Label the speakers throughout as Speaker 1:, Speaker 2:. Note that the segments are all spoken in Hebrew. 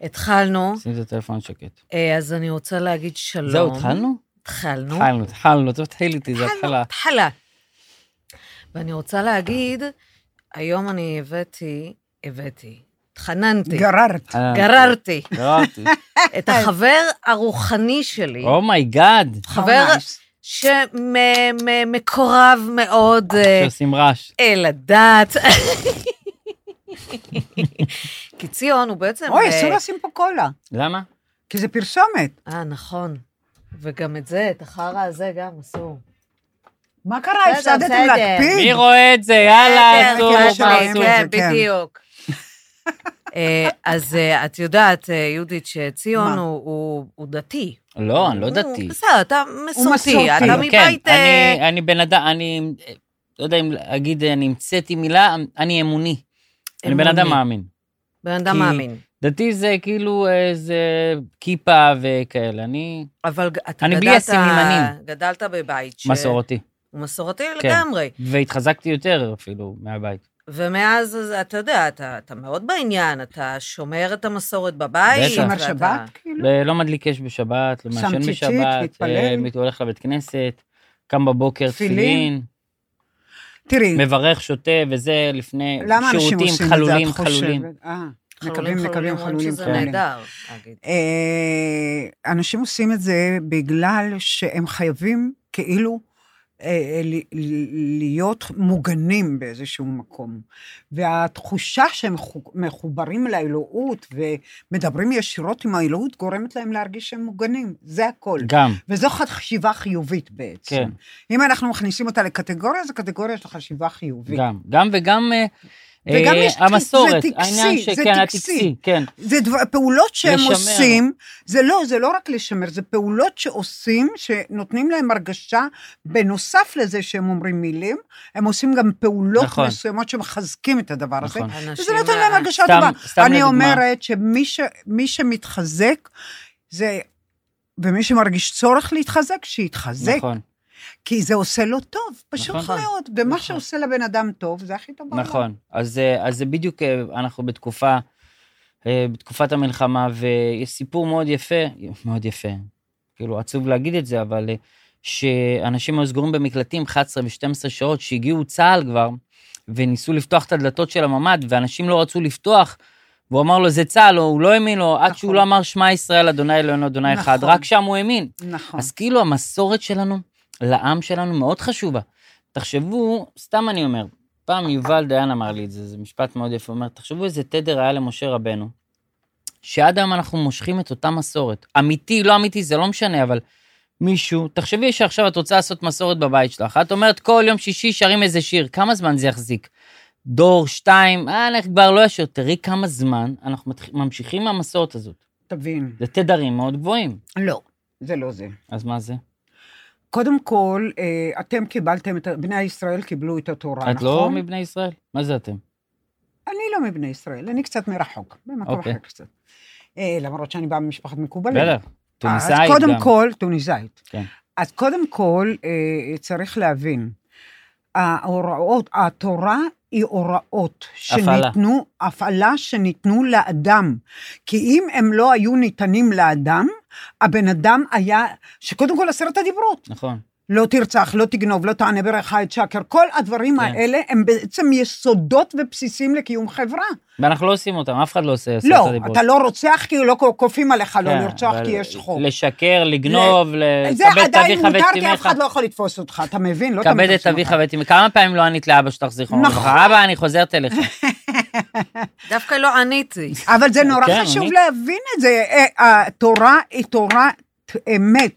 Speaker 1: התחלנו,
Speaker 2: שים את הטלפון שקט.
Speaker 1: אה, אז אני רוצה להגיד שלום.
Speaker 2: זהו, התחלנו?
Speaker 1: התחלנו.
Speaker 2: התחלנו, התחלנו, טוב, תתחיל איתי, זה
Speaker 1: התחלה.
Speaker 2: התחלה.
Speaker 1: התחלה. ואני רוצה להגיד, היום אני הבאתי, הבאתי, התחננתי,
Speaker 3: גררת.
Speaker 2: התחלה.
Speaker 1: גררתי
Speaker 2: אה, גררתי.
Speaker 1: את החבר הרוחני שלי,
Speaker 2: אומייגאד,
Speaker 1: חבר
Speaker 3: ממש.
Speaker 1: שמקורב מאוד אה,
Speaker 2: שעושים רעש.
Speaker 1: אל הדת. כי ציון הוא בעצם...
Speaker 3: אוי,
Speaker 1: אה,
Speaker 3: אסור לשים פה קולה,
Speaker 2: למה?
Speaker 3: כי זה פרסומת.
Speaker 1: אה, נכון. וגם את זה, את החרא הזה גם אסור.
Speaker 3: מה קרה,
Speaker 1: בסדר,
Speaker 3: הפסדתם
Speaker 1: בסדר.
Speaker 2: מי
Speaker 3: להקפיד?
Speaker 2: רואה את זה? יאללה,
Speaker 1: כן,
Speaker 2: אסור,
Speaker 1: כן,
Speaker 3: מה
Speaker 1: כן,
Speaker 3: אסור?
Speaker 1: כן,
Speaker 3: זה כן.
Speaker 1: בדיוק. אה, אז אה, את יודעת, אה, יהודית, שציון
Speaker 3: מה?
Speaker 1: הוא- הוא הוא דתי.
Speaker 2: לא, אני לא
Speaker 1: הוא-
Speaker 2: דתי.
Speaker 1: אה, בסדר, אתה מסורתי,
Speaker 3: מסורתי.
Speaker 1: אתה
Speaker 3: כן,
Speaker 1: מבית...
Speaker 2: כן,
Speaker 1: אה,
Speaker 2: אני, אני בן אדם, אני אה, לא יודע אם להגיד, אני המצאתי מילה, אמ, אני אמוני. אני בן
Speaker 1: אמוני.
Speaker 2: אדם מאמין.
Speaker 1: בן אדם
Speaker 2: כי-
Speaker 1: מאמין.
Speaker 2: דתי זה כאילו איזה כיפה וכאלה, אני
Speaker 1: אבל ג- אתה
Speaker 2: אני בלי
Speaker 1: גדלת-
Speaker 2: הסממנים.
Speaker 1: גדלת בבית ש...
Speaker 2: מסורתי.
Speaker 1: הוא מסורתי
Speaker 2: כן.
Speaker 1: לגמרי.
Speaker 2: והתחזקתי יותר אפילו מהבית.
Speaker 1: ומאז, אז אתה יודע, אתה אתה מאוד בעניין, אתה שומר את המסורת בבית.
Speaker 2: בטח.
Speaker 3: שומר
Speaker 1: ואתה-
Speaker 3: שבת, כאילו?
Speaker 2: לא- לא מדליק אש בשבת, לא
Speaker 3: שם
Speaker 2: מעשן
Speaker 3: ציצית,
Speaker 2: בשבת,
Speaker 3: מתפלל.
Speaker 2: אה, מת- הולך לבית כנסת, קם בבוקר,
Speaker 3: תפילין.
Speaker 2: תפילין,
Speaker 3: תראי,
Speaker 2: מברך, שותה, וזה לפני
Speaker 3: למה אנשים
Speaker 2: שירותים
Speaker 3: עושים את זה,
Speaker 2: חלולים,
Speaker 3: את
Speaker 2: חלולים.
Speaker 3: חושבת? אה,
Speaker 1: חלולים,
Speaker 3: מקבלים,
Speaker 1: חלולים,
Speaker 3: מקבלים,
Speaker 1: אומרים
Speaker 3: חלולים,
Speaker 1: שזה
Speaker 3: חלולים.
Speaker 1: נהדר, נגיד.
Speaker 3: אה, אנשים עושים את זה בגלל שהם חייבים כאילו אה, אה, ל- ל- להיות מוגנים באיזשהו מקום. והתחושה שהם חו- מחוברים לאלוהות ומדברים ישירות עם האלוהות גורמת להם להרגיש שהם מוגנים, זה הכל.
Speaker 2: גם,
Speaker 3: וזו חשיבה חיובית בעצם.
Speaker 2: כן.
Speaker 3: אם אנחנו מכניסים אותה לקטגוריה, זו קטגוריה של חשיבה חיובית.
Speaker 2: גם, גם וגם אה,
Speaker 3: וגם
Speaker 2: אה,
Speaker 3: יש- זה
Speaker 2: המסורת,
Speaker 3: טקסי,
Speaker 2: העניין
Speaker 3: זה
Speaker 2: שכן,
Speaker 3: טקסי.
Speaker 2: הטקסי, כן.
Speaker 3: זה דבר, פעולות שהם
Speaker 2: לשמר.
Speaker 3: לשמר. עושים, זה לא, זה לא רק לשמר, זה פעולות שעושים, שנותנים להם הרגשה, בנוסף לזה שהם אומרים מילים, הם עושים גם פעולות
Speaker 2: נכון.
Speaker 3: נכון. מסוימות שמחזקים את הדבר נכון.
Speaker 2: נכון.
Speaker 3: הזה, וזה
Speaker 1: אנשים,
Speaker 3: נותן להם
Speaker 1: אה,
Speaker 3: הרגשה
Speaker 2: סתם-
Speaker 3: טובה.
Speaker 2: סתם
Speaker 3: אני
Speaker 2: לדוגמה.
Speaker 3: אומרת שמי ש, מי שמתחזק, זה, ומי שמרגיש צורך להתחזק, שיתחזק, נכון.
Speaker 2: נכון,
Speaker 3: כי זה עושה לו טוב, פשוט
Speaker 2: נכון.
Speaker 3: נכון. מאוד, ומה
Speaker 2: נכון.
Speaker 3: נכון. שעושה לבן אדם טוב, זה הכי טוב בעולם.
Speaker 2: נכון. אז אה, אז זה בדיוק, אה, אנחנו בתקופה, אה, בתקופת המלחמה, ויש סיפור מאוד יפה, מאוד יפה, כאילו עצוב להגיד את זה, אבל אה, שאנשים היו סגורים במקלטים 11 ו-12 שעות, שהגיעו צה"ל כבר, וניסו לפתוח את הדלתות של הממ"ד, ואנשים לא רצו לפתוח. והוא אמר לו, זה צה"ל, או הוא לא האמין לו, עד שהוא
Speaker 3: נכון.
Speaker 2: לא אמר, שמע ישראל, אדוני אלוהינו, אדוני אחד,
Speaker 3: נכון.
Speaker 2: רק שם הוא האמין.
Speaker 3: נכון.
Speaker 2: אז כאילו המסורת שלנו, לעם שלנו, מאוד חשובה. תחשבו, סתם אני אומר, פעם יובל דיין אמר לי את זה, זה משפט מאוד יפה, הוא אומר, תחשבו איזה תדר היה למשה רבנו, שעד היום אנחנו מושכים את אותה מסורת. אמיתי, לא אמיתי, זה לא משנה, אבל מישהו, תחשבי שעכשיו את רוצה לעשות מסורת בבית שלך, את אומרת, כל יום שישי שרים איזה שיר, כמה זמן זה יחזיק? דור, שתיים, אה, אני כבר לא ישיר, תראי כמה זמן אנחנו מתח- ממשיכים מהמסורת הזאת.
Speaker 3: תבין.
Speaker 2: זה תדרים מאוד גבוהים.
Speaker 3: לא, זה לא זה.
Speaker 2: אז מה זה?
Speaker 3: קודם כל, אה, אתם קיבלתם, את, ה- בני ישראל קיבלו את התורה,
Speaker 2: את לא
Speaker 3: נכון?
Speaker 2: מבני ישראל? מה זה אתם?
Speaker 3: אני לא מבני ישראל, אני קצת מרחוק, במקום
Speaker 2: אוקיי.
Speaker 3: אחר קצת. אה, למרות שאני באה ממשפחת מקובלים.
Speaker 2: בטח, טוניסאית גם.
Speaker 3: לא. אה, אז קודם כל, טוניסאית.
Speaker 2: כן.
Speaker 3: אז קודם כל, אה, צריך להבין, ההוראות, התורה היא הוראות
Speaker 2: הפעלה.
Speaker 3: שניתנו, הפעלה שניתנו לאדם. כי אם הם לא היו ניתנים לאדם, הבן אדם היה, שקודם כל עשרת הדיברות.
Speaker 2: נכון,
Speaker 3: לא תרצח, לא תגנוב, לא תענה ברעך את שקר, כל הדברים
Speaker 2: כן.
Speaker 3: כן. האלה הם בעצם יסודות ובסיסים לקיום חברה.
Speaker 2: ואנחנו לא עושים אותם, אף אחד לא עושה עשרת
Speaker 3: לא,
Speaker 2: הדיברות.
Speaker 3: אתה לא רוצח כי לא כופים עליך לא
Speaker 2: כן,
Speaker 3: לרצוח
Speaker 2: אבל
Speaker 3: כי יש חוק.
Speaker 2: לשקר, לגנוב,
Speaker 3: זה
Speaker 2: לכבד את
Speaker 3: עדיין
Speaker 2: אביך
Speaker 3: מותר
Speaker 2: ואת
Speaker 3: כי אף
Speaker 2: אמך.
Speaker 3: אחד לא יכול לתפוס אותך, אתה מבין? לא
Speaker 2: כבד
Speaker 3: תמיד
Speaker 2: את
Speaker 3: תופסים
Speaker 2: אביך
Speaker 3: אותך.
Speaker 2: ואת אמך. כמה פעמים לא ענית לאבא שלך, זיכרונו
Speaker 3: נכון.
Speaker 2: לברכה? אבא, אני חוזרת אליך.
Speaker 1: דווקא לא עניתי.
Speaker 3: אבל זה נורא
Speaker 2: כן,
Speaker 3: חשוב
Speaker 2: אני-
Speaker 3: להבין את זה. אה, התורה היא תורת אמת.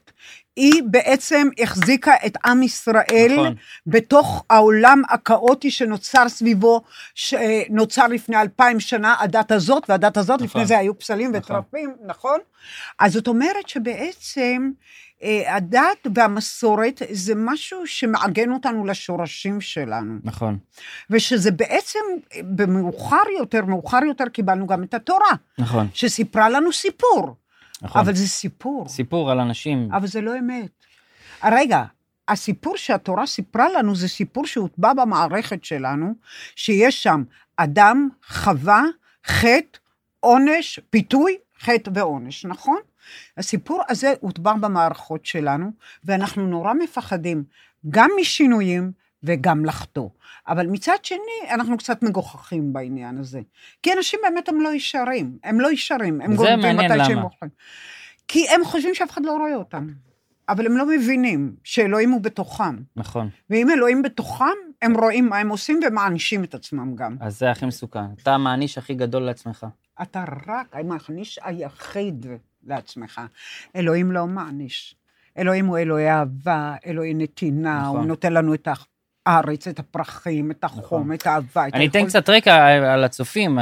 Speaker 3: היא בעצם החזיקה את עם ישראל
Speaker 2: נכון.
Speaker 3: בתוך העולם הכאוטי שנוצר סביבו, שנוצר לפני אלפיים שנה, הדת הזאת והדת הזאת,
Speaker 2: נכון.
Speaker 3: לפני זה היו פסלים
Speaker 2: נכון.
Speaker 3: וטרפים, נכון? אז זאת אומרת שבעצם אה, הדת והמסורת זה משהו שמעגן אותנו לשורשים שלנו.
Speaker 2: נכון,
Speaker 3: ושזה בעצם, אה, במאוחר יותר, מאוחר יותר קיבלנו גם את התורה,
Speaker 2: נכון,
Speaker 3: שסיפרה לנו סיפור,
Speaker 2: נכון.
Speaker 3: אבל זה סיפור,
Speaker 2: סיפור על אנשים.
Speaker 3: אבל זה לא אמת. רגע, הסיפור שהתורה סיפרה לנו זה סיפור שהוטבע במערכת שלנו, שיש שם אדם, חווה, חטא, עונש, פיתוי, חטא ועונש, נכון? הסיפור הזה הוטבר במערכות שלנו, ואנחנו נורא מפחדים גם משינויים וגם לחטוא. אבל מצד שני, אנחנו קצת מגוחכים בעניין הזה. כי אנשים באמת הם לא ישרים, הם לא ישרים, הם
Speaker 2: זה
Speaker 3: גונבים
Speaker 2: מעניין
Speaker 3: מתי שהם
Speaker 2: למה.
Speaker 3: מוכנים. כי הם חושבים שאף אחד לא רואה אותם, אבל הם לא מבינים שאלוהים הוא בתוכם.
Speaker 2: נכון.
Speaker 3: ואם אלוהים בתוכם, הם רואים מה הם עושים ומענישים את עצמם גם.
Speaker 2: אז זה הכי מסוכן. אתה המעניש הכי גדול לעצמך.
Speaker 3: אתה רק המעניש היחיד לעצמך. אלוהים לא מעניש. אלוהים הוא אלוהי אהבה, אלוהי נתינה,
Speaker 2: נכון.
Speaker 3: נכון. הוא נותן לנו את הארץ, את הפרחים, את החום,
Speaker 2: נכון.
Speaker 3: את האהבה, את
Speaker 2: אני אתן קצת רקע אה, על הצופים.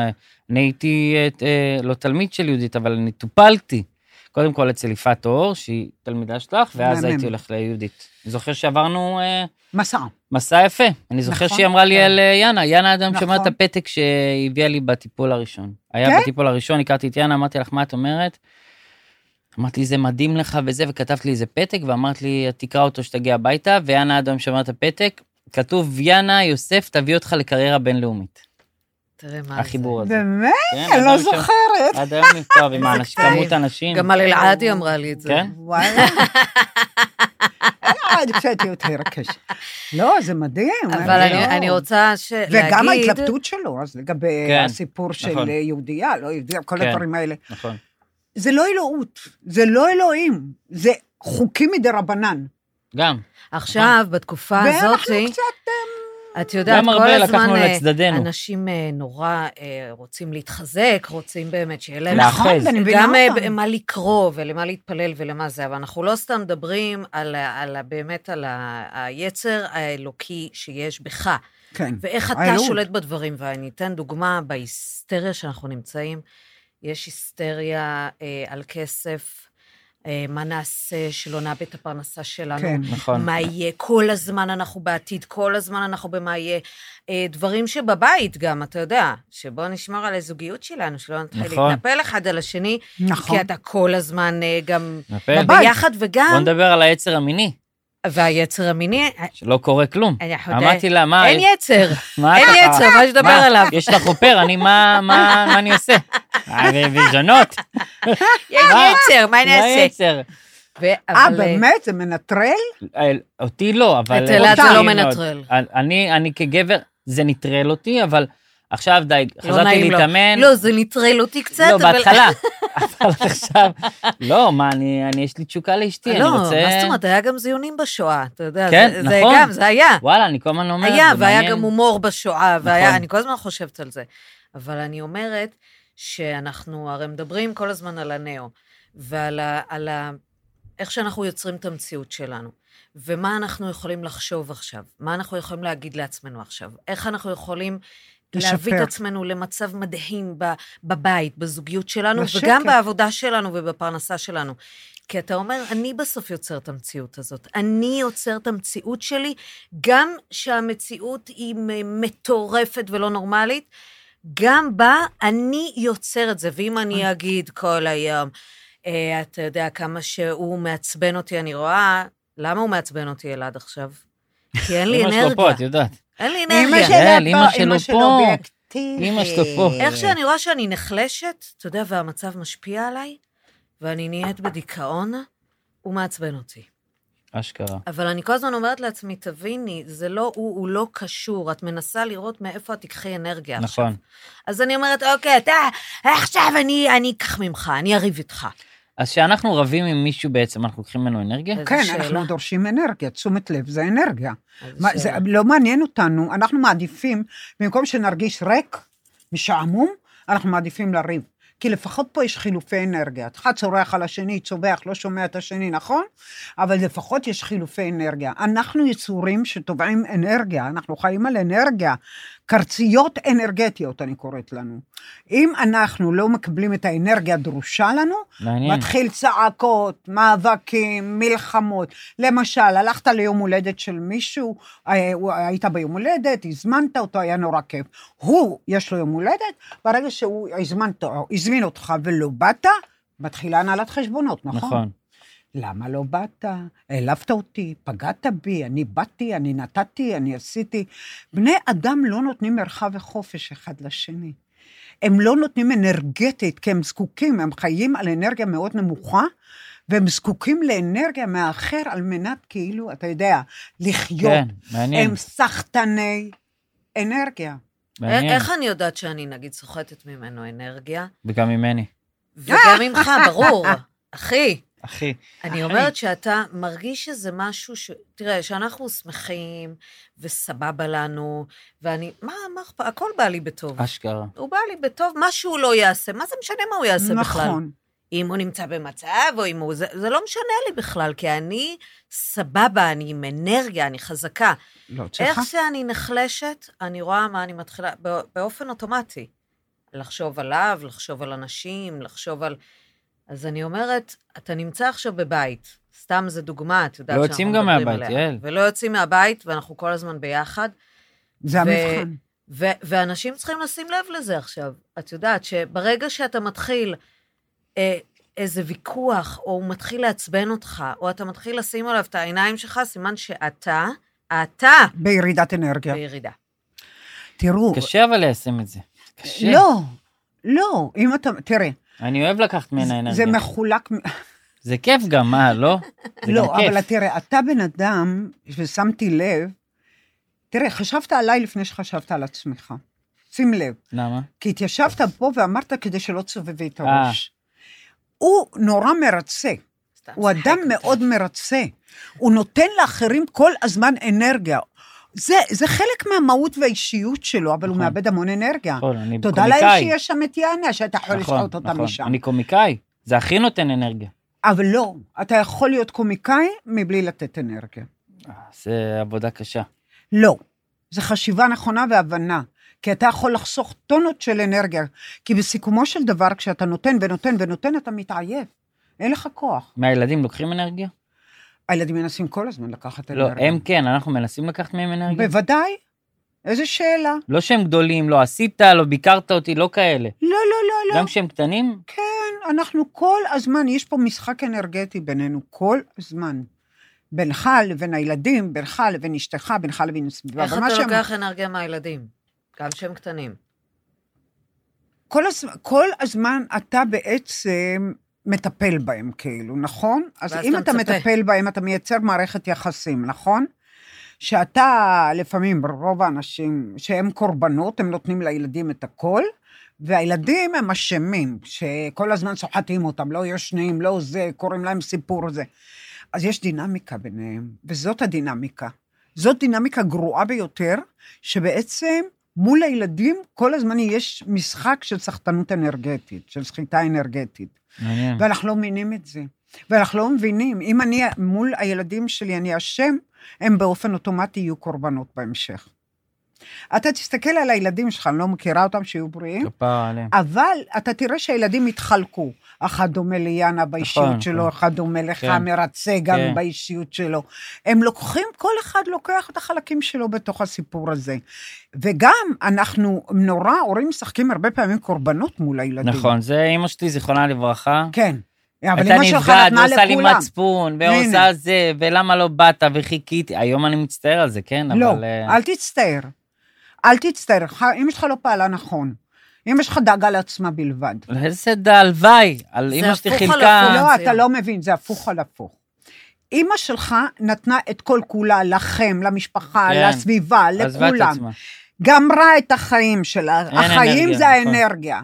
Speaker 2: אני הייתי, אה, אה, לא תלמיד של יהודית, אבל אני טופלתי. קודם כל אצל יפעת אור, שהיא תלמידה שלך, ואז
Speaker 3: מהמם.
Speaker 2: הייתי הולך ליהודית. אני זוכר שעברנו אה,
Speaker 3: מסע.
Speaker 2: מסע יפה. אני זוכר
Speaker 3: נכון,
Speaker 2: שהיא אמרה לי
Speaker 3: כן.
Speaker 2: על אה, יאנה, יאנה אדם שמע את
Speaker 3: נכון.
Speaker 2: הפתק שהיא הביאה לי בטיפול הראשון. היה
Speaker 3: כן?
Speaker 2: בטיפול הראשון, הכרתי את יאנה, אמרתי לך, מה את אומרת? אמרתי, זה מדהים לך וזה, וכתבת לי איזה פתק, ואמרת לי, תקרא אותו שתגיע הביתה, ויאנה אדם שמע את הפתק, כתוב, יאנה יוסף תביא אותך לקריירה בינלאומית.
Speaker 1: תראה מה
Speaker 2: החיבור הזה.
Speaker 3: באמת?
Speaker 2: כן,
Speaker 3: אני לא
Speaker 2: אדם שמע-
Speaker 3: זוכרת.
Speaker 2: עד היום נכתב עם האנשים,
Speaker 1: קטעים.
Speaker 2: כמות האנשים.
Speaker 1: זה. גם על אלעדי אמרה לי את זה.
Speaker 2: כן?
Speaker 3: וואלה. אה, זה קצת יותר קשה. לא, זה מדהים.
Speaker 1: אבל
Speaker 3: לא.
Speaker 1: אני- אני רוצה ש- להגיד...
Speaker 3: וגם ההתלבטות שלו, אז לגבי
Speaker 2: כן,
Speaker 3: הסיפור
Speaker 2: נכון.
Speaker 3: של יהודייה, לא יהודייה, כל
Speaker 2: כן.
Speaker 3: הדברים האלה.
Speaker 2: נכון.
Speaker 3: זה לא אלוהות, זה לא אלוהים, זה חוקים מדי רבנן.
Speaker 2: גם.
Speaker 1: עכשיו, בתקופה
Speaker 3: ואנחנו לא
Speaker 1: הזאתי...
Speaker 3: קצת...
Speaker 1: את יודעת,
Speaker 2: גם
Speaker 1: כל
Speaker 2: הרבה
Speaker 1: הזמן
Speaker 2: לקחנו
Speaker 1: אה,
Speaker 2: לצדדינו.
Speaker 1: אנשים אה, נורא אה, רוצים להתחזק, רוצים באמת שיהיה להם...
Speaker 2: לאחוז.
Speaker 3: נכון, ואני מבינה
Speaker 1: גם אה, ב-
Speaker 3: אותם.
Speaker 1: מה לקרוא ולמה להתפלל ולמה זה, אבל אנחנו לא סתם מדברים על, ה- על ה- באמת על ה- היצר האלוקי שיש בך,
Speaker 3: כן.
Speaker 1: ואיך אתה
Speaker 3: האלוהות.
Speaker 1: שולט בדברים. ואני אתן דוגמה, בהיסטריה שאנחנו נמצאים, יש היסטריה אה, על כסף, אה, מה נעשה שלא נאבד את הפרנסה שלנו,
Speaker 3: כן.
Speaker 2: נכון.
Speaker 1: מה יהיה, כל הזמן אנחנו בעתיד, כל הזמן אנחנו במה יהיה. אה, דברים שבבית גם, אתה יודע, שבוא נשמור על הזוגיות שלנו, שלא נתחיל
Speaker 2: נכון.
Speaker 1: להתנפל אחד על השני,
Speaker 3: נכון.
Speaker 1: כי אתה כל הזמן אה, גם
Speaker 2: נפל.
Speaker 3: בבית.
Speaker 1: ביחד,
Speaker 2: בוא
Speaker 1: וגם,
Speaker 2: נדבר על היצר המיני,
Speaker 1: והיצר המיני,
Speaker 2: שלא קורה כלום.
Speaker 1: אנחנו יודע,
Speaker 2: אמרתי לה, מה,
Speaker 1: אין יצר,
Speaker 2: מה
Speaker 1: אין
Speaker 2: את-
Speaker 1: יצר, מה שדבר
Speaker 2: מה?
Speaker 1: עליו.
Speaker 2: יש לך חופר, אני, מה, מה, מה אני עושה? אה, ו- וזונות,
Speaker 1: אין
Speaker 2: מה?
Speaker 1: יצר, מה
Speaker 2: מה
Speaker 1: נעשה?
Speaker 2: היצר?
Speaker 1: ו-
Speaker 3: אה,
Speaker 1: אבל,
Speaker 3: באמת? זה מנטרל?
Speaker 2: אה, אותי לא, אבל...
Speaker 1: את אלעד זה
Speaker 2: אותי
Speaker 1: לא
Speaker 2: מאוד.
Speaker 1: מנטרל.
Speaker 2: אני, אני כגבר, זה נטרל אותי, אבל עכשיו די,
Speaker 1: לא
Speaker 2: חזרתי
Speaker 1: נעים לו.
Speaker 2: להתאמן.
Speaker 1: לא, זה נטרל אותי קצת,
Speaker 2: לא,
Speaker 1: אבל... אה,
Speaker 2: בהתחלה. אבל עכשיו, לא, מה, אני, אני, יש לי תשוקה לאשתי, אני
Speaker 1: לא,
Speaker 2: רוצה...
Speaker 1: מה זאת אומרת, היה גם זיונים בשואה, אתה יודע,
Speaker 2: כן,
Speaker 1: זה- זה
Speaker 2: נכון.
Speaker 1: גם, זה היה.
Speaker 2: וואלה, אני כל הזמן אומרת,
Speaker 1: היה,
Speaker 2: זה
Speaker 1: והיה
Speaker 2: מעניין.
Speaker 1: גם הומור בשואה, והיה,
Speaker 2: נכון.
Speaker 1: אני כל הזמן חושבת על זה. אבל אני אומרת שאנחנו הרי מדברים כל הזמן על הנאו, ועל ה, על ה, איך שאנחנו יוצרים את המציאות שלנו, ומה אנחנו יכולים לחשוב עכשיו, מה אנחנו יכולים להגיד לעצמנו עכשיו, איך אנחנו יכולים... להביא את
Speaker 3: לשפר.
Speaker 1: עצמנו למצב מדהים ב- בבית, בזוגיות שלנו,
Speaker 3: בשקט.
Speaker 1: וגם בעבודה שלנו ובפרנסה שלנו. כי אתה אומר, אני בסוף יוצר את המציאות הזאת. אני יוצר את המציאות שלי, גם שהמציאות היא מ- מטורפת ולא נורמלית, גם בה אני יוצר את זה. ואם אני אגיד כל היום, אה, אתה יודע כמה שהוא מעצבן אותי, אני רואה, למה הוא מעצבן אותי אלעד עכשיו? כי אין לי
Speaker 2: אמא שלו פה, את
Speaker 1: אנרגיה.
Speaker 2: יודעת.
Speaker 1: אין לי
Speaker 3: אמא
Speaker 1: אנרגיה.
Speaker 3: שלו
Speaker 2: כן,
Speaker 3: פה,
Speaker 2: אמא שלו
Speaker 3: אמא שלו
Speaker 2: פה.
Speaker 3: אובייקטיבית.
Speaker 2: אמא שלו פה.
Speaker 1: אה, איך שאני רואה שאני נחלשת, אתה יודע, והמצב משפיע עליי, ואני נהיית בדיכאון, הוא מעצבן אותי.
Speaker 2: אשכרה.
Speaker 1: אבל אני כל הזמן אומרת לעצמי, תביני, זה לא הוא, הוא לא קשור. את מנסה לראות מאיפה את תיקחי אנרגיה עכשיו.
Speaker 2: נכון.
Speaker 1: אז אני אומרת, אוקיי, אתה, עכשיו אני אני אקח ממך, אני אריב איתך.
Speaker 2: אז כשאנחנו רבים עם מישהו בעצם, אנחנו לוקחים ממנו אנרגיה?
Speaker 1: איזו
Speaker 3: כן,
Speaker 1: שאלה.
Speaker 3: אנחנו דורשים אנרגיה, תשומת לב זה אנרגיה.
Speaker 1: אז אה,
Speaker 3: מה,
Speaker 1: שאלה.
Speaker 3: זה לא מעניין אותנו, אנחנו מעדיפים, במקום שנרגיש ריק משעמום, אנחנו מעדיפים לריב. כי לפחות פה יש חילופי אנרגיה. אחד צורח על השני, צווח, לא שומע את השני, נכון? אבל לפחות יש חילופי אנרגיה. אנחנו יצורים שטובעים אנרגיה, אנחנו חיים על אנרגיה. קרציות אנרגטיות, אני קוראת לנו. אם אנחנו לא מקבלים את האנרגיה הדרושה לנו,
Speaker 2: מעניין.
Speaker 3: מתחיל צעקות, מאבקים, מלחמות. למשל, הלכת ליום הולדת של מישהו, אה, הוא- היית ביום הולדת, הזמנת אותו, היה נורא כיף. הוא, יש לו יום הולדת, ברגע שהוא הזמנת, הזמין אותך ולא באת, מתחילה הנהלת חשבונות, נכון?
Speaker 2: נכון.
Speaker 3: למה לא באת? העלבת אותי, פגעת בי, אני באתי, אני נתתי, אני עשיתי. בני אדם לא נותנים מרחב וחופש אחד לשני. הם לא נותנים אנרגטית, כי הם זקוקים, הם חיים על אנרגיה מאוד נמוכה, והם זקוקים לאנרגיה מהאחר על מנת כאילו, אתה יודע, לחיות.
Speaker 2: כן, מעניין,
Speaker 3: הם סחטני אנרגיה.
Speaker 1: א-
Speaker 2: מעניין.
Speaker 1: אה, איך אני יודעת שאני, נגיד, סוחטת ממנו אנרגיה?
Speaker 2: וגם ממני.
Speaker 1: וגם ממך, ברור. אחי,
Speaker 2: אחי,
Speaker 1: אני אומרת שאתה מרגיש שזה משהו ש... תראה, שאנחנו שמחים, וסבבה לנו, ואני... מה, מה אכפת? הכל בא לי בטוב.
Speaker 2: אשכרה.
Speaker 1: הוא בא לי בטוב, מה שהוא לא יעשה, מה זה משנה מה הוא יעשה בכלל?
Speaker 3: נכון.
Speaker 1: אם הוא נמצא במצב, או אם הוא... זה, זה לא משנה לי בכלל, כי אני סבבה, אני עם אנרגיה, אני חזקה.
Speaker 3: לא,
Speaker 1: איך
Speaker 3: צריכה.
Speaker 1: שאני נחלשת, אני רואה מה אני מתחילה, בא- באופן אוטומטי. לחשוב עליו, לחשוב על אנשים, לחשוב על... אז אני אומרת, אתה נמצא עכשיו בבית, סתם זו דוגמה, את יודעת
Speaker 2: לא
Speaker 1: שאנחנו
Speaker 2: יוצאים גם
Speaker 1: מדברים
Speaker 2: מהבית,
Speaker 1: עליה.
Speaker 2: יעל.
Speaker 1: ולא יוצאים מהבית, ואנחנו כל הזמן ביחד.
Speaker 3: זה
Speaker 1: ו-
Speaker 3: המבחן.
Speaker 1: ו- ואנשים צריכים לשים לב לזה עכשיו. את יודעת שברגע שאתה מתחיל אה, איזה ויכוח, או הוא מתחיל לעצבן אותך, או אתה מתחיל לשים עליו את העיניים שלך, סימן שאתה, אתה,
Speaker 3: בירידת
Speaker 2: כן.
Speaker 3: אנרגיה.
Speaker 1: בירידה.
Speaker 3: תראו,
Speaker 2: קשה אבל ליישם את זה. קשה.
Speaker 3: לא, לא, אם אתה, תראה,
Speaker 2: אני אוהב לקחת ממנה אנרגיה.
Speaker 3: זה מחולק, מ-
Speaker 2: זה כיף גם, מה, לא? זה גם
Speaker 3: לא, אבל
Speaker 2: כיף.
Speaker 3: תראה, אתה בן אדם, ושמתי לב, תראה, חשבת עליי לפני שחשבת על עצמך. שים לב,
Speaker 2: למה?
Speaker 3: כי התיישבת פה ואמרת כדי שלא תסובבי את
Speaker 2: אה.
Speaker 3: הראש. הוא נורא מרצה,
Speaker 1: סתם,
Speaker 3: הוא
Speaker 1: צחק
Speaker 3: אדם
Speaker 1: אותי.
Speaker 3: מאוד מרצה. הוא נותן לאחרים כל הזמן אנרגיה. זה, זה חלק מהמהות והאישיות שלו, אבל הוא
Speaker 2: נכון.
Speaker 3: מאבד המון אנרגיה.
Speaker 2: נכון, אני קומיקאי.
Speaker 3: תודה לאל שיש שם את יענה, שאתה יכול
Speaker 2: נכון,
Speaker 3: לשחוט אותה
Speaker 2: נכון.
Speaker 3: משם.
Speaker 2: אני קומיקאי, זה הכי נותן אנרגיה.
Speaker 3: אבל לא, אתה יכול להיות קומיקאי מבלי לתת אנרגיה.
Speaker 2: אה, זה עבודה קשה.
Speaker 3: לא. זו חשיבה נכונה והבנה, כי אתה יכול לחסוך טונות של אנרגיה, כי בסיכומו של דבר, כשאתה נותן ונותן ונותן, אתה מתעייף. אין לך כוח.
Speaker 2: מהילדים לוקחים אנרגיה?
Speaker 3: הילדים מנסים כל הזמן לקחת
Speaker 2: לא,
Speaker 3: אנרגיה.
Speaker 2: הם כן, אנחנו מנסים לקחת מהם אנרגיה?
Speaker 3: בוודאי. איזה שאלה.
Speaker 2: לא שהם גדולים, לא עשית, לא ביקרת אותי, לא כאלה.
Speaker 3: לא, לא, לא, לא.
Speaker 2: גם כשהם קטנים?
Speaker 3: אנחנו כל הזמן, יש פה משחק אנרגטי בינינו, כל הזמן. בינך לבין הילדים, בינך לבין אשתך, בינך לבין הסביבה.
Speaker 1: איך
Speaker 3: אבל מה
Speaker 1: אתה
Speaker 3: שהם-
Speaker 1: לוקח אנרגיה מהילדים? גם כשהם קטנים.
Speaker 3: כל הזמן, כל הזמן אתה בעצם מטפל בהם, כאילו, נכון? אז
Speaker 1: ואז
Speaker 3: אם
Speaker 1: אתה
Speaker 3: אתה
Speaker 1: מצפה.
Speaker 3: מטפל בהם, אתה מייצר מערכת יחסים, נכון? שאתה, לפעמים, רוב האנשים שהם קורבנות, הם נותנים לילדים את הכל, והילדים הם אשמים, שכל הזמן סוחטים אותם, לא ישנים, לא זה, קוראים להם סיפור זה. אז יש דינמיקה ביניהם, וזאת הדינמיקה. זאת דינמיקה גרועה ביותר, שבעצם מול הילדים כל הזמן יש משחק של סחטנות אנרגטית, של סחיטה אנרגטית.
Speaker 2: מעניין.
Speaker 3: ואנחנו לא מבינים את זה. ואנחנו לא מבינים, אם אני מול הילדים שלי אני אשם, הם באופן אוטומטי יהיו קורבנות בהמשך. אתה תסתכל על הילדים שלך, אני לא מכירה אותם, שיהיו בריאים,
Speaker 2: כפרה עליהם.
Speaker 3: אבל אתה תראה שהילדים התחלקו. אחד דומה ליאנה באישיות
Speaker 2: נכון, נכון.
Speaker 3: שלו, אחד דומה לך,
Speaker 2: כן.
Speaker 3: מרצה גם
Speaker 2: כן.
Speaker 3: באישיות שלו. הם לוקחים, כל אחד לוקח את החלקים שלו בתוך הסיפור הזה. וגם אנחנו, נורא, הורים משחקים הרבה פעמים קורבנות מול הילדים.
Speaker 2: נכון, זה אימא שלי, זיכרונה לברכה.
Speaker 3: כן. אבל
Speaker 2: הייתה
Speaker 3: אמא שלך
Speaker 2: נפגעת,
Speaker 3: נתנה
Speaker 2: ועושה לי
Speaker 3: לכולם.
Speaker 2: מצפון,
Speaker 3: הנה.
Speaker 2: ועושה זה, ולמה לא באת, וחיכיתי. היום אני מצטער על זה, כן,
Speaker 3: לא,
Speaker 2: אבל... אה,
Speaker 3: אל תצטער. אל תצטער. ח- אמא שלך לא פעלה נכון. אמא שלך דאגה לעצמה בלבד.
Speaker 2: איזה דה, הלוואי, על
Speaker 1: זה
Speaker 2: אמא שלי
Speaker 1: הפוך על
Speaker 2: חילקה.
Speaker 1: הפוך.
Speaker 3: לא,
Speaker 1: זה-
Speaker 3: אתה לא מבין, זה הפוך על הפוך. אימא שלך נתנה את כל כולה לכם, למשפחה,
Speaker 2: כן.
Speaker 3: לסביבה,
Speaker 2: עזבה את
Speaker 3: לא, לכולם.
Speaker 2: עצמה.
Speaker 3: גמרה את החיים שלה.
Speaker 2: אין
Speaker 3: החיים
Speaker 2: אנרגיה,
Speaker 3: זה
Speaker 2: נכון.
Speaker 3: האנרגיה.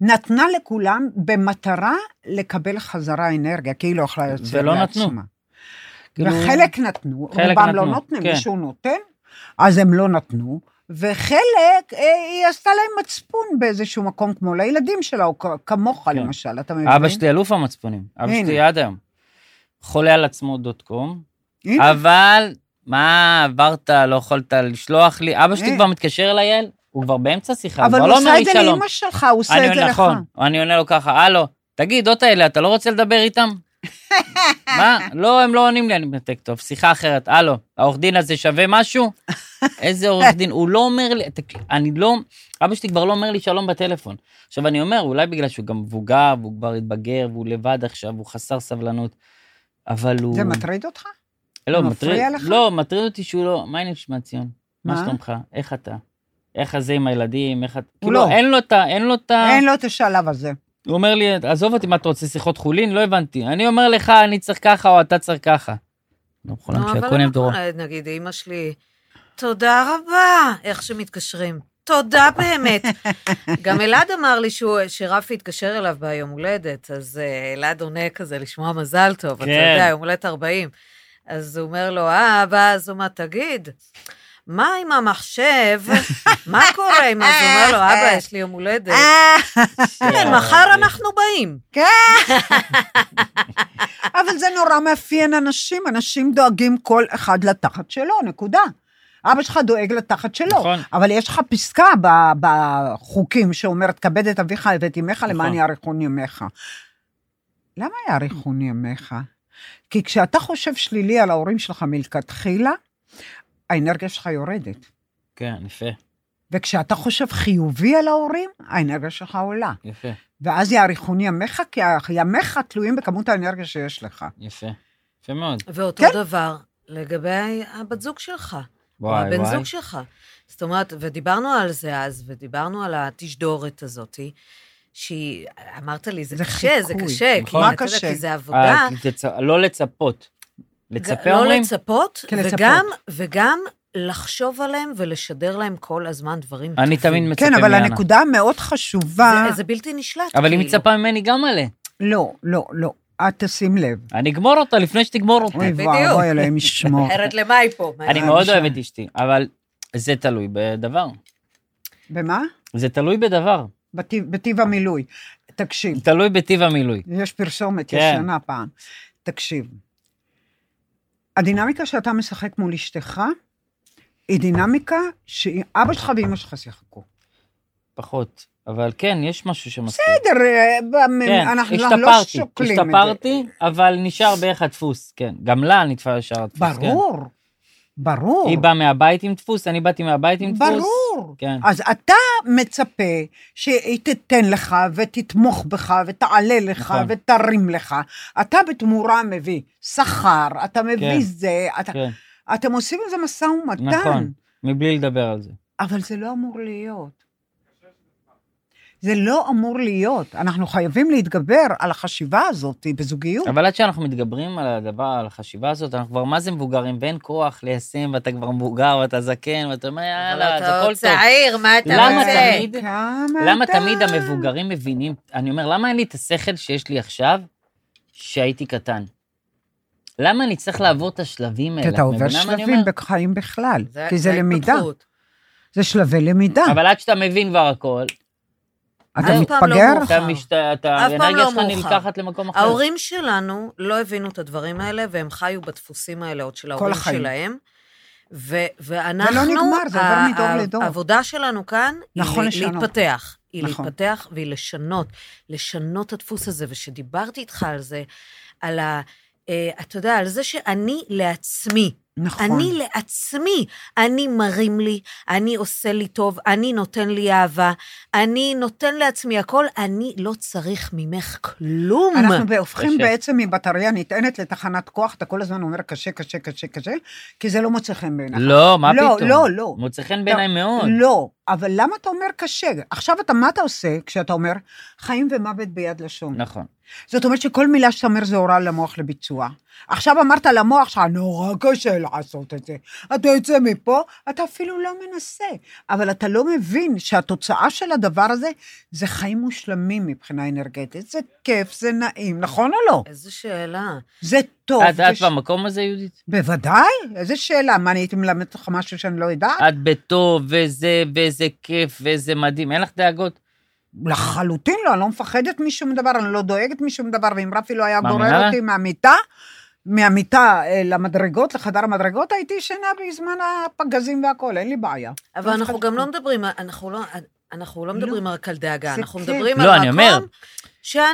Speaker 3: נתנה לכולם במטרה לקבל חזרה אנרגיה, כי היא לא יכלה יוצא
Speaker 2: ולא נתנו.
Speaker 3: לעצמה.
Speaker 2: כאילו-
Speaker 3: וחלק נתנו,
Speaker 2: חלק
Speaker 3: רובם לא
Speaker 2: נתנו,
Speaker 3: נותנים,
Speaker 2: כן.
Speaker 3: מישהו נותן, אז הם לא נתנו, וחלק, אה, היא עשתה להם מצפון באיזשהו מקום, כמו לילדים שלה, או כ- כמוך
Speaker 2: כן.
Speaker 3: למשל, אתה מבין?
Speaker 2: אבא שלי אלוף המצפונים, אבא
Speaker 3: הנה.
Speaker 2: שלי עד היום. חולה על עצמו דוט קום,
Speaker 3: הנה,
Speaker 2: אבל מה עברת, לא יכולת לשלוח לי, אבא שלי
Speaker 3: אה.
Speaker 2: כבר מתקשר אליי, יעל, הוא כבר באמצע שיחה, הוא
Speaker 3: אבל
Speaker 2: כבר
Speaker 3: הוא
Speaker 2: לא אומר
Speaker 3: עושה
Speaker 2: לי
Speaker 3: את זה
Speaker 2: שלום.
Speaker 3: לאימא שלך, הוא עושה
Speaker 2: אני
Speaker 3: את זה
Speaker 2: עונה,
Speaker 3: לך.
Speaker 2: נכון, אני עונה לו ככה, הלו, תגיד, עוד האלה, אתה לא רוצה לדבר איתם? מה? לא, הם לא עונים לי, אני מנתק טוב, שיחה אחרת, הלו, העורך דין הזה שווה משהו? איזה עורך דין? הוא לא אומר לי, תק- אני לא, אבא שלי כבר לא אומר לי שלום בטלפון. עכשיו, אני אומר, אולי בגלל שהוא גם מבוגר, והוא כבר התבגר, והוא לבד עכשיו, הוא חסר סבלנות, אבל הוא...
Speaker 3: זה מטריד אותך?
Speaker 2: לא,
Speaker 3: מפריע לך?
Speaker 2: לא, מטריד אותי שהוא לא, מה העניין שמע ציון? מה
Speaker 3: מה?
Speaker 2: שלומך? איך אתה? איך הזה עם הילדים, איך... את-
Speaker 3: הוא
Speaker 2: כאילו,
Speaker 3: לא.
Speaker 2: אין לו את ה... אין לו את ה...
Speaker 3: אין לו את השלב הזה.
Speaker 2: הוא אומר לי, עזוב אותי, מה אתה רוצה שיחות חולין? לא הבנתי. אני אומר לך, אני צריך ככה או אתה צריך ככה. לא חולם
Speaker 1: נו, אבל
Speaker 2: שהכל הם
Speaker 1: אנחנו,
Speaker 2: דורו.
Speaker 1: נגיד, אימא שלי, תודה רבה, איך שמתקשרים. תודה באמת. גם אלעד אמר לי שהוא, שרפי התקשר אליו ביום הולדת, אז אה, אלעד עונה כזה לשמוע מזל טוב, אתה
Speaker 2: כן.
Speaker 1: יודע, יום הולדת 40. אז הוא אומר לו, אה, אבא, אז הוא אומר, תגיד, מה עם המחשב? מה קורה עם אז הוא אומר לו, אבא, יש לי יום הולדת.
Speaker 3: אה,
Speaker 1: כן, מחר אנחנו באים.
Speaker 3: אבל זה נורא מאפיין אנשים, אנשים דואגים כל אחד לתחת שלו, נקודה. אבא שלך דואג לתחת
Speaker 1: אה,
Speaker 3: שלו,
Speaker 2: נכון.
Speaker 3: אבל יש לך פסקה ב- בחוקים שאומרת, כבד את אביך ואת אמך למען
Speaker 2: נכון.
Speaker 3: יאריכון ימיך. למה יאריכון ימיך? כי כשאתה חושב שלילי על ההורים שלך מלכתחילה, האנרגיה שלך יורדת.
Speaker 2: כן, יפה,
Speaker 3: וכשאתה חושב חיובי על ההורים, האנרגיה שלך עולה.
Speaker 2: יפה,
Speaker 3: ואז יאריכון ימיך, כי ימיך תלויים בכמות האנרגיה שיש לך.
Speaker 2: יפה. יפה מאוד.
Speaker 1: ואותו
Speaker 3: כן.
Speaker 1: דבר לגבי הבת זוג שלך. וואי,
Speaker 2: וואי,
Speaker 1: הבן
Speaker 2: וואי.
Speaker 1: זוג שלך. זאת אומרת, ודיברנו על זה אז, ודיברנו על התשדורת הזאת, שהיא, אמרת לי, זה,
Speaker 3: זה
Speaker 1: קשה, זה
Speaker 3: חיקוי.
Speaker 1: קשה, כי,
Speaker 2: נכון.
Speaker 1: אתה
Speaker 3: מה
Speaker 1: יודע,
Speaker 3: קשה?
Speaker 1: כי זה עבודה.
Speaker 2: אה, לצ- לא לצפות.
Speaker 1: ג-
Speaker 2: לצפה
Speaker 1: לא
Speaker 2: אומרים?
Speaker 1: לצפות,
Speaker 3: כן, לצפות.
Speaker 1: וגם, וגם לחשוב עליהם ולשדר להם כל הזמן דברים טובים.
Speaker 2: אני תמיד מצפה
Speaker 3: כן,
Speaker 2: מאנה.
Speaker 3: אבל הנקודה המאוד חשובה...
Speaker 1: זה, זה בלתי נשלט.
Speaker 2: אבל היא
Speaker 1: כאילו.
Speaker 2: מצפה ממני גם עליה.
Speaker 3: לא, לא, לא. את תשים לב.
Speaker 2: אני אגמור אותה לפני שתגמור אותי.
Speaker 3: אוי
Speaker 1: בדיוק.
Speaker 3: ואבוי, אלוהים ישמור.
Speaker 1: אחרת למה היא פה? מה
Speaker 2: אני
Speaker 1: היא-
Speaker 2: מאוד
Speaker 3: אישה.
Speaker 2: אוהב את אשתי, אבל זה תלוי בדבר.
Speaker 3: במה?
Speaker 2: זה תלוי בדבר.
Speaker 3: בטיב- בטיב המילוי. תקשיב,
Speaker 2: תלוי בטיב המילוי.
Speaker 3: יש פרסומת
Speaker 2: כן.
Speaker 3: ישנה פעם. תקשיב, הדינמיקה שאתה משחק מול אשתך, היא דינמיקה שאבא שלך ואימא שלך שיחקו.
Speaker 2: פחות. אבל כן, יש משהו שמספיק.
Speaker 3: בסדר, אה, במ-
Speaker 2: כן,
Speaker 3: אנחנו אנחנו לא
Speaker 2: השתפרתי,
Speaker 3: שוקלים את זה.
Speaker 2: השתפרתי, אבל נשאר בערך הדפוס, כן. גם לה נתפר ישר הדפוס, כן.
Speaker 3: ברור, ברור.
Speaker 2: היא באה מהבית עם דפוס, אני באתי מהבית עם דפוס.
Speaker 3: ברור.
Speaker 2: כן.
Speaker 3: אז אתה מצפה שהיא תיתן לך, ותתמוך בך, ותעלה לך,
Speaker 2: נכון.
Speaker 3: ותרים לך. אתה בתמורה מביא שכר, אתה מביא
Speaker 2: כן.
Speaker 3: זה, אתה,
Speaker 2: כן,
Speaker 3: אתם עושים איזה משא ומתן,
Speaker 2: נכון. מבלי לדבר על זה.
Speaker 3: אבל זה לא אמור להיות. זה לא אמור להיות. אנחנו חייבים להתגבר על החשיבה הזאת בזוגיות.
Speaker 2: אבל עד שאנחנו מתגברים על הדבר, על החשיבה הזאת, אנחנו כבר מה זה מבוגרים, ואין כוח ליישם, ואתה כבר מבוגר, ואתה זקן, ואתה אומר,
Speaker 1: אבל
Speaker 2: יאללה, לא, זה
Speaker 1: אתה עוד
Speaker 2: הכל טוב.
Speaker 1: צעיר, מה אתה
Speaker 2: למה
Speaker 1: רוצה?
Speaker 2: תמיד-
Speaker 3: כמה
Speaker 2: למה
Speaker 3: אתה-
Speaker 2: תמיד המבוגרים מבינים, אני אומר, למה אין לי את השכל שיש לי עכשיו, שהייתי קטן? למה אני צריך לעבור את השלבים האלה?
Speaker 3: כי אתה
Speaker 2: את
Speaker 3: עובר
Speaker 2: מבינה מה אני
Speaker 3: שלבים
Speaker 2: אומר?
Speaker 3: בחיים בכלל, כי זה
Speaker 1: זה
Speaker 3: למידה,
Speaker 1: התפתחות.
Speaker 3: זה שלבי למידה.
Speaker 2: אבל עד שאתה מבין כבר הכל,
Speaker 3: אתה
Speaker 1: אף פעם לא
Speaker 3: מתפגר?
Speaker 1: מאוחר.
Speaker 2: אתה משת... אתה-
Speaker 1: אף פעם
Speaker 2: האנרגיה
Speaker 1: לא
Speaker 2: שלך
Speaker 1: מאוחר.
Speaker 2: נלקחת למקום
Speaker 3: אוקיי.
Speaker 2: אחר.
Speaker 1: ההורים שלנו לא הבינו את הדברים האלה, והם חיו בדפוסים האלה עוד של ההורים
Speaker 3: החיים.
Speaker 1: שלהם. ו- ואנחנו,
Speaker 3: זה לא נגמר, זה עובר
Speaker 1: ה-
Speaker 3: מדור
Speaker 1: ה-
Speaker 3: לדור.
Speaker 1: העבודה שלנו כאן
Speaker 3: נכון
Speaker 1: היא
Speaker 3: לשנות.
Speaker 1: להתפתח. היא
Speaker 3: נכון.
Speaker 1: להתפתח והיא לשנות, לשנות את הדפוס הזה. ושדיברתי איתך על זה, על ה... אה, אתה יודע, על זה שאני לעצמי,
Speaker 3: נכון.
Speaker 1: אני לעצמי, אני מרים לי, אני עושה לי טוב, אני נותן לי אהבה, אני נותן לעצמי הכל, אני לא צריך ממך כלום.
Speaker 3: אנחנו הופכים
Speaker 2: קשה.
Speaker 3: בעצם מבטריה נטענת לתחנת כוח, אתה כל הזמן אומר קשה, קשה, קשה, קשה, כי זה לא מוצא חן בעיניך.
Speaker 2: לא, מה
Speaker 3: לא,
Speaker 2: פתאום? נכון.
Speaker 3: לא, לא.
Speaker 2: מוצא חן בעיניי מאוד.
Speaker 3: לא, אבל למה אתה אומר קשה? עכשיו אתה, מה אתה עושה כשאתה אומר חיים ומוות ביד לשון?
Speaker 2: נכון.
Speaker 3: זאת אומרת שכל מילה שאתה אומר זה הוראה למוח לביצוע. עכשיו אמרת למוח שלך, נורא קשה לעשות את זה. אתה יוצא מפה, אתה אפילו לא מנסה. אבל אתה לא מבין שהתוצאה של הדבר הזה, זה חיים מושלמים מבחינה אנרגטית. זה כיף, זה נעים, נכון או לא?
Speaker 1: איזו שאלה.
Speaker 3: זה טוב.
Speaker 2: את את
Speaker 3: וש-
Speaker 2: במקום הזה, יהודית?
Speaker 3: בוודאי, איזה שאלה. מה, אני הייתי מלמדת אותך משהו שאני לא יודעת?
Speaker 2: את בטוב, וזה, וזה כיף, וזה מדהים. אין לך דאגות?
Speaker 3: לחלוטין לא, אני לא מפחדת משום דבר, אני לא דואגת משום דבר, ואם רפי לא היה
Speaker 2: מאמינה
Speaker 3: גורר
Speaker 2: לה?
Speaker 3: אותי מהמיטה, מהמיטה אה, למדרגות, לחדר המדרגות, הייתי ישנה בזמן הפגזים והכול, אין לי בעיה.
Speaker 1: אבל אנחנו
Speaker 3: אף
Speaker 1: גם
Speaker 3: אחד-
Speaker 1: לא מדברים, אנחנו לא, אנחנו לא
Speaker 3: לא.
Speaker 1: מדברים רק על דאגה,
Speaker 3: זה
Speaker 1: אנחנו
Speaker 3: כן.
Speaker 1: מדברים
Speaker 2: לא, אני
Speaker 1: על
Speaker 2: אומר.
Speaker 1: מקום שאני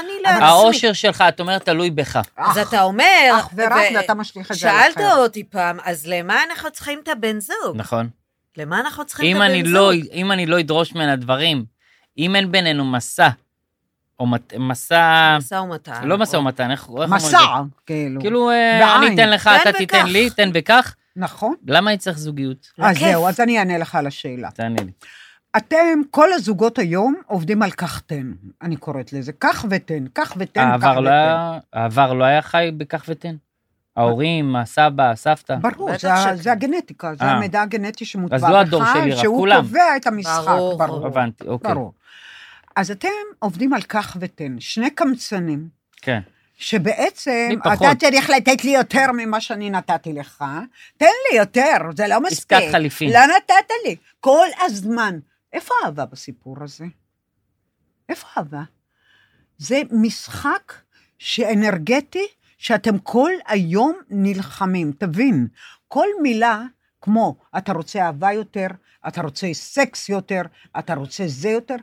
Speaker 1: אני לעצמי.
Speaker 2: האושר שלך, את אומרת, תלוי בך.
Speaker 1: אז
Speaker 3: אך-
Speaker 1: אתה אומר,
Speaker 3: אך ורק,
Speaker 1: ו-
Speaker 3: ואתה משליך את זה על
Speaker 1: שאלת
Speaker 3: החיים.
Speaker 1: אותי פעם, אז למה אנחנו צריכים את הבן זוג?
Speaker 2: נכון.
Speaker 1: למה אנחנו צריכים
Speaker 2: אם
Speaker 1: את הבן
Speaker 2: אני
Speaker 1: זוג?
Speaker 2: לא, אם אני לא אדרוש ממנה דברים, אם אין בינינו מסע, או מת- מסע,
Speaker 1: משא ומתן.
Speaker 2: לא משא ומתן, איך איך אומרים את זה?
Speaker 3: מסע, כאילו.
Speaker 2: כאילו, אה, אני
Speaker 3: בעין.
Speaker 2: אתן לך,
Speaker 1: תן
Speaker 2: אתה
Speaker 1: וקח.
Speaker 2: תיתן לי, תן בכך,
Speaker 3: נכון.
Speaker 2: למה אני צריך זוגיות?
Speaker 1: לא
Speaker 3: אז
Speaker 1: כיף.
Speaker 3: אה, זהו, אז אני אענה לך על השאלה.
Speaker 2: תענה לי.
Speaker 3: אתם, כל הזוגות היום עובדים על קח תן, אני קוראת לזה. קח ותן, קח ותן, קח
Speaker 2: העבר
Speaker 3: ותן.
Speaker 2: לא היה- העבר לא היה חי בקח ותן? ההורים, הסבא, הסבתא?
Speaker 3: ברור,
Speaker 1: בטח
Speaker 3: זה, ה-
Speaker 1: שכן.
Speaker 3: זה הגנטיקה, זה
Speaker 2: אה.
Speaker 3: המידע הגנטי שמוטבע
Speaker 2: אז לא הדור
Speaker 3: בך,
Speaker 2: שלי, רק
Speaker 3: שהוא
Speaker 2: כולם.
Speaker 3: קובע את המשחק,
Speaker 1: ברור,
Speaker 3: ברור.
Speaker 2: הבנתי, אוקיי.
Speaker 3: ברור. אז אתם עובדים על קח ותן, שני קמצנים,
Speaker 2: כן.
Speaker 3: שבעצם
Speaker 2: לי פחות.
Speaker 3: אתה צריך לתת לי יותר ממה שאני נתתי לך, תן לי יותר, זה לא מספיק.
Speaker 2: עסקת חליפין.
Speaker 3: לא נתת לי, כל הזמן. איפה האהבה בסיפור הזה? איפה האהבה? זה משחק שאנרגטי, שאתם כל היום נלחמים. תבין, כל מילה כמו אתה רוצה אהבה יותר, אתה רוצה סקס יותר, אתה רוצה זה יותר,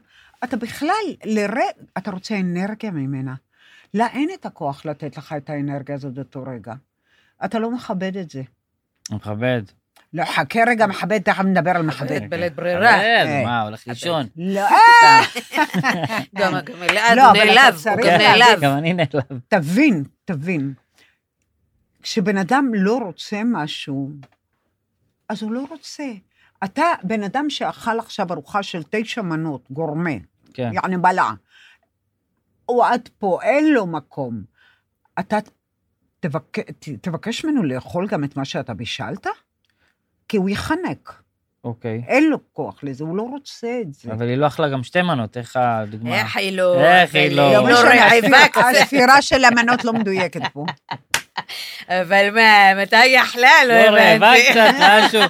Speaker 3: אתה בכלל, לרגע, אתה רוצה אנרגיה ממנה. לה אין את הכוח לתת לך את האנרגיה הזאת באותו רגע. אתה לא מכבד את זה.
Speaker 2: אני מכבד. אוקיי.
Speaker 3: לא, חכה רגע, מכבד, תכף נדבר על מכבד.
Speaker 2: כן.
Speaker 1: באמת, בלית ברירה.
Speaker 2: מכבד,
Speaker 3: אה.
Speaker 2: מה, הולך לישון?
Speaker 3: לא,
Speaker 1: גם גם אלעד,
Speaker 3: לא,
Speaker 1: הוא
Speaker 3: אבל אתה
Speaker 1: נעלב, הוא
Speaker 3: צריך
Speaker 1: גם
Speaker 3: להבין.
Speaker 1: נעלב.
Speaker 2: כן, גם אני נעלב.
Speaker 3: תבין, תבין. כשבן אדם לא רוצה משהו, אז הוא לא רוצה. אתה בן אדם שאכל עכשיו ארוחה של תשע מנות, גורמה,
Speaker 2: כן.
Speaker 3: יעני בלע. הוא עד פה, אין לו מקום. אתה תבק... ת- תבקש ממנו לאכול גם את מה שאתה בישלת? כי הוא ייחנק.
Speaker 2: אוקיי.
Speaker 3: אין לו כוח לזה, הוא לא רוצה את זה.
Speaker 2: אבל היא לא אכלה גם שתי מנות, איך הדוגמה?
Speaker 1: איך היא לא...
Speaker 2: איך היא לא-
Speaker 1: לא
Speaker 3: לא משנה,
Speaker 1: רעבה
Speaker 3: הספירה-
Speaker 1: כזה.
Speaker 3: הספירה של המנות לא מדויקת פה.
Speaker 1: אבל מה, מתי היא אכלה? לא
Speaker 2: לא רעבה
Speaker 1: הבנתי.
Speaker 2: קצת, משהו.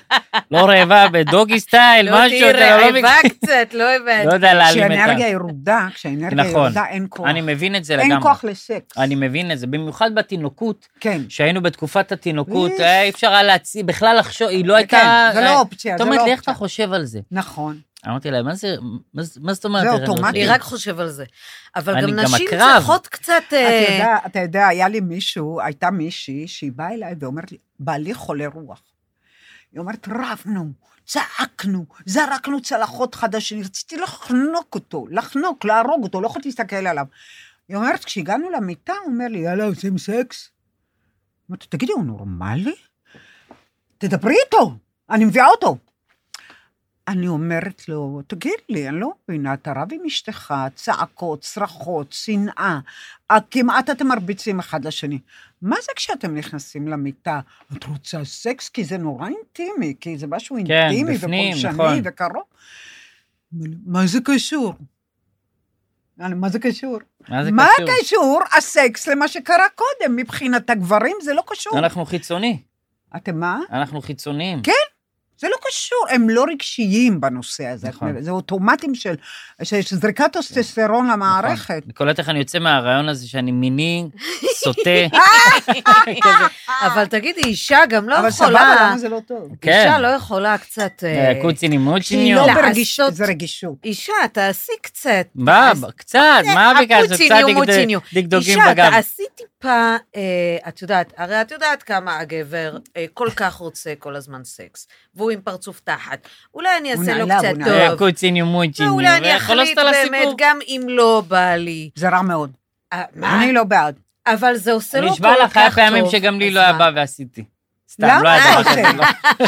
Speaker 2: לא רעבה בדוגי סטייל,
Speaker 1: לא
Speaker 2: משהו.
Speaker 1: תהיי
Speaker 2: אתה לא מבין.
Speaker 1: רעבה קצת, לא
Speaker 2: לא
Speaker 1: הבנתי.
Speaker 2: יודע להעלים את
Speaker 3: כשהאנרגיה ירודה, כשהאנרגיה
Speaker 2: נכון.
Speaker 3: ירודה, אין כוח.
Speaker 2: ה... אני מבין את זה לגמרי.
Speaker 3: אין כוח לסקס.
Speaker 2: אני מבין את זה, במיוחד בתינוקות,
Speaker 3: כן.
Speaker 2: שהיינו בתקופת התינוקות,
Speaker 3: איש.
Speaker 2: אה, אי אפשר היה להציב, בכלל לחשוב, היא לא הייתה...
Speaker 3: כן, זה
Speaker 2: אה,
Speaker 3: לא אופציה,
Speaker 2: אתה
Speaker 3: זה
Speaker 2: אומרת
Speaker 3: לא
Speaker 2: לי, איך אתה
Speaker 3: אופציה.
Speaker 2: חושב על זה?
Speaker 3: נכון.
Speaker 2: אמרתי להם, מה זה, מה זה- מה זאת אומרת?
Speaker 3: זה
Speaker 2: איך אני לא
Speaker 3: אוטומטי.
Speaker 2: רוצה?"
Speaker 1: אני רק חושב על זה. אבל
Speaker 2: אוקיי. אני
Speaker 1: גם
Speaker 2: גם
Speaker 1: נשים
Speaker 2: עקרב.
Speaker 1: צריכות קצת...
Speaker 3: אתה
Speaker 1: אה,
Speaker 3: יודע, אתה יודע, היה לי מישהו, הייתה מישהי שהיא באה אליי ואומרת לי, בעלי חולה רוח. היא אומרת, רבנו, צעקנו, זרקנו צלחות חדשים, רציתי לחנוק אותו, לחנוק, להרוג אותו, לא יכולתי להסתכל עליו. היא אומרת, כשהגענו למיטה, הוא אומר לי, יאללה, עושים סקס? אמרתי, תגידי, הוא נורמלי? תדברי איתו, אני מביאה אותו. אני אומרת לו, תגיד לי, אני לא מבינה, אתה רב עם אשתך, צעקות, צרחות, שנאה, אה, כמעט אתם מרביצים אחד לשני. מה זה כשאתם נכנסים למיטה? את רוצה סקס? כי זה נורא אינטימי, כי זה משהו
Speaker 2: כן,
Speaker 3: אינטימי
Speaker 2: בפנים,
Speaker 3: ופולשני
Speaker 2: נכון.
Speaker 3: וקרוב. מה זה קשור? אני, מה זה קשור?
Speaker 2: מה זה
Speaker 3: מה
Speaker 2: קשור?
Speaker 3: קשור הסקס למה שקרה קודם? מבחינת הגברים זה לא קשור.
Speaker 2: אנחנו חיצוני,
Speaker 3: אתם מה?
Speaker 2: אנחנו חיצוניים.
Speaker 3: כן. זה לא קשור, הם לא רגשיים בנושא הזה.
Speaker 2: נכון.
Speaker 3: זה אוטומטים של, של זריקת טוסטסטרון למערכת.
Speaker 2: נכון. אני קולט איך אני יוצא מהרעיון הזה שאני מיני, סוטה. כזה.
Speaker 1: אבל תגידי, אישה גם לא
Speaker 3: אבל סבבה,
Speaker 1: יכולה...
Speaker 3: למה זה לא טוב?
Speaker 1: אישה
Speaker 2: כן.
Speaker 1: לא יכולה קצת... אה,
Speaker 2: אה, קוצ'יני
Speaker 3: כי
Speaker 2: מוצ'יניו.
Speaker 3: לא
Speaker 1: לעשות-
Speaker 3: ברגישות, זה רגישות.
Speaker 1: אישה, תעשי קצת.
Speaker 2: מה,
Speaker 1: אז- אה,
Speaker 2: קצת, מה ביקשנו?
Speaker 1: הקוצ'יניו,
Speaker 2: קצת דגד-
Speaker 1: מוצ'יניו.
Speaker 2: דגדוגים
Speaker 1: אישה,
Speaker 2: בגב.
Speaker 1: תעשי טיפה, אה, את יודעת, הרי את יודעת כמה הגבר אה, כל כך רוצה כל הזמן סקס, והוא עם פרצוף תחת. אולי אני
Speaker 3: הוא
Speaker 1: אעשה לו
Speaker 3: נעלב,
Speaker 1: קצת
Speaker 3: הוא נעלב.
Speaker 2: אה,
Speaker 1: טוב.
Speaker 2: קוצ'יניו מוצ'יניו.
Speaker 1: ואולי אני
Speaker 2: ואיך חלאס
Speaker 1: אחליט
Speaker 2: על
Speaker 1: באמת,
Speaker 2: הסיפור.
Speaker 1: גם אם לא בא לי.
Speaker 3: זה רע מאוד.
Speaker 1: אה, מה?
Speaker 3: אני לא בעד.
Speaker 1: אבל זה עושה לו
Speaker 2: אני
Speaker 1: כל כך
Speaker 2: נשבע
Speaker 1: טוב.
Speaker 2: לך, היה פעמים שגם לי
Speaker 1: אז
Speaker 2: לא היה
Speaker 1: מה?
Speaker 2: בא ועשיתי. סתם,
Speaker 3: למה?
Speaker 2: לא היה
Speaker 3: אה,
Speaker 2: דבר כזה.
Speaker 3: אוקיי.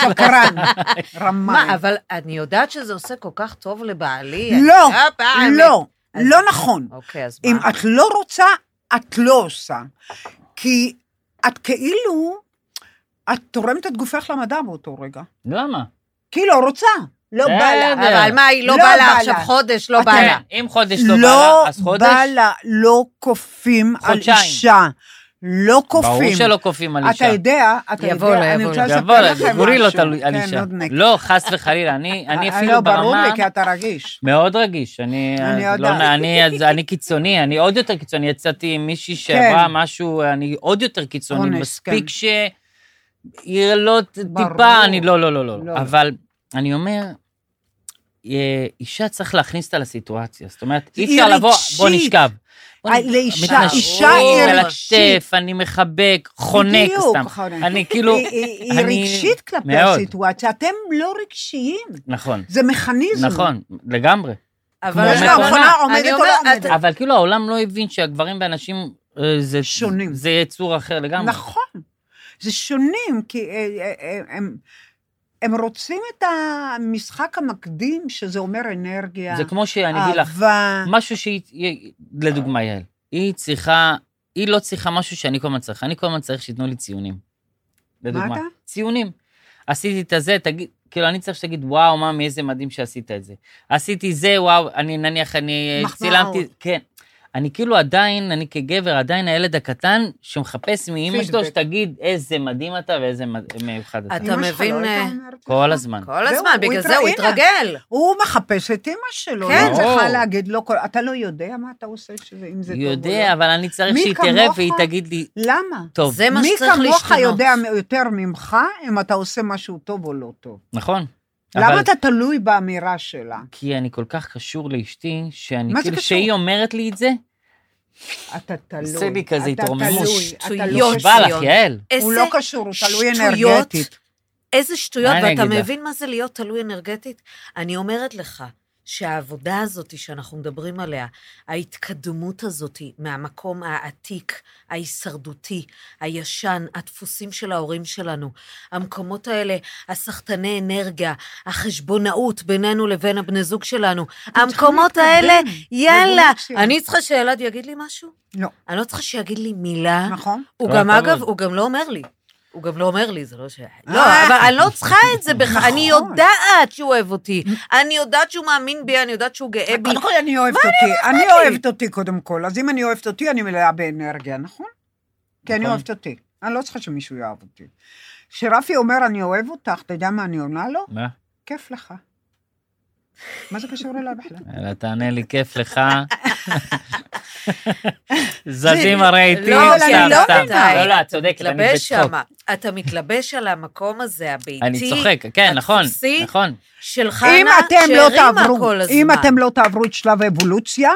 Speaker 2: לא.
Speaker 3: שקרן, רמאי.
Speaker 1: מה, אבל אני יודעת שזה עושה כל כך טוב לבעלי.
Speaker 3: לא,
Speaker 1: אני יודעת, אה,
Speaker 3: לא,
Speaker 1: אז-
Speaker 3: לא נכון.
Speaker 1: אוקיי, אז
Speaker 3: אם
Speaker 1: מה?
Speaker 3: את לא רוצה, את לא עושה. כי את כאילו, את תורמת את גופך למדע באותו רגע.
Speaker 2: למה?
Speaker 3: כי היא לא רוצה, לא בא לה.
Speaker 2: בסדר.
Speaker 1: אבל מה, היא לא
Speaker 3: לא
Speaker 1: בא לה
Speaker 3: בא
Speaker 1: עכשיו
Speaker 3: לה.
Speaker 1: חודש, לא
Speaker 3: אתם-
Speaker 1: בא לה.
Speaker 2: כן, אם חודש לא בא
Speaker 3: לא
Speaker 2: לה, אז חודש?
Speaker 3: בא לה, לא כופים על
Speaker 2: חודשיים.
Speaker 3: אישה. לא כופים.
Speaker 2: ברור שלא כופים על
Speaker 3: אתה
Speaker 2: אישה.
Speaker 3: יודע, אתה
Speaker 1: יבוא לו,
Speaker 3: יודע, אני
Speaker 1: יבוא
Speaker 3: רוצה
Speaker 1: לו.
Speaker 2: יבוא,
Speaker 3: לספר לכם
Speaker 2: לה,
Speaker 3: משהו.
Speaker 2: גורילות על על
Speaker 3: כן,
Speaker 2: אישה.
Speaker 3: נודניק.
Speaker 2: לא, חס וחלילה, אני אני
Speaker 3: אה,
Speaker 2: אפילו
Speaker 3: לא, ברור לי,
Speaker 2: ברמה
Speaker 3: כי אתה רגיש.
Speaker 2: מאוד רגיש. אני
Speaker 3: אני
Speaker 2: אה, לא-
Speaker 3: יודעת.
Speaker 2: אני- אז אני קיצוני, אני עוד יותר קיצוני. יצאתי עם מישהי שעברה משהו, אני עוד יותר קיצוני.
Speaker 3: כן. אונס,
Speaker 2: מספיק
Speaker 3: כן.
Speaker 2: ש... היא לא ט-
Speaker 3: ברור.
Speaker 2: טיפה, אני לא, לא, לא, לא, לא.
Speaker 3: לא.
Speaker 2: אבל אני אומר, אה, אישה צריך להכניס אותה לסיטואציה. זאת אומרת, אי
Speaker 3: היא
Speaker 2: אפשר לבוא, בוא
Speaker 3: רגשית.
Speaker 2: נשכב. בוא
Speaker 3: אה,
Speaker 2: נ-
Speaker 3: לאישה,
Speaker 2: מתנשק,
Speaker 1: אישה היא
Speaker 2: מלטף,
Speaker 3: רגשית.
Speaker 2: אני מחבק, חונק
Speaker 3: בדיוק,
Speaker 2: סתם.
Speaker 3: חונק.
Speaker 2: אני כאילו,
Speaker 3: היא- היא היא
Speaker 2: אני-
Speaker 3: רגשית כלפי
Speaker 2: מאוד.
Speaker 3: הסיטואציה, אתם לא רגשיים.
Speaker 2: נכון,
Speaker 3: זה מכניזם.
Speaker 2: נכון, לגמרי.
Speaker 1: אבל
Speaker 2: כמו
Speaker 1: אבל-
Speaker 2: שהמכונה
Speaker 1: אני
Speaker 3: עומדת או לא
Speaker 1: אומרת,
Speaker 3: עומדת?
Speaker 1: את-
Speaker 2: אבל כאילו העולם לא הבין שהגברים והנשים אה, זה...
Speaker 3: שונים.
Speaker 2: זה יצור אחר לגמרי.
Speaker 3: נכון. זה שונים, כי אה, אה, אה, הם, הם רוצים את המשחק המקדים, שזה אומר אנרגיה,
Speaker 2: זה כמו שאני אגיד לך,
Speaker 3: אה. אהבה.
Speaker 2: משהו שהיא, היא- לדוגמה, יעל, היא צריכה, היא לא צריכה משהו שאני כל הזמן צריך, אני כל הזמן צריך שייתנו לי ציונים. לדוגמה.
Speaker 3: אתה?
Speaker 2: ציונים. עשיתי את הזה, תגיד, כאילו, אני צריך שתגיד, וואו, ממי, איזה מדהים שעשית את זה. עשיתי זה, וואו, אני נניח, אני אה,
Speaker 3: מחמאות.
Speaker 2: צילמתי, כן. אני כאילו עדיין, אני כגבר, עדיין הילד הקטן שמחפש מאימא שלו,
Speaker 3: פידבק.
Speaker 2: שתגיד, איזה מדהים אתה ואיזה מד- מיוחד אתה.
Speaker 1: אתה
Speaker 3: אמא שלך לא
Speaker 1: מבין,
Speaker 3: הייתה
Speaker 1: אה,
Speaker 3: אומרת לך?
Speaker 2: כל הזמן.
Speaker 1: כל
Speaker 3: זהו,
Speaker 1: הזמן,
Speaker 3: הוא
Speaker 1: בגלל זה הוא
Speaker 3: התראיין.
Speaker 1: התרגל.
Speaker 3: הוא מחפש את אימא שלו,
Speaker 1: כן.
Speaker 3: היא צריכה
Speaker 2: ברור.
Speaker 3: להגיד לו, כל- אתה לא יודע מה אתה עושה, שזה, אם זה טוב או לא.
Speaker 2: יודע, אבל אני צריך
Speaker 3: מי
Speaker 2: שהיא תראה
Speaker 3: כמוך?
Speaker 2: והיא תגיד לי,
Speaker 3: למה?
Speaker 2: טוב,
Speaker 1: זה מה
Speaker 3: מי
Speaker 1: שצריך להשתנות.
Speaker 3: כמוך יודע יותר ממך אם אתה עושה משהו טוב או לא טוב.
Speaker 2: נכון. אבל-
Speaker 3: למה אתה תלוי באמירה שלה?
Speaker 2: כי אני כל כך קשור לאשתי, שאני
Speaker 3: מה זה
Speaker 2: כאילו,
Speaker 3: קשור? לא
Speaker 2: שהיא אומרת לי את זה,
Speaker 3: אתה תלוי.
Speaker 2: עושה לי כזה
Speaker 3: אתה
Speaker 2: התרוממות.
Speaker 3: תלוי, אתה לא
Speaker 1: שטויות.
Speaker 2: נשבע לך,
Speaker 1: ציון.
Speaker 2: יעל.
Speaker 1: איזה
Speaker 3: הוא לא קשור, הוא תלוי
Speaker 1: שטויות.
Speaker 3: אנרגטית.
Speaker 1: איזה שטויות,
Speaker 2: מה אני
Speaker 1: ואתה
Speaker 2: אגיד לך?
Speaker 1: מבין מה זה להיות תלוי אנרגטית? אני אומרת לך שהעבודה הזאת שאנחנו מדברים עליה, ההתקדמות הזאת מהמקום העתיק, ההישרדותי, הישן, הדפוסים של ההורים שלנו, המקומות האלה, הסחטני אנרגיה, החשבונאות בינינו לבין הבני זוג שלנו, המקומות
Speaker 3: להתקדם,
Speaker 1: האלה, יאללה,
Speaker 3: רגולציה.
Speaker 1: אני צריכה שילד יגיד לי משהו?
Speaker 3: לא.
Speaker 1: אני לא צריכה שיגיד לי מילה.
Speaker 3: נכון?
Speaker 1: הוא
Speaker 2: כל
Speaker 1: גם,
Speaker 2: הכבוד.
Speaker 1: אגב, הוא גם לא אומר לי. הוא גם לא אומר לי, זה לא ש... לא,
Speaker 3: אה.
Speaker 1: אבל אני לא צריכה את זה בכלל. אני
Speaker 3: נכון.
Speaker 1: יודעת שהוא אוהב אותי. אני יודעת שהוא מאמין בי, אני יודעת שהוא גאה בי.
Speaker 3: אה, קודם כל, אני אוהבת אותי. אני אוהבת אותי קודם כל. אז אם אני אוהבת אותי, אני מלאה באנרגיה, נכון? כי אני
Speaker 2: נכון.
Speaker 3: אוהבת אותי. אני לא צריכה שמישהו יאהב אותי. כשרפי אומר, אני אוהב אותך, אתה יודע מה אני עונה לו?
Speaker 2: מה?
Speaker 3: כיף לך. מה זה קשור אליי בכלל?
Speaker 2: אלא תענה לי, כיף לך. זזים הרי איתי,
Speaker 1: לא, אבל
Speaker 2: סתם,
Speaker 1: אני לא
Speaker 2: סתם.
Speaker 1: מבינה.
Speaker 2: לא, לא, את צודקת, אני
Speaker 1: מתלבש
Speaker 2: בצחוק.
Speaker 1: שמה. אתה מתלבש על המקום הזה, הביתי.
Speaker 2: אני צוחק, כן, נכון,
Speaker 1: הדפוסי,
Speaker 2: נכון.
Speaker 1: של חנה,
Speaker 3: אם אתם לא
Speaker 1: שהרימה
Speaker 3: תעברו,
Speaker 1: כל הזמן.
Speaker 3: אם אתם לא תעברו את שלב האבולוציה,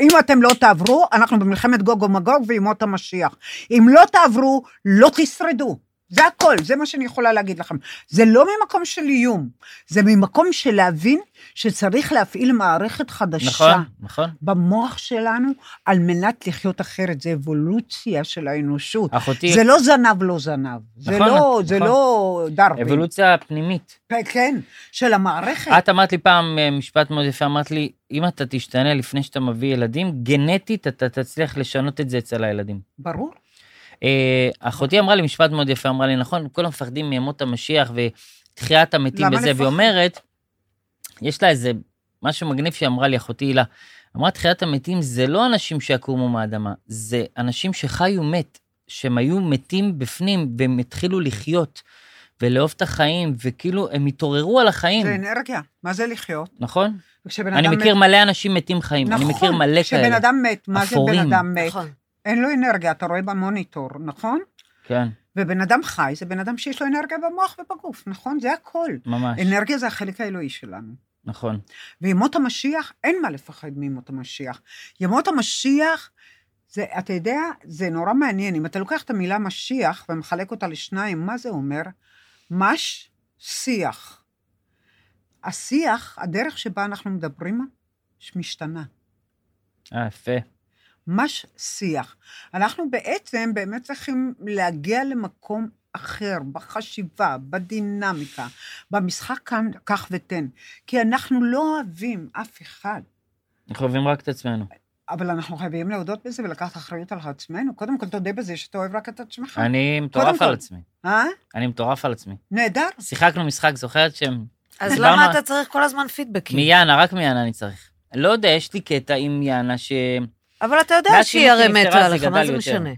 Speaker 3: אם אתם לא תעברו, אנחנו במלחמת גוג ומגוג וימות המשיח. אם לא תעברו, לא תשרדו. זה הכל, זה מה שאני יכולה להגיד לכם. זה לא ממקום של איום, זה ממקום של להבין שצריך להפעיל מערכת חדשה.
Speaker 2: נכון, נכון.
Speaker 3: במוח שלנו, על מנת לחיות אחרת, זה אבולוציה של האנושות.
Speaker 2: אחותי,
Speaker 3: זה לא זנב לא זנב, זה
Speaker 2: נכון,
Speaker 3: לא, זה
Speaker 2: נכון.
Speaker 3: לא דרווין.
Speaker 2: אבולוציה פנימית.
Speaker 3: כן, של המערכת.
Speaker 2: את אמרת לי פעם אה, משפט מאוד יפה, אמרת לי, אם אתה תשתנה לפני שאתה מביא ילדים, גנטית אתה תצליח לשנות את זה אצל הילדים.
Speaker 3: ברור.
Speaker 2: אה, אחותי אמרה לי משפט מאוד יפה, אמרה לי, נכון, כולם מפחדים מימות המשיח ותחיית המתים
Speaker 3: למה
Speaker 2: וזה,
Speaker 3: לפחד?
Speaker 2: והיא אומרת, יש לה איזה משהו מגניב שהיא אמרה לי, אחותי הילה, אמרה, תחיית המתים זה לא אנשים שיקומו מהאדמה, זה אנשים שחיו מת, שהם היו מתים בפנים והם התחילו לחיות ולאהוב את החיים, וכאילו הם התעוררו על החיים,
Speaker 3: זה אנרגיה, מה זה לחיות?
Speaker 2: נכון?
Speaker 3: כשבן
Speaker 2: אני
Speaker 3: אדם
Speaker 2: מכיר
Speaker 3: מת-
Speaker 2: מלא אנשים מתים חיים, אני
Speaker 3: נכון,
Speaker 2: מכיר מלא
Speaker 3: כשבן
Speaker 2: כאלה.
Speaker 3: אדם מת, מה זה
Speaker 2: אפורים.
Speaker 3: בן אדם מת?
Speaker 1: נכון.
Speaker 3: אין לו אנרגיה, אתה רואה במוניטור, נכון?
Speaker 2: כן,
Speaker 3: ובן אדם חי זה בן אדם שיש לו אנרגיה במוח ובגוף, נכון? זה הכל.
Speaker 2: ממש,
Speaker 3: אנרגיה זה החלק האלוהי שלנו.
Speaker 2: נכון.
Speaker 3: וימות המשיח, אין מה לפחד מימות המשיח. ימות המשיח, זה, אתה יודע, זה נורא מעניין. אם אתה לוקח את המילה משיח ומחלק אותה לשניים, מה זה אומר? מש, שיח. השיח, הדרך שבה אנחנו מדברים, משתנה.
Speaker 2: אה, יפה.
Speaker 3: ממש שיח. אנחנו בעצם באמת צריכים להגיע למקום אחר, בחשיבה, בדינמיקה, במשחק כאן, קח ותן. כי אנחנו לא אוהבים אף אחד,
Speaker 2: אנחנו אוהבים רק את עצמנו.
Speaker 3: אה, אבל אנחנו חייבים להודות בזה ולקחת אחריות על עצמנו. קודם כל, תודה בזה שאתה אוהב רק את עצמך.
Speaker 2: אני
Speaker 3: אה, קודם
Speaker 2: מטורף
Speaker 3: כל.
Speaker 2: על עצמי.
Speaker 3: אה?
Speaker 2: אני מטורף על עצמי.
Speaker 3: נהדר.
Speaker 2: שיחקנו משחק, זוכרת שהם...
Speaker 1: אז
Speaker 2: למה-
Speaker 1: למה אתה צריך כל הזמן
Speaker 3: כן.
Speaker 1: פידבקים?
Speaker 2: מיאנה, רק מיאנה אני צריך. לא יודע, יש לי קטע עם יאנה ש...
Speaker 1: אבל אתה יודע
Speaker 2: מאז
Speaker 1: שהיא הרי
Speaker 2: שאמא שלי
Speaker 1: מתה
Speaker 2: נפטרה, זה
Speaker 1: עליך, מה
Speaker 2: גדל
Speaker 1: זה
Speaker 2: יותר.
Speaker 1: משנה?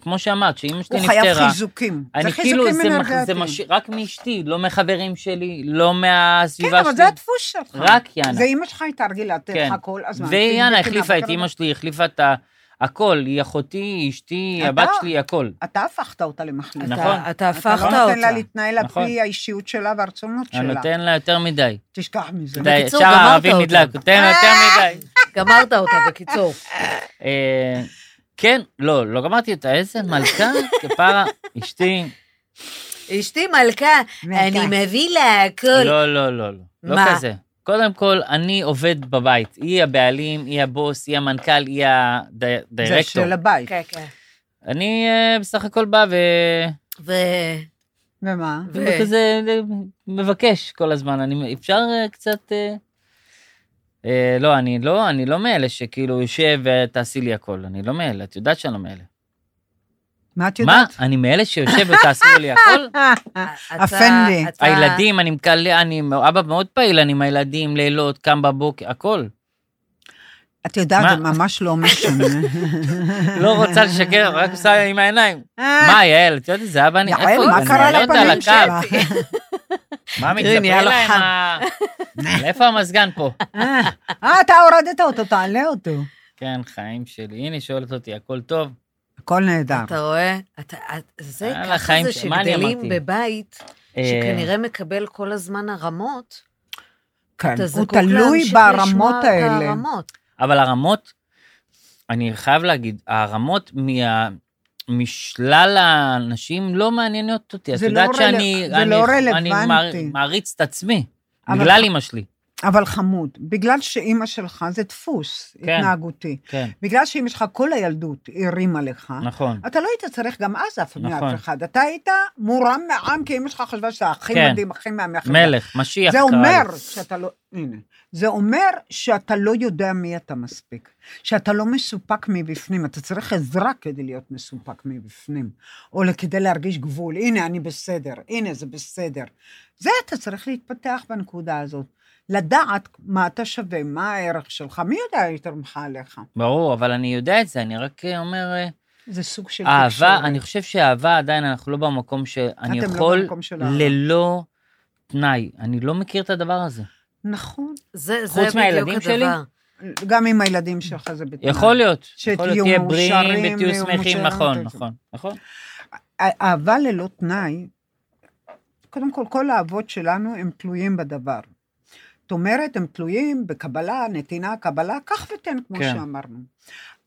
Speaker 2: כמו שאמרת, שאימא שלי
Speaker 3: הוא
Speaker 2: נפטרה...
Speaker 3: חייב חיזוקים.
Speaker 2: אני
Speaker 3: זה
Speaker 2: כאילו,
Speaker 3: חיזוקים
Speaker 2: זה, מח- זה
Speaker 3: אנרגטיים.
Speaker 2: מש... רק מאשתי, לא מהחברים שלי, לא
Speaker 3: כן,
Speaker 2: מהסביבה שלי.
Speaker 3: אבל זה הדפוס שלך.
Speaker 2: רק יאנה.
Speaker 3: זה אימא שלך הייתה רגילה, לתת
Speaker 2: כן.
Speaker 3: לך כל הזמן.
Speaker 2: ויאנה
Speaker 3: פידבקים,
Speaker 2: החליפה את
Speaker 3: אבל-
Speaker 2: אימא שלי, החליפה את ה... הכל, היא אחותי, היא אשתי, היא
Speaker 3: אתה-
Speaker 2: הבת שלי, היא הכל.
Speaker 3: אתה הפכת אותה
Speaker 1: אתה-
Speaker 3: למחליטה.
Speaker 2: נכון.
Speaker 1: אתה
Speaker 3: אתה
Speaker 1: הפכת
Speaker 3: לא נותן לה
Speaker 1: אותה.
Speaker 3: להתנהל על
Speaker 2: נכון.
Speaker 3: פי האישיות שלה והרצונות
Speaker 2: אני
Speaker 3: שלה.
Speaker 2: נותן לה יותר מדי.
Speaker 3: תשכח מזה.
Speaker 2: די,
Speaker 1: בקיצור,
Speaker 2: שאר
Speaker 1: גמרת
Speaker 2: הערבים
Speaker 1: אותה. אה!
Speaker 2: נדלק, נותן לה יותר מדי.
Speaker 1: גמרת אותה, בקיצור.
Speaker 2: אה, כן, לא, לא גמרתי אותה, איזה מלכה, כפרה, אשתי,
Speaker 1: אשתי מלכה, אני מביא לה הכל.
Speaker 2: לא, לא, לא, לא, לא
Speaker 1: מה?
Speaker 2: כזה. קודם כל, אני עובד בבית, היא הבעלים, היא הבוס, היא המנכ"ל, היא
Speaker 3: זה
Speaker 2: הדירקטור.
Speaker 3: של הבית.
Speaker 1: כן, כן.
Speaker 2: אני אה, בסך הכל בא ו...
Speaker 1: ו...
Speaker 3: ומה?
Speaker 1: ו-
Speaker 2: הוא כזה אה, מבקש כל הזמן, אני, אפשר אה, קצת... אה, אה, לא, אני לא, אני לא מאלה שכאילו יושב ותעשי לי הכל, אני לא מאלה, את יודעת שאני לא מאלה.
Speaker 3: מה את
Speaker 2: מה?
Speaker 3: יודעת?
Speaker 2: אני מאלה שיושב ותעשי לי הכל?
Speaker 1: אתה-
Speaker 3: אפנדי.
Speaker 1: אתה-
Speaker 2: הילדים, אני מקלע, אני אבא מאוד פעיל, אני עם הילדים, לילות, קם בבוקר, הכל.
Speaker 3: את יודעת,
Speaker 2: מה?
Speaker 3: זה ממש לא משנה.
Speaker 2: לא רוצה לשקר, רק עושה עם העיניים. מה, יעל, את יודעת, זה אבא, אני...
Speaker 3: אה. יעל,
Speaker 2: איפה
Speaker 3: מה
Speaker 2: היא? אני
Speaker 3: קרה
Speaker 2: מעלה אותה
Speaker 3: לפנים
Speaker 2: לקו.
Speaker 3: שלה?
Speaker 2: מה
Speaker 1: תראי, נהיה
Speaker 2: מתזפר
Speaker 1: לו
Speaker 2: לה עם
Speaker 1: חם.
Speaker 2: ה... על איפה המזגן פה?
Speaker 3: אה, אה, אתה הורדת אותו, תעלה אותו.
Speaker 2: כן, חיים שלי. הנה, היא שואלת אותי, הכל טוב?
Speaker 3: הכל נהדר.
Speaker 1: אתה רואה? אתה, את- זה
Speaker 2: יאללה,
Speaker 1: ככה
Speaker 2: חיים
Speaker 1: זה
Speaker 2: אה, שלי, מה אני
Speaker 1: שגדלים
Speaker 2: אמרתי?
Speaker 1: בבית,
Speaker 2: אה,
Speaker 1: שכנראה מקבל כל הזמן הרמות,
Speaker 3: כן,
Speaker 1: אתה
Speaker 3: הוא
Speaker 1: זקוק
Speaker 3: תלוי
Speaker 1: להמשיך לשמוע
Speaker 3: ברמות
Speaker 1: את
Speaker 3: האלה.
Speaker 1: הרמות.
Speaker 2: אבל הרמות, אני חייב להגיד, הרמות מה... משלל האנשים לא מעניינות אותי. את
Speaker 3: זה לא
Speaker 2: יודעת
Speaker 3: רלו-
Speaker 2: שאני
Speaker 3: זה
Speaker 2: אני-
Speaker 3: לא
Speaker 2: אני מע-
Speaker 3: רלוונטי.
Speaker 2: מעריץ את עצמי,
Speaker 3: אבל-
Speaker 2: בגלל אימא שלי.
Speaker 3: אבל חמוד, בגלל שאימא שלך זה דפוס
Speaker 2: כן.
Speaker 3: התנהגותי.
Speaker 2: כן,
Speaker 3: בגלל שאימא שלך כל הילדות הרימה לך,
Speaker 2: נכון.
Speaker 3: אתה לא היית צריך גם אז אף
Speaker 2: נכון.
Speaker 3: מאף אחד. אתה היית מורם מעם, כי אמא שלך חשבה שאתה הכי
Speaker 2: כן.
Speaker 3: מדהים, הכי מהמחיר.
Speaker 2: מלך, משיח
Speaker 3: זה
Speaker 2: קרא
Speaker 3: אומר
Speaker 2: לי.
Speaker 3: שאתה לא... הנה. זה אומר שאתה לא יודע מי אתה מספיק. שאתה לא מסופק מבפנים. אתה צריך עזרה כדי להיות מסופק מבפנים. או כדי להרגיש גבול. הנה, אני בסדר. הנה, זה בסדר. זה אתה צריך להתפתח בנקודה הזאת. לדעת מה אתה שווה, מה הערך שלך. מי יודע יותר ממך עליך?
Speaker 2: ברור, אבל אני יודע את זה, אני רק אה, אומר, אה,
Speaker 3: זה סוג של
Speaker 2: אהבה, אני חושב שאהבה עדיין, אנחנו לא במקום שאני
Speaker 3: אתם לא
Speaker 2: יכול
Speaker 3: במקום של אהבה.
Speaker 2: ללא תנאי. אני לא מכיר את הדבר הזה.
Speaker 3: נכון.
Speaker 1: זה, זה
Speaker 2: חוץ
Speaker 1: בדיוק
Speaker 2: מהילדים שלי?
Speaker 1: הדבר.
Speaker 3: גם עם הילדים שלך זה בתנאי.
Speaker 2: יכול להיות, יכול
Speaker 3: אה, שתהיו
Speaker 2: להיות, תהיה בריאים
Speaker 3: מאושרים,
Speaker 2: ותהיו
Speaker 3: מאושרים,
Speaker 2: שמחים, נכון,
Speaker 3: כן.
Speaker 2: נכון, נכון.
Speaker 3: א- אהבה ללא תנאי, קודם כל, כל האהבות שלנו הם תלויים בדבר. זאת אומרת, הם תלויים בקבלה, נתינה, קבלה, קח ותן, כמו
Speaker 2: כן.
Speaker 3: כן. שאמרנו.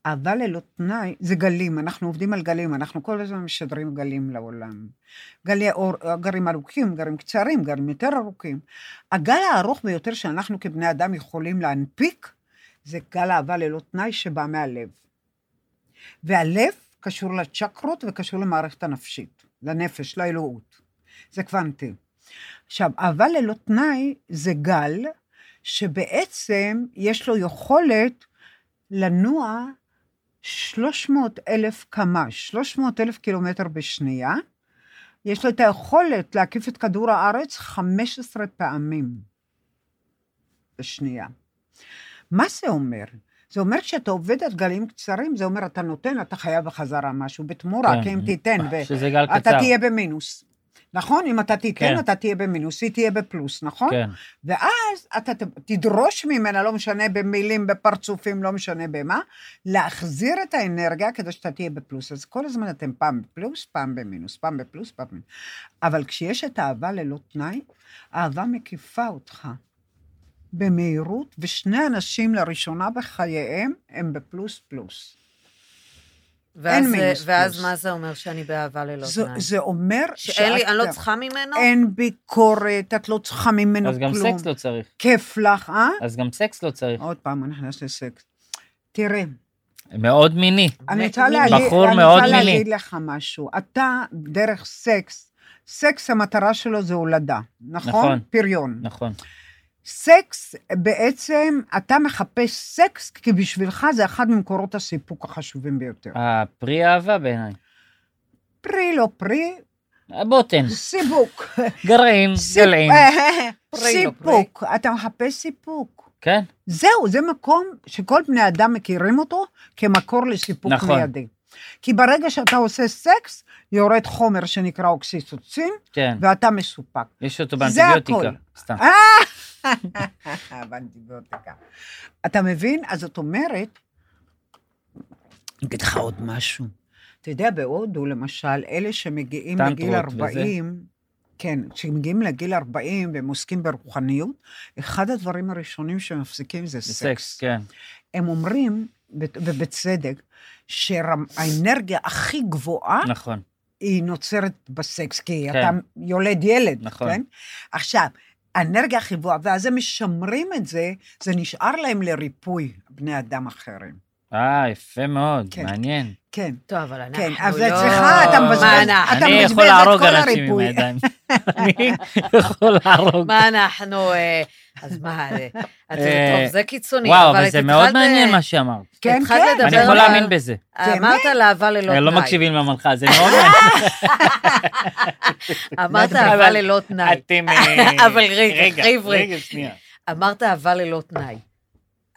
Speaker 3: אהבה ללא תנאי זה גלים, אנחנו עובדים על גלים, אנחנו כל הזמן משדרים גלים לעולם. גלי אור, גרים ארוכים, גרים קצרים, גרים יותר ארוכים. הגל הארוך ביותר שאנחנו כבני אדם יכולים להנפיק, זה גל אהבה ללא תנאי שבא מהלב. והלב קשור לצ'קרות וקשור למערכת הנפשית, לנפש, לאלוהות. זה קוונטי. עכשיו, אהבה ללא תנאי זה גל שבעצם יש לו יכולת לנוע 300 אלף קמ"ש, 300 אלף קילומטר בשנייה. יש לו את היכולת להקיף את כדור הארץ 15 פעמים בשנייה. מה זה אומר? זה אומר כשאתה עובד על גלים קצרים, זה אומר אתה נותן, אתה חייב בחזרה משהו בתמורה,
Speaker 2: כן.
Speaker 3: כי אם תיתן ו...
Speaker 2: שזה גל קצר.
Speaker 3: אתה תהיה במינוס. נכון? אם אתה תיתן,
Speaker 2: כן.
Speaker 3: כן. אתה תהיה במינוס, היא תהיה בפלוס, נכון?
Speaker 2: כן,
Speaker 3: ואז אתה ת- תדרוש ממנה, לא משנה במילים, בפרצופים, לא משנה במה, להחזיר את האנרגיה כדי שאתה תהיה בפלוס. אז כל הזמן אתם פעם בפלוס, פעם במינוס, פעם בפלוס, פעם במינוס. אבל כשיש את האהבה ללא תנאי, האהבה מקיפה אותך במהירות, ושני אנשים לראשונה בחייהם הם בפלוס פלוס.
Speaker 1: ואז,
Speaker 3: מינוס
Speaker 1: זה- ואז
Speaker 3: פלוס.
Speaker 1: מה זה אומר שאני באהבה ללא
Speaker 3: זה,
Speaker 1: תנאי?
Speaker 3: זה אומר
Speaker 1: שאין לי,
Speaker 3: שאת-
Speaker 1: אני לא צריכה ממנו?
Speaker 3: אין ביקורת, את לא צריכה ממנו
Speaker 2: אז גם
Speaker 3: כלום.
Speaker 2: סקס לא צריך.
Speaker 3: כיף לך, אה?
Speaker 2: אז גם סקס לא צריך.
Speaker 3: עוד פעם, אנחנו נעשה סקס. תראה,
Speaker 2: מאוד מיני.
Speaker 3: אני רוצה
Speaker 1: מ-
Speaker 3: להגיד,
Speaker 2: בחור
Speaker 3: אני
Speaker 2: מאוד
Speaker 3: רוצה
Speaker 2: מיני.
Speaker 3: להגיד לך משהו. אתה, דרך סקס, סקס המטרה שלו זה הולדה, נכון?
Speaker 2: נכון.
Speaker 3: פריון.
Speaker 2: נכון.
Speaker 3: סקס, בעצם, אתה מחפש סקס, כי בשבילך זה אחד ממקורות הסיפוק החשובים ביותר.
Speaker 2: הפרי אהבה בעיניי.
Speaker 3: פרי לא פרי,
Speaker 2: הבוטן,
Speaker 3: סיבוק.
Speaker 2: גרעין, גלעין.
Speaker 3: אה,
Speaker 1: פרי לא פרי.
Speaker 3: סיפוק, אתה מחפש סיפוק.
Speaker 2: כן,
Speaker 3: זהו, זה מקום שכל בני אדם מכירים אותו כמקור לסיפוק
Speaker 2: נכון.
Speaker 3: נכון. מיידי. כי ברגע שאתה עושה סקס, יורד חומר שנקרא אוקסיסוצין,
Speaker 2: כן.
Speaker 3: ואתה מסופק.
Speaker 2: יש אותו
Speaker 3: זה אה,
Speaker 2: באנטיביוטיקה. סתם.
Speaker 3: הבנתי באותיקה. אתה מבין? אז זאת אומרת, אני אגיד לך עוד משהו. אתה יודע, בהודו, למשל, אלה שמגיעים לגיל
Speaker 2: טנטרות וזה.
Speaker 3: 40, כן, כשמגיעים לגיל 40 והם עוסקים ברוחניות, אחד הדברים הראשונים שמפסיקים זה
Speaker 2: זה
Speaker 3: סקס.
Speaker 2: סקס, כן.
Speaker 3: הם אומרים, ו- ובצדק, שהאנרגיה הכי גבוהה
Speaker 2: נכון.
Speaker 3: היא נוצרת בסקס, כי
Speaker 2: כן.
Speaker 3: אתה יולד ילד,
Speaker 2: נכון.
Speaker 3: כן? עכשיו, האנרגיה הכי גבוהה, ואז הם משמרים את זה, זה נשאר להם לריפוי בני אדם אחרים.
Speaker 2: אה, יפה מאוד,
Speaker 3: כן.
Speaker 2: מעניין.
Speaker 3: כן.
Speaker 1: טוב, אבל אנחנו
Speaker 3: כן,
Speaker 1: לא...
Speaker 3: אז אצלך אתה
Speaker 2: מבזבז-
Speaker 1: מה
Speaker 3: אתה
Speaker 1: אנחנו?
Speaker 2: אני
Speaker 3: מבזבז
Speaker 2: יכול
Speaker 3: את
Speaker 2: להרוג
Speaker 3: כל
Speaker 2: אנשים עם
Speaker 3: הריבוי.
Speaker 2: הידיים. אני יכול להרוג.
Speaker 1: מה אנחנו... אה, אז מה, אה, את יודעת,
Speaker 2: אה,
Speaker 1: טוב, זה קיצוני.
Speaker 2: וואו,
Speaker 1: אבל
Speaker 2: אבל
Speaker 1: את
Speaker 2: זה מאוד
Speaker 1: התחלת,
Speaker 2: מעניין
Speaker 1: אה,
Speaker 2: מה שאמרת.
Speaker 3: כן,
Speaker 1: התחלת
Speaker 3: כן.
Speaker 1: לדבר
Speaker 2: אני יכול
Speaker 1: על-
Speaker 2: להאמין בזה.
Speaker 1: אמרת על אהבה ללא תנאי.
Speaker 2: לא מקשיבים למנחה, זה מאוד מעניין.
Speaker 1: אמרת
Speaker 2: אבל-
Speaker 1: אהבה ללא תנאי.
Speaker 2: אתם... אה,
Speaker 1: אבל רגע, חבר'ה.
Speaker 2: רגע, שנייה.
Speaker 1: אמרת אהבה ללא תנאי.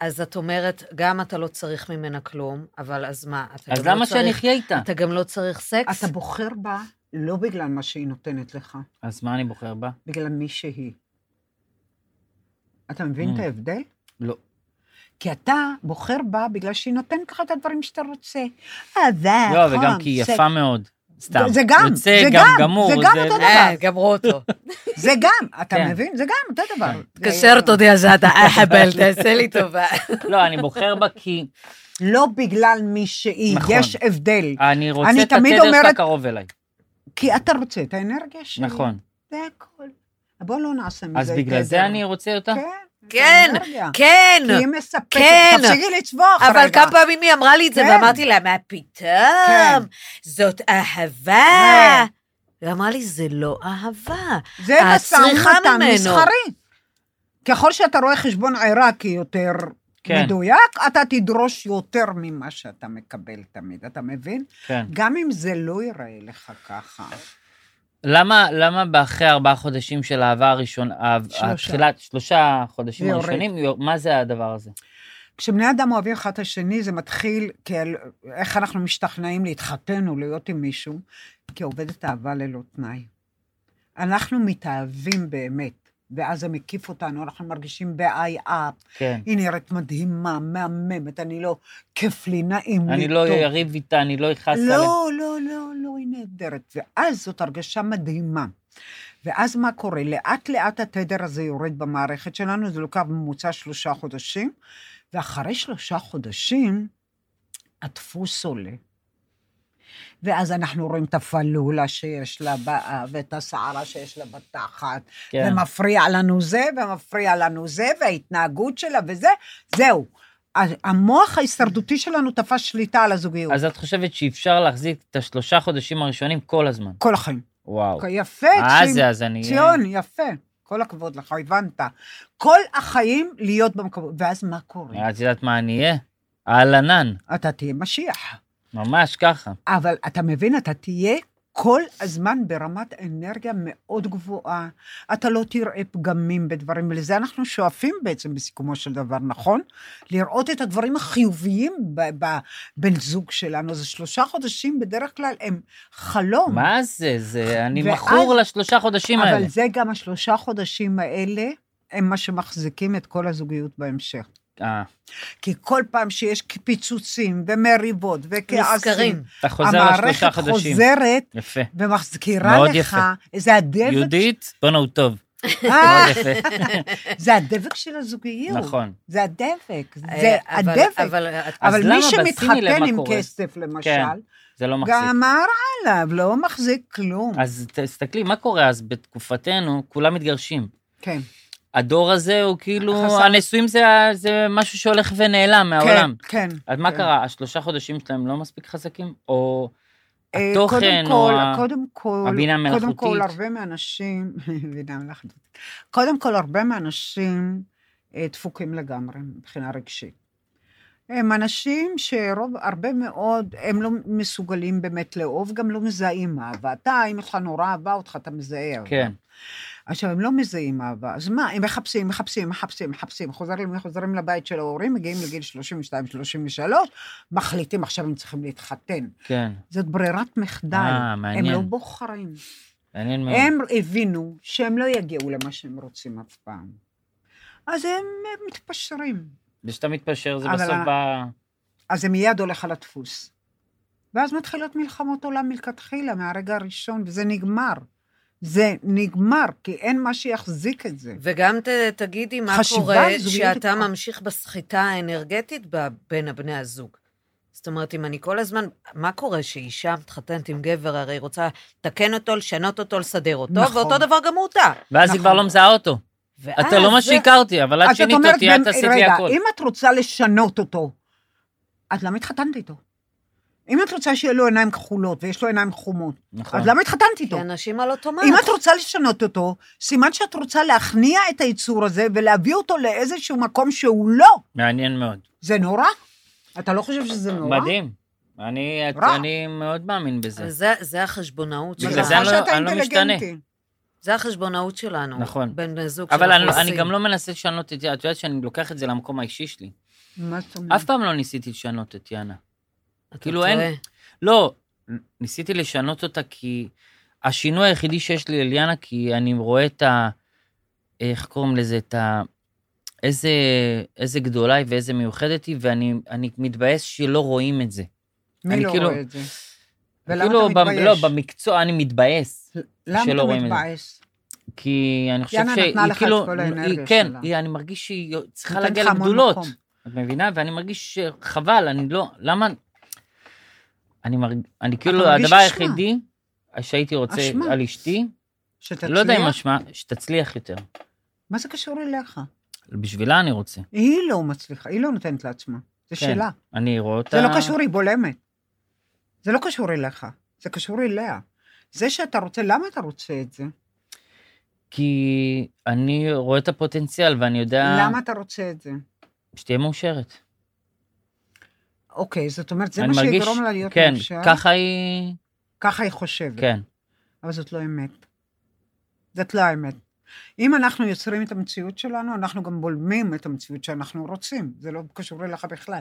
Speaker 1: אז את אומרת, גם אתה לא צריך ממנה כלום, אבל אז מה? אתה
Speaker 2: אז
Speaker 1: גם לא
Speaker 2: למה שאני
Speaker 1: צריך-
Speaker 2: אחיה איתה?
Speaker 1: אתה גם לא צריך סקס?
Speaker 3: אתה בוחר בה לא בגלל מה שהיא נותנת לך,
Speaker 2: אז מה אני בוחר בה?
Speaker 3: בגלל מי שהיא. אתה מבין
Speaker 2: Mm.
Speaker 3: את ההבדל?
Speaker 2: לא.
Speaker 3: כי אתה בוחר בה בגלל שהיא נותנת לך את הדברים שאתה רוצה. אהבה,
Speaker 2: לא, וגם
Speaker 3: חם,
Speaker 2: כי היא
Speaker 3: סק-
Speaker 2: יפה מאוד. סתם.
Speaker 3: אה, נכון, זה גם,
Speaker 2: יוצא
Speaker 3: זה
Speaker 2: גם
Speaker 3: גם,
Speaker 2: גמור.
Speaker 3: זה גם אותו דבר.
Speaker 1: אה, גמרו אותו.
Speaker 3: זה גם, אתה
Speaker 2: כן.
Speaker 3: מבין? זה גם אותו דבר.
Speaker 1: תתקשר, תודיע שאתה אהבל, אה, תעשה לי טובה.
Speaker 2: לא, אני בוחר בה כי
Speaker 3: לא בגלל מי שהיא,
Speaker 2: נכון.
Speaker 3: יש הבדל.
Speaker 2: אני רוצה
Speaker 3: אני
Speaker 2: את
Speaker 3: תמיד
Speaker 2: התדר
Speaker 3: אומרת-
Speaker 2: שאתה קרוב אליי.
Speaker 3: כי אתה רוצה את האנרגיה שלי.
Speaker 2: נכון.
Speaker 3: זה הכל. בוא לא נעשה מזה.
Speaker 2: אז בגלל זה
Speaker 3: גדר.
Speaker 2: אני רוצה אותה?
Speaker 3: כן.
Speaker 1: כן,
Speaker 3: זה אנרגיה.
Speaker 1: כן,
Speaker 3: כי היא מספקת.
Speaker 1: כן.
Speaker 3: תפסיקי לצווח רגע.
Speaker 1: אבל כמה פעמים היא אמרה לי את זה,
Speaker 3: כן.
Speaker 1: ואמרתי לה, מה
Speaker 3: כן.
Speaker 1: פתאום? זאת אהבה.
Speaker 3: כן.
Speaker 1: היא אמרה לי, זה לא אהבה.
Speaker 3: זה
Speaker 1: את
Speaker 3: משא
Speaker 1: צריכה
Speaker 3: ומתן
Speaker 1: ממנו.
Speaker 3: מסחרי. ככל שאתה רואה חשבון עיראקי יותר
Speaker 2: כן.
Speaker 3: מדויק, אתה תדרוש יותר ממה שאתה מקבל תמיד, אתה מבין?
Speaker 2: כן.
Speaker 3: גם אם זה לא ייראה לך ככה.
Speaker 2: למה, למה באחרי ארבעה חודשים של האהבה הראשונה, אה,
Speaker 3: שלושה.
Speaker 2: התחילת שלושה חודשים
Speaker 3: ויורד.
Speaker 2: הראשונים, יור- מה זה הדבר הזה?
Speaker 3: כשבני אדם אוהבים אחד את השני, זה מתחיל כאל איך אנחנו משתכנעים להתחתן או להיות עם מישהו, כעובדת אהבה ללא תנאי. אנחנו מתאהבים באמת, ואז זה מקיף אותנו, אנחנו מרגישים ב-eye up,
Speaker 2: כן.
Speaker 3: היא נראית מדהימה, מהממת, אני לא, כיף לי, נעים לי.
Speaker 2: אני לא
Speaker 3: טוב.
Speaker 2: אריב איתה, אני לא אכעס עליה.
Speaker 3: לא, לא, לא, לא, היא נהדרת. ואז זאת הרגשה מדהימה. ואז מה קורה? לאט-לאט התדר הזה יורד במערכת שלנו, זה לוקח בממוצע שלושה חודשים, ואחרי שלושה חודשים, הדפוס עולה. ואז אנחנו רואים את הפלולה שיש לה באף, ואת הסערה שיש לה בתחת,
Speaker 2: כן.
Speaker 3: ומפריע לנו זה, ומפריע לנו זה, וההתנהגות שלה וזה, זהו. ה- המוח ההישרדותי שלנו תפס שליטה על הזוגיות.
Speaker 2: אז את חושבת שאפשר להחזיק את השלושה חודשים הראשונים כל הזמן?
Speaker 3: כל החיים.
Speaker 2: וואו.
Speaker 3: אוקיי, יפה,
Speaker 2: אה,
Speaker 3: ציון,
Speaker 2: זה, אז אני...
Speaker 3: ציון, יפה. כל הכבוד לך, הבנת. כל החיים להיות במקום, ואז מה קורה?
Speaker 2: את יודעת מה אני אהיה? אהלנן,
Speaker 3: אתה תהיה משיח.
Speaker 2: ממש ככה.
Speaker 3: אבל אתה מבין, אתה תהיה כל הזמן ברמת אנרגיה מאוד גבוהה. אתה לא תראה פגמים בדברים, ולזה אנחנו שואפים בעצם בסיכומו של דבר, נכון? לראות את הדברים החיוביים בבן זוג שלנו. זה שלושה חודשים בדרך כלל הם חלום.
Speaker 2: מה זה? זה... אני
Speaker 3: ואז-
Speaker 2: מכור לשלושה חודשים האלה.
Speaker 3: אבל זה גם השלושה חודשים האלה, הם מה שמחזיקים את כל הזוגיות בהמשך.
Speaker 2: אה,
Speaker 3: כי כל פעם שיש פיצוצים ומריבות וכעסים,
Speaker 1: נזכרים.
Speaker 2: אתה חוזר
Speaker 3: המערכת
Speaker 2: לשלושה חודשים.
Speaker 3: חוזרת
Speaker 2: יפה.
Speaker 3: ומזכירה
Speaker 2: מאוד
Speaker 3: לך,
Speaker 2: יפה.
Speaker 3: זה הדבק,
Speaker 2: יהודית, בואנה הוא טוב.
Speaker 3: אה,
Speaker 2: מאוד יפה.
Speaker 3: זה הדבק של הזוגיות,
Speaker 2: נכון.
Speaker 3: זה הדבק, זה
Speaker 1: אה, אבל-
Speaker 3: הדבק. אבל,
Speaker 1: אבל את-
Speaker 3: מי
Speaker 2: למה? אבל שימי לב
Speaker 3: שמתחתן
Speaker 2: מה
Speaker 3: עם
Speaker 2: קורה.
Speaker 3: כסף, למשל,
Speaker 2: כן, זה לא מחזיק.
Speaker 3: גם הרע עליו לא מחזיק כלום.
Speaker 2: אז תסתכלי, מה קורה אז בתקופתנו, כולם מתגרשים.
Speaker 3: כן,
Speaker 2: הדור הזה הוא כאילו,
Speaker 3: חסר-
Speaker 2: הנישואים זה- זה משהו שהולך ונעלם מהעולם.
Speaker 3: כן, כן.
Speaker 2: אז מה
Speaker 3: כן.
Speaker 2: קרה, השלושה חודשים שלהם לא מספיק חזקים? או
Speaker 3: אה,
Speaker 2: התוכן,
Speaker 3: קודם
Speaker 2: או
Speaker 3: כל,
Speaker 2: ה-
Speaker 3: קודם כל,
Speaker 2: הבינה
Speaker 3: קודם כל,
Speaker 2: המלאכותית?
Speaker 3: הרבה מהאנשים, בינה מלאכותית, קודם כל, הרבה מהאנשים אה, דפוקים לגמרי מבחינה רגשית. הם אנשים שרוב, הרבה מאוד, הם לא מסוגלים באמת לאהוב, גם לא מזהים אהבה. אתה, אם יש לך נורא אהבה אותך, אתה מזהה אהבה.
Speaker 2: כן.
Speaker 3: עכשיו, הם לא מזהים אהבה, אז מה, הם מחפשים, מחפשים, מחפשים, מחפשים, חוזרים, חוזרים לבית של ההורים, מגיעים לגיל 32-33, מחליטים עכשיו הם צריכים להתחתן.
Speaker 2: כן,
Speaker 3: זאת ברירת מחדל.
Speaker 2: אה,
Speaker 3: הם
Speaker 2: מעניין.
Speaker 3: לא בוחרים.
Speaker 2: מעניין מאוד.
Speaker 3: הם הבינו שהם לא יגיעו למה שהם רוצים אף פעם. אז הם הם מתפשרים.
Speaker 2: זה שאתה מתפשר, זה
Speaker 3: אבל
Speaker 2: בסוף
Speaker 3: ה-
Speaker 2: ב...
Speaker 3: אז זה מיד הולך על הדפוס. ואז מתחילות מלחמות עולם מלכתחילה, מהרגע הראשון, וזה נגמר. זה נגמר, כי אין מה שיחזיק את זה.
Speaker 1: וגם ת, תגידי מה
Speaker 3: חשיבה
Speaker 1: קורה
Speaker 3: זוגיות
Speaker 1: שאתה
Speaker 3: היא-
Speaker 1: ממשיך בסחיטה האנרגטית ב- בין הבני הזוג. זאת אומרת, אם אני כל הזמן, מה קורה שאישה מתחתנת עם גבר, הרי היא רוצה לתקן אותו, לשנות אותו, לסדר אותו,
Speaker 3: נכון.
Speaker 1: ואותו דבר גם אותה.
Speaker 2: ואז היא כבר
Speaker 3: נכון.
Speaker 2: לא מזהה אותו.
Speaker 1: ואז
Speaker 2: אתה לא מה
Speaker 1: זה-
Speaker 2: שהכרתי, אבל את
Speaker 3: אז את
Speaker 2: שינית
Speaker 3: אומרת,
Speaker 2: אותי, את
Speaker 3: במ-
Speaker 2: עשית לי
Speaker 3: רגע,
Speaker 2: הכל.
Speaker 3: אם את רוצה לשנות אותו, אז למה התחתנת איתו? אם את רוצה שיהיה לו עיניים כחולות ויש לו עיניים חומות,
Speaker 2: נכון.
Speaker 3: אז למה התחתנת
Speaker 1: כי
Speaker 3: איתו?
Speaker 1: אנשים על אוטומט.
Speaker 3: אם את רוצה לשנות אותו, סימן שאת רוצה להכניע את היצור הזה ולהביא אותו לאיזשהו מקום שהוא לא.
Speaker 2: מעניין מאוד.
Speaker 3: זה נורא? אתה לא חושב שזה נורא?
Speaker 2: מדהים. אני, את-
Speaker 3: רע.
Speaker 2: אני מאוד מאמין בזה.
Speaker 1: זה, זה החשבונאות
Speaker 2: בגלל
Speaker 1: שלנו.
Speaker 3: אבל
Speaker 2: זה אני
Speaker 3: נכון
Speaker 2: לא-
Speaker 3: שאתה
Speaker 2: אני לא משתנה.
Speaker 3: אינטליגנטי.
Speaker 1: זה החשבונאות שלנו.
Speaker 2: נכון.
Speaker 1: בין בני זוג
Speaker 2: אבל אני,
Speaker 1: שאנחנו
Speaker 2: אני
Speaker 1: עושים.
Speaker 2: גם לא מנסה לשנות את יאנה, את יודעת שאני לוקח את זה למקום האישי שלי.
Speaker 3: Mm. מה זאת אומרת?
Speaker 2: אף פעם לא ניסיתי לשנות את יאנה.
Speaker 1: אתה
Speaker 2: כאילו אין-
Speaker 1: טועה.
Speaker 2: לא, ניסיתי לשנות אותה כי השינוי היחידי שיש לי על יאנה, כי אני רואה את ה... איך קוראים לזה? את ה... איזה, איזה גדולה היא ואיזה מיוחדת היא, ואני אני מתבאס שלא רואים את זה.
Speaker 3: מי
Speaker 2: אני
Speaker 3: לא
Speaker 2: כאילו-
Speaker 3: רואה את זה? ולמה
Speaker 2: כאילו,
Speaker 3: אתה
Speaker 2: במ- לא,
Speaker 3: מתבייש?
Speaker 2: במקצוע אני מתבאס.
Speaker 3: למה
Speaker 2: שלא
Speaker 3: אתה
Speaker 2: לא רואים את זה.
Speaker 3: מתבאס?
Speaker 2: כי אני חושב
Speaker 3: יאנה
Speaker 2: שהיא
Speaker 3: נתנה לך את
Speaker 2: כאילו...
Speaker 3: כל
Speaker 2: היא-
Speaker 3: האנרגיה
Speaker 2: כן,
Speaker 3: שלה.
Speaker 2: היא, אני מרגיש שהיא צריכה
Speaker 3: נותנת
Speaker 2: להגיע
Speaker 3: לך המון
Speaker 2: לגדולות.
Speaker 3: מקום.
Speaker 2: את מבינה? ואני מרגיש שחבל, אני לא... למה... אני מרגיש... אני כאילו,
Speaker 3: מרגיש
Speaker 2: הדבר
Speaker 3: אשמה.
Speaker 2: היחידי שהייתי רוצה
Speaker 3: אשמה.
Speaker 2: על אשתי,
Speaker 3: שתצליח?
Speaker 2: לא יודע אם אשמה, שתצליח יותר.
Speaker 3: מה זה קשור אליך?
Speaker 2: בשבילה אני רוצה.
Speaker 3: היא לא מצליחה, היא לא נותנת לעצמה. זה
Speaker 2: כן.
Speaker 3: שלה.
Speaker 2: אני רואה אותה...
Speaker 3: זה לא קשור, היא בולמת. זה לא קשור אליך, זה קשור אליה. זה שאתה רוצה, למה אתה רוצה את זה?
Speaker 2: כי אני רואה את הפוטנציאל, ואני יודע
Speaker 3: למה אתה רוצה את זה?
Speaker 2: שתהיה מאושרת.
Speaker 3: אוקיי, זאת אומרת, זה
Speaker 2: אני
Speaker 3: מה
Speaker 2: מרגיש-
Speaker 3: שיגרום לה להיות
Speaker 2: כן,
Speaker 3: מאושר.
Speaker 2: ככה היא...
Speaker 3: ככה היא חושבת.
Speaker 2: כן.
Speaker 3: אבל זאת לא אמת. זאת לא האמת. אם אנחנו יוצרים את המציאות שלנו, אנחנו גם בולמים את המציאות שאנחנו רוצים. זה לא קשור אליך בכלל.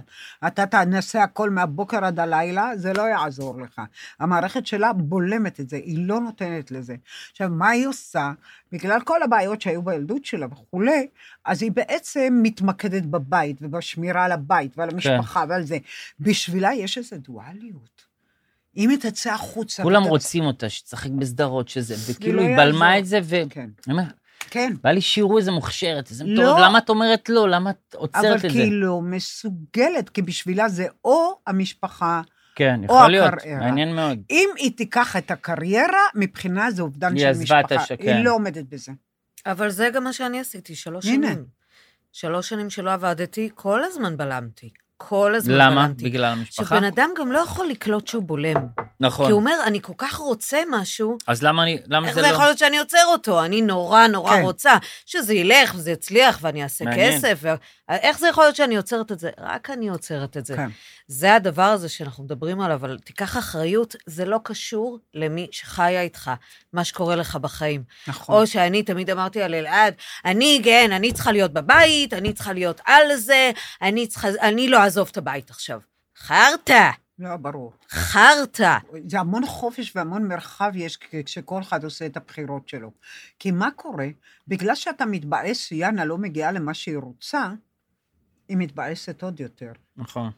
Speaker 3: אתה תנסה הכל מהבוקר עד הלילה, זה לא יעזור לך. המערכת שלה בולמת את זה, היא לא נותנת לזה. עכשיו, מה היא עושה? בגלל כל הבעיות שהיו בילדות שלה וכולי, אז היא בעצם מתמקדת בבית ובשמירה על הבית ועל המשפחה
Speaker 2: כן.
Speaker 3: ועל זה. בשבילה יש איזו דואליות. אם היא תצא החוצה...
Speaker 2: כולם
Speaker 3: ותצ-
Speaker 2: רוצים אותה, שתשחק בסדרות, שזה, וכאילו
Speaker 3: לא
Speaker 2: היא בלמה
Speaker 3: יעזור.
Speaker 2: את זה, ו...
Speaker 3: כן,
Speaker 2: אני אומר,
Speaker 3: כן.
Speaker 2: בא לי שיראו איזה מוכשרת, איזה
Speaker 3: לא.
Speaker 2: מטורף, למה את אומרת לא? למה את עוצרת
Speaker 3: אבל
Speaker 2: את
Speaker 3: כי
Speaker 2: זה?
Speaker 3: היא לא מסוגלת, כי בשבילה זה או המשפחה.
Speaker 2: כן,
Speaker 3: או
Speaker 2: יכול להיות,
Speaker 1: אה,
Speaker 3: הקריירה.
Speaker 2: מעניין מאוד.
Speaker 3: אם היא תיקח את הקריירה, מבחינה זה אובדן
Speaker 2: היא
Speaker 3: של
Speaker 2: עזבה
Speaker 3: משפחה.
Speaker 2: את השכן.
Speaker 3: היא לא עומדת בזה.
Speaker 1: אבל זה גם מה שאני עשיתי, שלוש
Speaker 3: הנה.
Speaker 1: שנים. שלוש שנים שלא עבדתי, כל הזמן בלמתי. כל הזמן
Speaker 2: למה?
Speaker 1: בלמתי.
Speaker 2: בגלל המשפחה?
Speaker 1: שבן אדם גם לא יכול לקלוט שהוא בולם. כי
Speaker 2: נכון.
Speaker 1: הוא אומר, אני כל כך רוצה משהו,
Speaker 2: אז למה אני- למה
Speaker 1: איך
Speaker 2: זה
Speaker 1: זה יכול
Speaker 2: לא?
Speaker 1: להיות שאני עוצר אותו? אני נורא נורא
Speaker 3: כן.
Speaker 1: רוצה שזה ילך וזה יצליח ואני אעשה
Speaker 2: מעניין.
Speaker 1: כסף. ו... איך זה יכול להיות שאני עוצרת את זה? רק אני עוצרת את זה.
Speaker 3: כן.
Speaker 1: זה הדבר הזה שאנחנו מדברים עליו, אבל תיקח אחריות, זה לא קשור למי שחיה איתך, מה שקורה לך בחיים.
Speaker 3: נכון.
Speaker 1: או שאני תמיד אמרתי על אלעד, אני, כן, אני צריכה להיות בבית, אני צריכה להיות על זה, אני צריכה, אני לא אעזוב את הבית עכשיו. חרטא,
Speaker 3: לא, ברור.
Speaker 1: חרטא.
Speaker 3: זה המון חופש והמון מרחב יש כ- כשכל אחד עושה את הבחירות שלו. כי מה קורה? בגלל שאתה מתבאס שיאנה לא מגיעה למה שהיא רוצה, היא מתבאסת עוד יותר.
Speaker 2: נכון.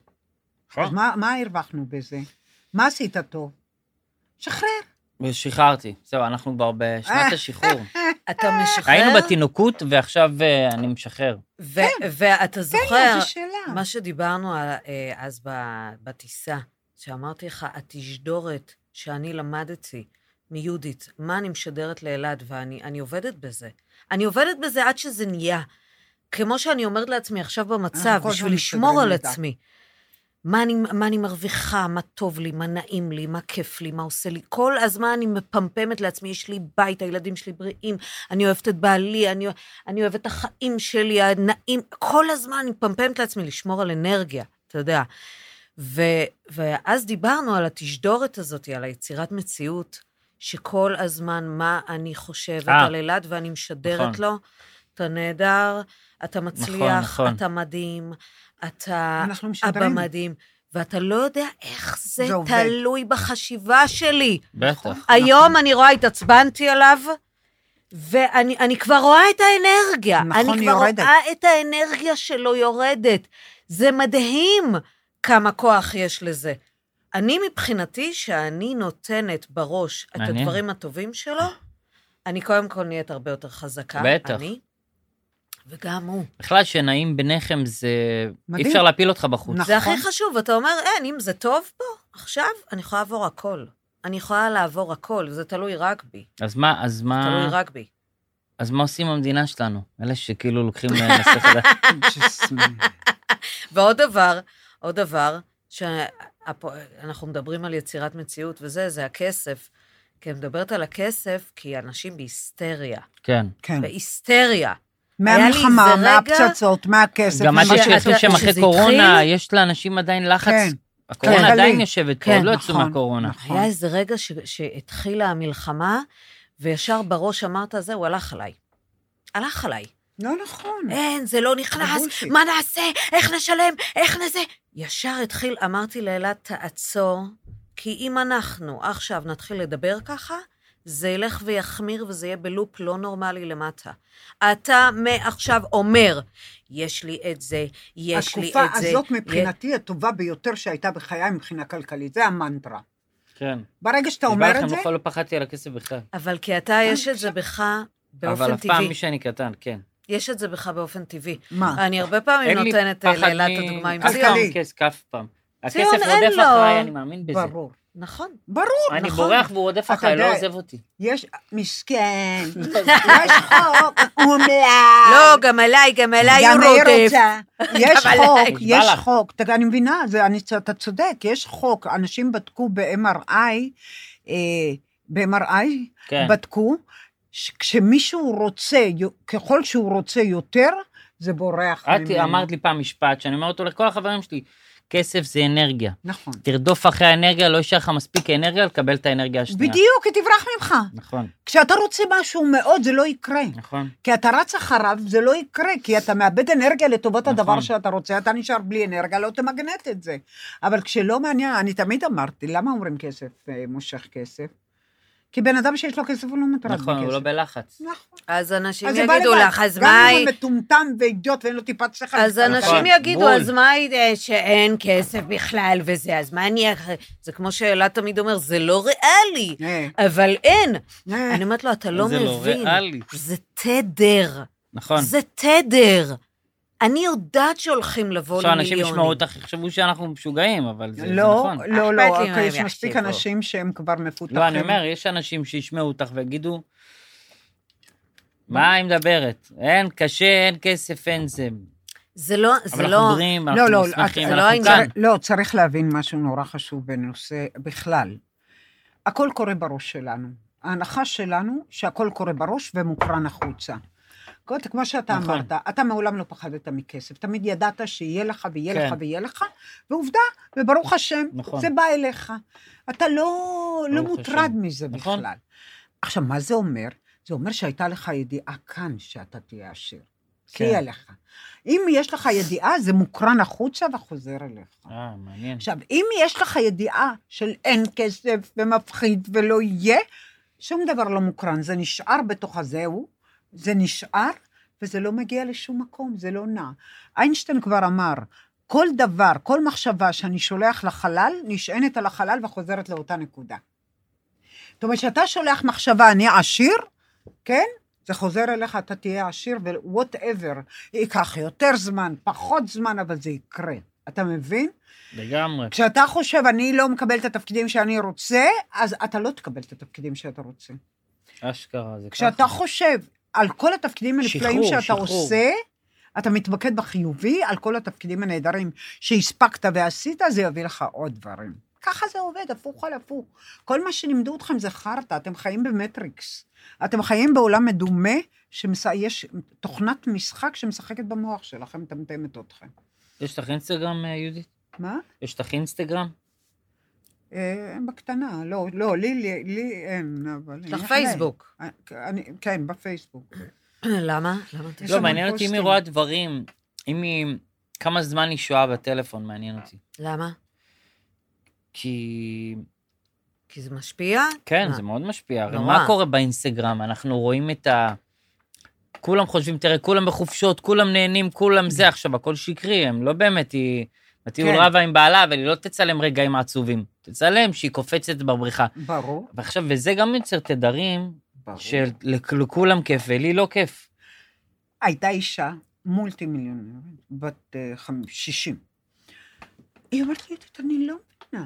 Speaker 3: אז מה, מה הרווחנו בזה? מה עשית טוב? שחרר.
Speaker 2: ושחררתי, זהו, אנחנו כבר
Speaker 1: אה.
Speaker 2: בשנת השחרור.
Speaker 1: אתה משחרר,
Speaker 2: היינו בתינוקות ועכשיו אה, אני משחרר.
Speaker 1: ו- ואתה
Speaker 3: תן לה,
Speaker 1: זוכר,
Speaker 3: זו שאלה.
Speaker 1: מה שדיברנו על, אה, אז ב- בטיסה, שאמרתי לך, התשדורת שאני למדתי מיהודית, מה אני משדרת לאלעד, ואני אני עובדת בזה. אני עובדת בזה עד שזה נהיה. כמו שאני אומרת לעצמי עכשיו במצב,
Speaker 3: אנחנו כל הזמן
Speaker 1: בשביל לשמור
Speaker 3: מסתדרים
Speaker 1: על
Speaker 3: איתה.
Speaker 1: עצמי. מה אני, מה אני מרוויחה, מה טוב לי, מה נעים לי, מה כיף לי, מה עושה לי. כל הזמן אני מפמפמת לעצמי, יש לי בית, הילדים שלי בריאים, אני אוהבת את בעלי, אני, אני אוהבת את החיים שלי, הנעים, כל הזמן אני מפמפמת לעצמי לשמור על אנרגיה, אתה יודע. ו, ואז דיברנו על התשדורת הזאת, על היצירת מציאות, שכל הזמן מה אני חושבת
Speaker 2: אה.
Speaker 1: על אלעד ואני משדרת
Speaker 2: נכון.
Speaker 1: לו, אתה נהדר, אתה מצליח,
Speaker 2: נכון.
Speaker 1: אתה מדהים, אתה
Speaker 3: אנחנו
Speaker 1: אבא
Speaker 3: משדרים.
Speaker 1: מדהים. ואתה לא יודע איך זה,
Speaker 3: זה עובד.
Speaker 1: תלוי בחשיבה שלי.
Speaker 2: בטח.
Speaker 1: נכון.
Speaker 3: נכון.
Speaker 1: היום אני רואה, התעצבנתי עליו, ואני אני כבר רואה את האנרגיה.
Speaker 3: נכון,
Speaker 1: אני
Speaker 3: היא
Speaker 1: כבר
Speaker 3: יורדת.
Speaker 1: רואה את האנרגיה שלו יורדת. זה מדהים כמה כוח יש לזה. אני מבחינתי, שאני נותנת בראש את
Speaker 2: מעניין.
Speaker 1: הדברים הטובים שלו, אני קודם כל נהיית הרבה יותר חזקה.
Speaker 2: בטח.
Speaker 1: אני, וגם הוא.
Speaker 2: בכלל, שנעים ביניכם זה... אי
Speaker 3: מדהים.
Speaker 2: אפשר להפיל אותך בחוץ.
Speaker 3: נכון.
Speaker 1: זה הכי חשוב, אתה אומר, אין, אם זה טוב פה, עכשיו, אני יכולה לעבור הכל. אני יכולה לעבור הכל, זה תלוי רק בי.
Speaker 2: אז מה, אז
Speaker 3: אה.
Speaker 1: תלוי
Speaker 2: מה,
Speaker 1: רק בי.
Speaker 2: אז מה עושים במדינה שלנו? אלה שכאילו לוקחים... אה, לשכל-
Speaker 3: ג'סמין.
Speaker 1: ועוד דבר, עוד דבר, שאנחנו מדברים על יצירת מציאות וזה, זה הכסף. כי אני מדברת על הכסף, כי אנשים בהיסטריה.
Speaker 2: כן.
Speaker 3: כן.
Speaker 1: בהיסטריה.
Speaker 3: מהמלחמה,
Speaker 1: רגע-
Speaker 3: מהפצצות, מהכסף.
Speaker 2: גם מה
Speaker 1: ממש-
Speaker 2: שיצאו
Speaker 1: אתה-
Speaker 2: שם אחרי
Speaker 1: כשזה
Speaker 2: קורונה,
Speaker 1: התחיל-
Speaker 2: יש לאנשים עדיין לחץ.
Speaker 3: כן.
Speaker 1: כן,
Speaker 2: הקורונה עדיין
Speaker 3: כלכלי.
Speaker 2: יושבת פה,
Speaker 1: כן,
Speaker 2: עוד לא יצאו
Speaker 3: נכון,
Speaker 2: מהקורונה.
Speaker 3: נכון.
Speaker 1: היה איזה רגע ש... שהתחילה המלחמה, וישר בראש אמרת, זהו, הלך עליי. הלך עליי.
Speaker 3: לא נכון.
Speaker 1: אין, זה לא נכנס,
Speaker 3: הבולשיט.
Speaker 1: מה נעשה, איך נשלם, איך נזה. ישר התחיל, אמרתי לאלה, תעצור, כי אם אנחנו עכשיו נתחיל לדבר ככה, זה ילך ויחמיר וזה יהיה בלופ לא נורמלי למטה. אתה מעכשיו אומר, יש לי את זה, יש לי את זה.
Speaker 3: התקופה הזאת
Speaker 1: יה-
Speaker 3: מבחינתי הטובה ביותר שהייתה בחיי מבחינה כלכלית, זה המנטרה.
Speaker 2: כן.
Speaker 3: ברגע שאתה
Speaker 2: נשבע
Speaker 3: אומר
Speaker 2: לכם,
Speaker 3: את זה,
Speaker 2: אף פעם לא פחדתי על הכסף בכלל.
Speaker 1: אבל כי אתה, יש את זה בך
Speaker 2: אבל
Speaker 1: באופן
Speaker 2: אף פעם
Speaker 1: טבעי.
Speaker 2: מי שאני קטן, כן.
Speaker 1: יש את זה בך באופן טבעי.
Speaker 3: מה?
Speaker 1: אני הרבה פעמים
Speaker 2: אין לי
Speaker 1: נותנת
Speaker 2: פחד
Speaker 1: לאלה את
Speaker 2: מ-
Speaker 1: הדוגמה עם
Speaker 2: אף
Speaker 1: ציון.
Speaker 3: כלכלי.
Speaker 2: פעם, כס- אף פעם. הכסף
Speaker 1: ציון, אין
Speaker 2: רודף
Speaker 1: לו.
Speaker 2: אחריי, אני מאמין בזה.
Speaker 3: ברור.
Speaker 1: נכון.
Speaker 3: ברור.
Speaker 2: אני
Speaker 1: נכון.
Speaker 2: בורח והוא רודף
Speaker 3: אתה
Speaker 2: אחריי, לא
Speaker 3: יודע-
Speaker 2: עוזב אותי.
Speaker 3: יש, מסכן, יש חוק, הוא מלאי.
Speaker 1: לא, גם עליי, גם עליי
Speaker 3: גם
Speaker 1: הוא
Speaker 3: היא
Speaker 1: רודף.
Speaker 3: רוצה. יש
Speaker 1: אבל-
Speaker 3: חוק,
Speaker 2: נשבע
Speaker 3: יש
Speaker 2: לך.
Speaker 3: חוק. תגיד, אני מבינה, זה- אני- אתה צודק, יש חוק. אנשים בדקו ב-MRI, אה, ב-MRI,
Speaker 2: כן.
Speaker 3: בדקו, שכשמישהו רוצה, יו- ככל שהוא רוצה יותר, זה בורח
Speaker 2: את אמרת לי פעם משפט שאני אומר אותו לכל החברים שלי, כסף זה אנרגיה.
Speaker 3: נכון.
Speaker 2: תרדוף אחרי האנרגיה, לא יישאר לך מספיק אנרגיה לקבל את האנרגיה השנייה.
Speaker 3: בדיוק, היא תברח ממך.
Speaker 2: נכון,
Speaker 3: כשאתה רוצה משהו מאוד, זה לא יקרה.
Speaker 2: נכון.
Speaker 3: כי אתה רץ אחריו, זה לא יקרה, כי אתה מאבד אנרגיה לטובת
Speaker 2: נכון.
Speaker 3: הדבר שאתה רוצה, אתה נשאר בלי אנרגיה, לא תמגנט את זה. אבל כשלא מעניין, אני תמיד אמרתי, למה אומרים כסף אה, מושך כסף? כי בן אדם שיש לו כסף הוא לא מטרד בכסף.
Speaker 2: נכון, הוא לא בלחץ.
Speaker 3: נכון.
Speaker 1: אז אנשים
Speaker 3: אז זה בא
Speaker 1: יגידו
Speaker 3: לבד.
Speaker 1: לך, אז
Speaker 3: גם
Speaker 1: מה
Speaker 3: אם
Speaker 1: היא...
Speaker 3: הוא מטומטם ואידיוט ואין לו טיפת שכל.
Speaker 1: אז
Speaker 3: נכון.
Speaker 1: אנשים יגידו,
Speaker 2: בול.
Speaker 1: אז מה היא, אה, שאין כסף בכלל וזה, אז מה אני... אח- זה כמו שאלה תמיד אומר, זה לא ריאלי,
Speaker 3: אה,
Speaker 1: אבל אין.
Speaker 3: אה.
Speaker 1: אני אומרת לו, אתה לא
Speaker 2: זה
Speaker 1: מבין.
Speaker 2: לא ריאלי.
Speaker 1: זה תדר.
Speaker 2: נכון.
Speaker 1: זה תדר. אני יודעת שהולכים לבוא
Speaker 2: עכשיו
Speaker 1: למיליונים.
Speaker 2: אנשים ישמעו אותך, יחשבו שאנחנו משוגעים, אבל זה זה
Speaker 3: לא,
Speaker 2: נכון.
Speaker 3: לא, לא,
Speaker 1: אכפת לי מה הם
Speaker 3: יש מספיק
Speaker 1: יחשבו.
Speaker 3: אנשים שהם כבר מפותחים.
Speaker 2: לא, אני אומר, יש אנשים שישמעו אותך ויגידו, מה היא מדברת? אין, קשה, אין כסף, אין זה.
Speaker 1: זה לא, זה
Speaker 2: אבל אנחנו
Speaker 1: לא...
Speaker 2: מדברים,
Speaker 3: לא, לא,
Speaker 2: אנחנו
Speaker 3: את-
Speaker 2: שמחים,
Speaker 1: זה לא
Speaker 2: אנחנו
Speaker 1: העניין.
Speaker 2: כאן.
Speaker 3: צריך- לא, צריך להבין משהו נורא חשוב בנושא בכלל. הכל קורה בראש שלנו. ההנחה שלנו שהכל קורה בראש ומוקרן החוצה. כל- כמו שאתה
Speaker 2: נכון.
Speaker 3: אמרת, אתה מעולם לא פחדת מכסף, תמיד ידעת שיהיה לך ויהיה
Speaker 2: כן.
Speaker 3: לך ויהיה לך, ועובדה, וברוך השם,
Speaker 2: נכון.
Speaker 3: זה בא אליך. אתה לא, לא
Speaker 2: ברוך
Speaker 3: מוטרד
Speaker 2: השם.
Speaker 3: מזה
Speaker 2: נכון.
Speaker 3: בכלל. עכשיו, מה זה אומר? זה אומר שהייתה לך ידיעה כאן שאתה תהיה עשיר.
Speaker 2: כן.
Speaker 3: כן. תהיה לך. אם יש לך ידיעה, זה מוקרן החוצה וחוזר אליך.
Speaker 2: אה, מעניין.
Speaker 3: עכשיו, אם יש לך ידיעה של אין כסף ומפחיד ולא יהיה, שום דבר לא מוקרן, זה נשאר בתוך הזהו, זה נשאר, וזה לא מגיע לשום מקום, זה לא נע. איינשטיין כבר אמר, כל דבר, כל מחשבה שאני שולח לחלל, נשענת על החלל וחוזרת לאותה נקודה. זאת אומרת, כשאתה שולח מחשבה, אני עשיר, כן? זה חוזר אליך, אתה תהיה עשיר, ו-whatever, ייקח יותר זמן, פחות זמן, אבל זה יקרה. אתה מבין?
Speaker 2: לגמרי.
Speaker 3: כשאתה חושב, אני לא מקבל את התפקידים שאני רוצה, אז אתה לא תקבל את התפקידים שאתה רוצה.
Speaker 2: אשכרה, זה ככה.
Speaker 3: כשאתה חושב על כל התפקידים הנפלאים
Speaker 2: נכון. שחרור,
Speaker 3: שאתה
Speaker 2: שחרור.
Speaker 3: עושה, אתה מתמקד בחיובי על כל התפקידים הנהדרים שהספקת ועשית, זה יביא לך עוד דברים. ככה זה עובד, הפוך על הפוך. כל מה שלימדו אתכם זה חרטא, אתם חיים במטריקס. אתם חיים בעולם מדומה, שיש תוכנת משחק שמשחקת במוח שלכם, מטמטמת אתכם.
Speaker 2: יש לך אינסטגרם, אה, יהודית?
Speaker 3: מה?
Speaker 2: יש לך אינסטגרם?
Speaker 3: אה, בקטנה, לא, לא, לי, לי, לי אין, אבל...
Speaker 1: יש לך
Speaker 3: אני-
Speaker 1: פייסבוק.
Speaker 3: אה, אני, כן, בפייסבוק.
Speaker 1: למה? למה? אתה-
Speaker 3: יש
Speaker 2: לא,
Speaker 3: המון
Speaker 2: מעניין אותי אם היא
Speaker 3: פוסטים.
Speaker 2: רואה דברים, אם היא... כמה זמן היא שוהה בטלפון, מעניין אותי.
Speaker 1: למה?
Speaker 2: כי...
Speaker 1: כי זה משפיע?
Speaker 2: כן,
Speaker 3: אה,
Speaker 1: מה?
Speaker 2: זה מאוד משפיע. הרי
Speaker 1: נורא.
Speaker 2: מה קורה באינסטגרם? אנחנו רואים את ה... כולם חושבים, תראה, כולם בחופשות, כולם נהנים, כולם זה. עכשיו, הכל שקרי, הם לא באמת, היא... בטיול
Speaker 3: כן.
Speaker 2: רבה עם בעלה, אבל היא לא תצלם רגעים עצובים. תצלם שהיא קופצת בבריכה.
Speaker 3: ברור,
Speaker 2: ועכשיו, וזה גם יוצר תדרים
Speaker 3: ברור.
Speaker 2: של לכ- לכולם כיף ולי לא כיף.
Speaker 3: הייתה אישה מולטי מיליונרית, בת אה, חמ- 60. היא אומרת לי, "יהודית, אני לא מבינה.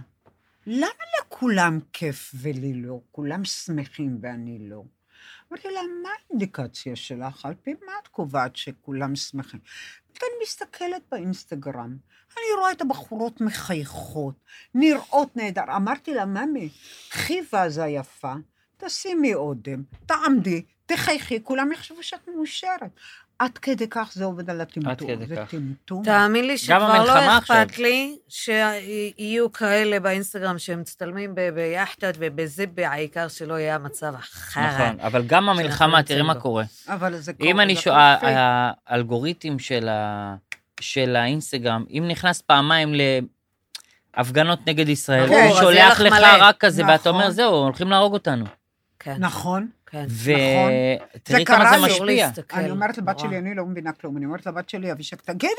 Speaker 3: למה לכולם כיף ולי לא? כולם שמחים ואני לא. אמרתי לה, מה האינדיקציה שלך? על פי מה את קובעת שכולם שמחים? אני מסתכלת באינסטגרם, אני רואה את הבחורות מחייכות, נראות נהדר. אמרתי לה, ממי, קחי ואזה יפה, תשימי אודם, תעמדי, תחייכי, כולם יחשבו שאת מאושרת. עד כדי כך זה עובד על הטמטום.
Speaker 2: עד כדי
Speaker 3: זה
Speaker 2: כך.
Speaker 3: טמטום.
Speaker 1: תאמין לי שכבר לא
Speaker 2: המלחמה עכשיו.
Speaker 1: אכפת לי שיהיו כאלה באינסטגרם שמצטלמים ב- ביאכטות ובזה, בעיקר שלא יהיה המצב
Speaker 3: אה,
Speaker 1: החרא.
Speaker 2: נכון, אבל גם המלחמה, תראי מה
Speaker 1: בו.
Speaker 2: קורה.
Speaker 3: אבל זה כל
Speaker 2: אם אני
Speaker 3: זה
Speaker 2: שואל, אה,
Speaker 3: כל פייק.
Speaker 2: האלגוריתם של ה- של האינסטגרם, אם נכנס פעמיים להפגנות נגד ישראל,
Speaker 3: ברור,
Speaker 2: הוא
Speaker 3: אז
Speaker 1: יהיה
Speaker 2: שולח
Speaker 1: לך
Speaker 2: לך
Speaker 1: מלא.
Speaker 2: רק כזה, ואתה
Speaker 3: נכון.
Speaker 2: אומר, זהו, הולכים להרוג אותנו.
Speaker 1: כן,
Speaker 3: נכון.
Speaker 1: כן.
Speaker 2: ותראי
Speaker 3: זה
Speaker 2: כמה
Speaker 3: קרה
Speaker 2: זה
Speaker 3: לי.
Speaker 1: אסור
Speaker 2: משפיע.
Speaker 1: להסתכל.
Speaker 3: אני אומרת לבת
Speaker 1: נורא.
Speaker 3: שלי, אני לא מבינה כלום, אני אומרת לבת שלי, אבישק, תגידי,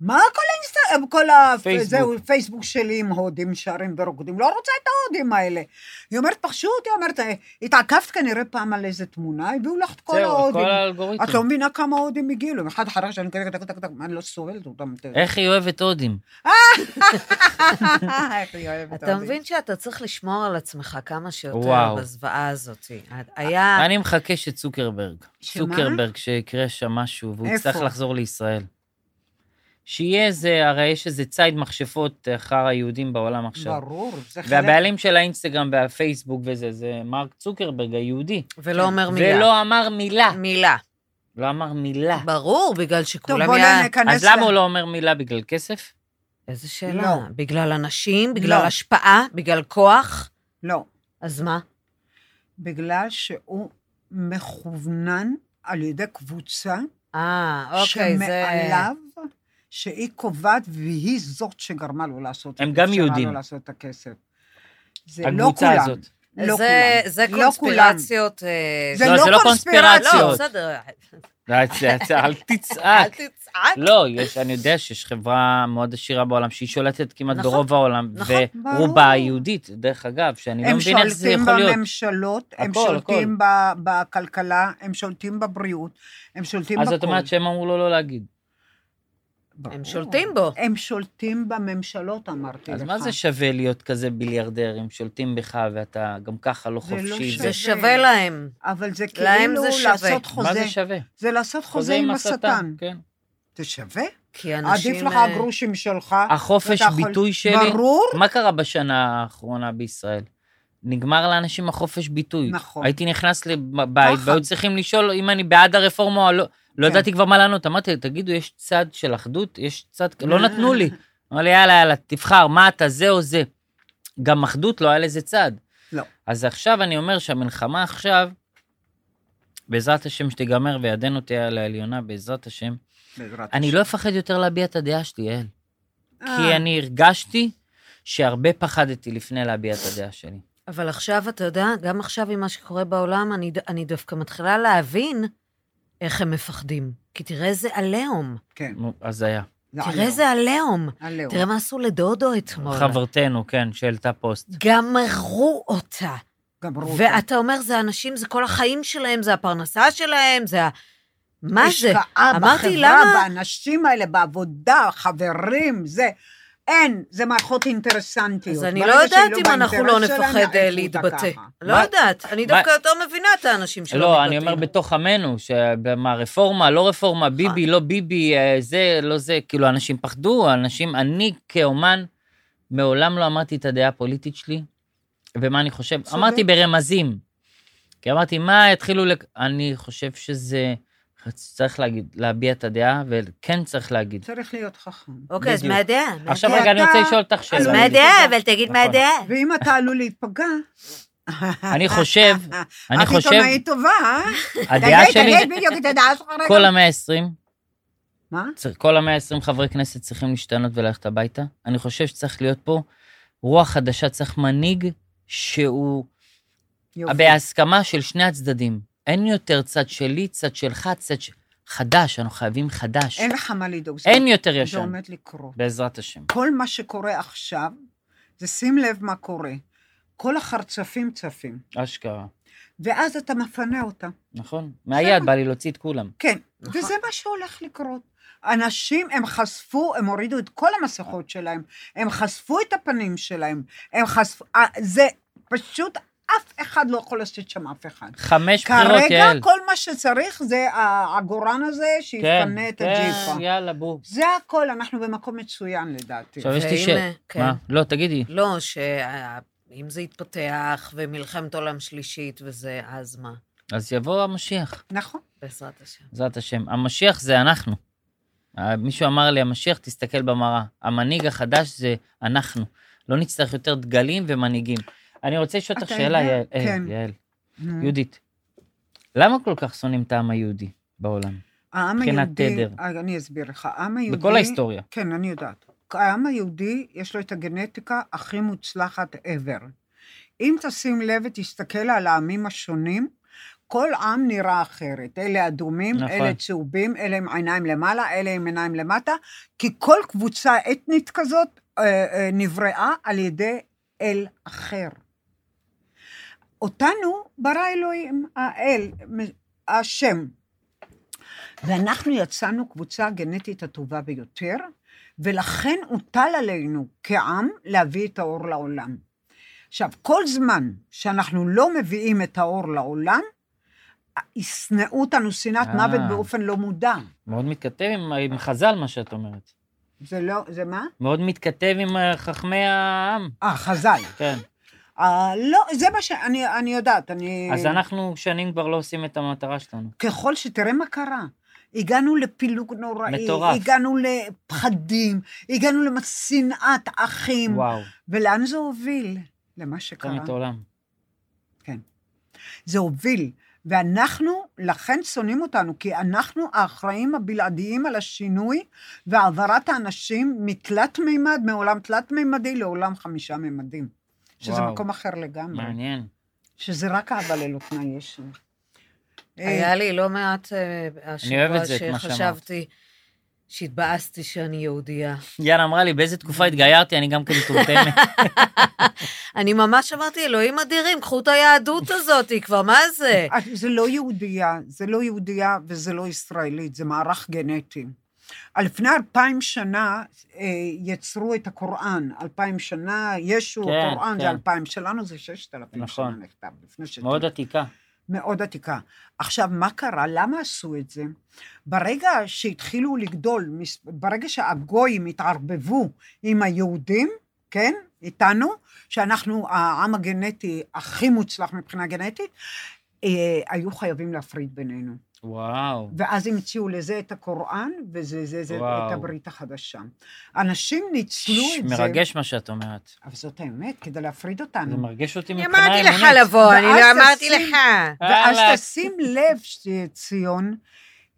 Speaker 3: מה כל האינסטגרם, כל ה...
Speaker 2: פייסבוק.
Speaker 3: זהו, פייסבוק שלי עם הודים שרים ורוקדים, לא רוצה את ההודים האלה. היא אומרת, פחשו אותי, היא אומרת, "אה, התעכבת כנראה פעם על איזה תמונה, הביאו לך את כל
Speaker 2: זהו,
Speaker 3: ההודים.
Speaker 2: כל
Speaker 3: את לא
Speaker 2: האלגוריתם.
Speaker 3: מבינה כמה הודים הגיעו, יום אחד אחרי שאני כזה, טק, טק, טק, אני לא סובלת אותם. אתה יודע.
Speaker 2: איך היא אוהבת הודים?
Speaker 3: איך היא אוהבת
Speaker 1: אתה
Speaker 3: ההודים.
Speaker 1: מבין שאתה צריך לשמור על עצמך כמה שיותר
Speaker 2: וואו.
Speaker 1: בזוועה הזאת. היה...
Speaker 2: אני מחכה שצוקרברג,
Speaker 3: אה. שמה?
Speaker 2: צוקרברג שיקרה שם משהו, והוא
Speaker 3: איפה?
Speaker 2: יצטרך לחזור לישראל. שיהיה איזה, הרי יש איזה ציד מכשפות אחר היהודים בעולם עכשיו.
Speaker 3: ברור, זה חלק.
Speaker 2: והבעלים של האינסטגרם והפייסבוק וזה, זה מרק צוקרברג היהודי.
Speaker 1: ולא אומר מילה.
Speaker 2: ולא אמר מילה.
Speaker 1: מילה.
Speaker 2: לא אמר מילה.
Speaker 1: ברור, בגלל
Speaker 3: טוב,
Speaker 1: שכולם...
Speaker 3: בוא
Speaker 1: היה-
Speaker 3: ניכנס...
Speaker 2: אז
Speaker 3: ל-
Speaker 2: למה הוא לא אומר מילה? בגלל כסף?
Speaker 1: איזה שאלה?
Speaker 3: לא.
Speaker 1: בגלל אנשים? בגלל
Speaker 3: לא.
Speaker 1: השפעה? בגלל כוח?
Speaker 3: לא,
Speaker 1: אז מה?
Speaker 3: בגלל שהוא מכוונן על ידי קבוצה
Speaker 1: אה, אוקיי, זה...
Speaker 3: שמעליו, שהיא קובעת והיא זאת שגרמה לו לעשות את
Speaker 2: הם
Speaker 3: זה,
Speaker 2: גם
Speaker 3: שאפשרה
Speaker 2: יהודים.
Speaker 3: לו לעשות את הכסף. זה לא
Speaker 2: הקבוצה
Speaker 3: כולם.
Speaker 2: הזאת.
Speaker 3: לא
Speaker 1: זה,
Speaker 3: כולם.
Speaker 1: זה
Speaker 3: לא
Speaker 1: קונספירציות... אה,
Speaker 3: זה
Speaker 2: לא, זה לא
Speaker 3: קונספירציה.
Speaker 1: לא,
Speaker 2: קונספירציות.
Speaker 1: בסדר,
Speaker 2: אל ת- אל
Speaker 1: אל
Speaker 2: תצעק.
Speaker 1: תצעק.
Speaker 2: לא, יש, אני יודע שיש חברה מאוד עשירה בעולם, שהיא שולטת כמעט
Speaker 1: נכון,
Speaker 2: ברוב העולם,
Speaker 1: נכון,
Speaker 2: ורובה
Speaker 3: ברור.
Speaker 2: יהודית, דרך אגב, שאני לא
Speaker 3: הם
Speaker 2: מבין איך זה
Speaker 3: שולטים
Speaker 2: יכול להיות.
Speaker 3: בממשלות, הם
Speaker 2: הכל,
Speaker 3: שולטים ב- בכלכלה, הם שולטים בבריאות, הם שולטים
Speaker 2: אז
Speaker 3: בכל.
Speaker 2: זאת אומרת שהם אמרו לו לא להגיד.
Speaker 3: ברור.
Speaker 1: הם שולטים בו.
Speaker 3: הם שולטים בממשלות, אמרתי לך.
Speaker 2: אז מה זה שווה להיות כזה ביליארדר, אם שולטים בך ואתה גם ככה לא
Speaker 3: זה לא
Speaker 2: חופשי?
Speaker 3: שווה.
Speaker 1: זה שווה להם.
Speaker 3: אבל זה
Speaker 1: להם
Speaker 3: כאילו
Speaker 1: זה שווה.
Speaker 3: לעשות
Speaker 2: מה
Speaker 3: חוזה.
Speaker 2: זה שווה?
Speaker 3: זה לעשות חוזה עם השטן.
Speaker 2: כן.
Speaker 3: זה שווה?
Speaker 1: כי אנשים...
Speaker 3: עדיף לך
Speaker 1: אה,
Speaker 3: הגרושים שלך.
Speaker 2: החופש
Speaker 3: ואתה יכול-
Speaker 2: ביטוי שלי,
Speaker 3: ברור.
Speaker 2: מה קרה בשנה האחרונה בישראל? נגמר לאנשים החופש ביטוי.
Speaker 3: נכון.
Speaker 2: הייתי נכנס לבית,
Speaker 3: פחד.
Speaker 2: והיו צריכים לשאול אם אני בעד הרפורמה או לא. לא
Speaker 3: כן.
Speaker 2: ידעתי כבר מה לענות. אמרתי, תגידו, יש צד של אחדות? יש צד... לא
Speaker 3: אה.
Speaker 2: נתנו לי. אמר לי, יאללה, יאללה, תבחר, מה אתה, זה או זה. גם אחדות, לא היה לזה צד.
Speaker 3: לא.
Speaker 2: אז עכשיו אני אומר שהמלחמה עכשיו, בעזרת השם שתיגמר וידנו תהיה על העליונה, בעזרת השם,
Speaker 3: בעזרת
Speaker 2: אני
Speaker 3: השם.
Speaker 2: לא אפחד יותר להביע את הדעה שלי, יעל. כי
Speaker 1: לא-
Speaker 3: אה.
Speaker 2: אני הרגשתי שהרבה פחדתי לפני להביע את הדעה שלי.
Speaker 1: אבל עכשיו, אתה יודע, גם עכשיו עם מה שקורה בעולם, אני, ד- אני דווקא מתחילה להבין איך הם מפחדים. כי תראה איזה עליהום.
Speaker 3: כן. לא,
Speaker 2: נו, הזיה.
Speaker 3: זה
Speaker 1: תראה
Speaker 3: עליהום.
Speaker 1: איזה עליהום.
Speaker 3: עליהום.
Speaker 1: תראה מה עשו לדודו אתמול.
Speaker 2: חברתנו, כן, שהעלתה פוסט.
Speaker 1: גמרו אותה.
Speaker 3: גמרו אותו.
Speaker 1: ואתה אומר, זה אנשים, זה כל החיים שלהם, זה הפרנסה שלהם, זה ה... מה זה?
Speaker 3: השקעה
Speaker 1: אמרתי,
Speaker 3: בחברה,
Speaker 1: למה-
Speaker 3: באנשים האלה, בעבודה, חברים, זה... אין, זה מערכות אינטרסנטיות.
Speaker 1: אז אני
Speaker 3: ברגע
Speaker 1: לא יודעת
Speaker 3: שהיא
Speaker 1: אם אנחנו לא
Speaker 3: באינטרס שלנו,
Speaker 1: נפחד
Speaker 3: יעיפו
Speaker 1: אה,
Speaker 3: אותה
Speaker 1: להתבטא.
Speaker 3: ככה.
Speaker 1: לא
Speaker 2: מה-
Speaker 1: יודעת. אני
Speaker 2: מה-
Speaker 1: דווקא יותר מבינה את האנשים שלא מתבטאים.
Speaker 2: לא, אני אומר בתוך עמנו, שמה, רפורמה, לא
Speaker 3: נכון.
Speaker 2: רפורמה, ביבי, לא ביבי, אה, זה, לא זה, כאילו, אנשים פחדו, אנשים, אני כאומן, מעולם לא אמרתי את הדעה הפוליטית שלי, ומה אני חושב.
Speaker 3: צודק.
Speaker 2: אמרתי ברמזים. כי אמרתי, מה, יתחילו לק... אני חושב שזה... צריך להגיד, להביע את הדעה, וכן צריך להגיד.
Speaker 3: צריך להיות חכם.
Speaker 1: אוקיי, אז
Speaker 2: בדיוק.
Speaker 1: מה הדעה? מה
Speaker 2: עכשיו
Speaker 1: הדעה?
Speaker 2: רגע, אני
Speaker 3: אתה-
Speaker 2: רוצה לשאול אותך
Speaker 1: אז
Speaker 2: שאלה.
Speaker 1: מה הדעה? אבל תגיד
Speaker 2: נכון.
Speaker 1: מה הדעה.
Speaker 3: ואם אתה עלול להיפגע...
Speaker 2: אני חושב, אני
Speaker 3: את
Speaker 2: חושב,
Speaker 3: עיתונאית טובה, אה?
Speaker 2: הדעה
Speaker 3: תגיד,
Speaker 2: שלי,
Speaker 3: תגיד בדיוק את הדעה שלך רגע.
Speaker 2: כל המאה ה-20,
Speaker 3: מה?
Speaker 2: צריך- כל המאה ה-20 חברי כנסת צריכים להשתנות וללכת הביתה. אני חושב שצריך להיות פה רוח חדשה, צריך מנהיג שהוא
Speaker 3: יופי.
Speaker 2: בהסכמה של שני הצדדים. אין יותר צד שלי, צד שלך, צד ש... חדש, אנחנו חייבים חדש.
Speaker 3: אין לך מה לדאוג. זה-
Speaker 2: אין יותר
Speaker 3: זה
Speaker 2: ישן,
Speaker 3: עומד לקרות.
Speaker 2: בעזרת השם.
Speaker 3: כל מה שקורה עכשיו, זה שים לב מה קורה. כל החרצפים צפים,
Speaker 2: אשכרה,
Speaker 3: ואז אתה מפנה אותם.
Speaker 2: נכון? מהיד בא לי להוציא את כולם.
Speaker 3: כן,
Speaker 1: נכון.
Speaker 3: וזה מה שהולך לקרות. אנשים, הם חשפו, הם הורידו את כל המסכות שלהם, הם חשפו את הפנים שלהם, הם חשפו... אה, זה פשוט אף אחד לא יכול לעשות שם אף אחד.
Speaker 2: חמש בחירות,
Speaker 3: כרגע
Speaker 2: יעל.
Speaker 3: כל מה שצריך זה העגורן הזה שיפנה את הג'יפה.
Speaker 2: כן, יאללה, בוא.
Speaker 3: זה הכל, אנחנו במקום מצוין לדעתי.
Speaker 2: עכשיו יש לי
Speaker 1: ואם,
Speaker 2: שאלה.
Speaker 1: כן.
Speaker 2: מה? לא, תגידי.
Speaker 1: לא, שאם זה יתפתח, ומלחמת עולם שלישית וזה, אז מה?
Speaker 2: אז יבוא המשיח,
Speaker 3: נכון.
Speaker 1: בעזרת השם.
Speaker 2: בעזרת השם. המשיח זה אנחנו. אה, מישהו אמר לי, המשיח, תסתכל במראה. המנהיג החדש זה אנחנו. לא נצטרך יותר דגלים ומנהיגים. אני רוצה לשאול אותך
Speaker 3: אתה
Speaker 2: שאלה,
Speaker 3: יודע?
Speaker 2: יעל. אה,
Speaker 3: כן.
Speaker 2: יעל.
Speaker 3: נו.
Speaker 2: יהודית, למה כל כך שונאים את העם היהודי בעולם?
Speaker 3: העם
Speaker 2: מבחינת
Speaker 3: היהודי,
Speaker 2: תדר.
Speaker 3: אה, אני אסביר לך, העם היהודי...
Speaker 2: בכל ההיסטוריה.
Speaker 3: כן, אני יודעת. העם היהודי, יש לו את הגנטיקה הכי מוצלחת ever. אם תשים לב ותסתכל על העמים השונים, כל עם נראה אחרת. אלה אדומים,
Speaker 2: נכון.
Speaker 3: נכון. אלה צהובים, אלה עם עיניים למעלה, אלה עם עיניים למטה, כי כל קבוצה אתנית כזאת אה, אה, נבראה על ידי אל אחר. אותנו ברא אלוהים, האל, מ- השם. ואנחנו יצאנו קבוצה הגנטית הטובה ביותר, ולכן הוטל עלינו כעם להביא את האור לעולם. עכשיו, כל זמן שאנחנו לא מביאים את האור לעולם, ישנאו אותנו שנאת
Speaker 2: אה.
Speaker 3: מוות באופן לא מודע.
Speaker 2: מאוד מתכתב עם, עם חז"ל, מה שאת אומרת.
Speaker 3: זה לא, זה מה?
Speaker 2: מאוד מתכתב עם אה, חכמי העם.
Speaker 3: אה, חז"ל.
Speaker 2: כן.
Speaker 3: אה, לא, זה מה שאני אני יודעת, אני...
Speaker 2: אז אנחנו שנים כבר לא עושים את המטרה שלנו.
Speaker 3: ככל שתראה מה קרה. הגענו לפילוג נוראי,
Speaker 2: מטורף.
Speaker 3: הגענו לפחדים, הגענו לשנאת אחים, וואו.
Speaker 2: וואו,
Speaker 3: ולאן זה הוביל? למה שקרה.
Speaker 2: מלחמת עולם.
Speaker 3: זה הוביל, ואנחנו, לכן שונאים אותנו, כי אנחנו האחראים הבלעדיים על השינוי והעברת האנשים מתלת מימד, מעולם תלת מימדי לעולם חמישה מימדים. שזה
Speaker 2: וואו.
Speaker 3: וואו. מקום אחר לגמרי.
Speaker 2: מעניין.
Speaker 3: שזה רק אהבה ללא תנאי יש שם. אה.
Speaker 1: היה לי לא מעט אה,
Speaker 2: אוהב
Speaker 1: השבוע
Speaker 2: את זה, את מה שאמרת.
Speaker 1: שחשבתי, שהתבאסתי שאני יהודייה.
Speaker 2: יאללה אמרה לי, באיזה תקופה התגיירתי, אני גם כן מטומטמת.
Speaker 1: אני ממש אמרתי, אלוהים אדירים, קחו את היהדות הזאת, כבר, מה זה?
Speaker 3: אה, זה לא יהודייה, זה לא יהודייה וזה לא ישראלית, זה מערך גנטי. על לפני אלפיים שנה אה, יצרו את הקוראן, אלפיים שנה, ישו,
Speaker 2: כן,
Speaker 3: הקוראן
Speaker 2: כן.
Speaker 3: זה אלפיים, שלנו זה ששת אלפים
Speaker 2: נכון.
Speaker 3: שנה נכתב, לפני שתיים.
Speaker 2: מאוד עתיקה.
Speaker 3: מאוד עתיקה. עכשיו, מה קרה? למה עשו את זה? ברגע שהתחילו לגדול, מס- ברגע שהגויים התערבבו עם היהודים, כן? איתנו, שאנחנו העם הגנטי הכי מוצלח מבחינה גנטית, אה, היו חייבים להפריד בינינו.
Speaker 2: וואו.
Speaker 3: ואז המציאו לזה את הקוראן, וזה זה, זה,
Speaker 2: וואו.
Speaker 3: את הברית החדשה. אנשים ניצלו
Speaker 2: ש-
Speaker 3: את זה. אמ,
Speaker 2: מרגש מה שאת אומרת.
Speaker 3: אבל זאת האמת, כדי להפריד
Speaker 2: זה
Speaker 3: אותנו.
Speaker 2: מרגש אותי
Speaker 1: אני
Speaker 2: מבחינה
Speaker 1: אמרתי
Speaker 2: אמונית.
Speaker 1: לך לבוא, אני לא
Speaker 3: ואז
Speaker 1: אמרתי
Speaker 3: תשים-
Speaker 1: לך.
Speaker 3: ואז
Speaker 2: וואלה.
Speaker 3: תשים לב, ש- ציון,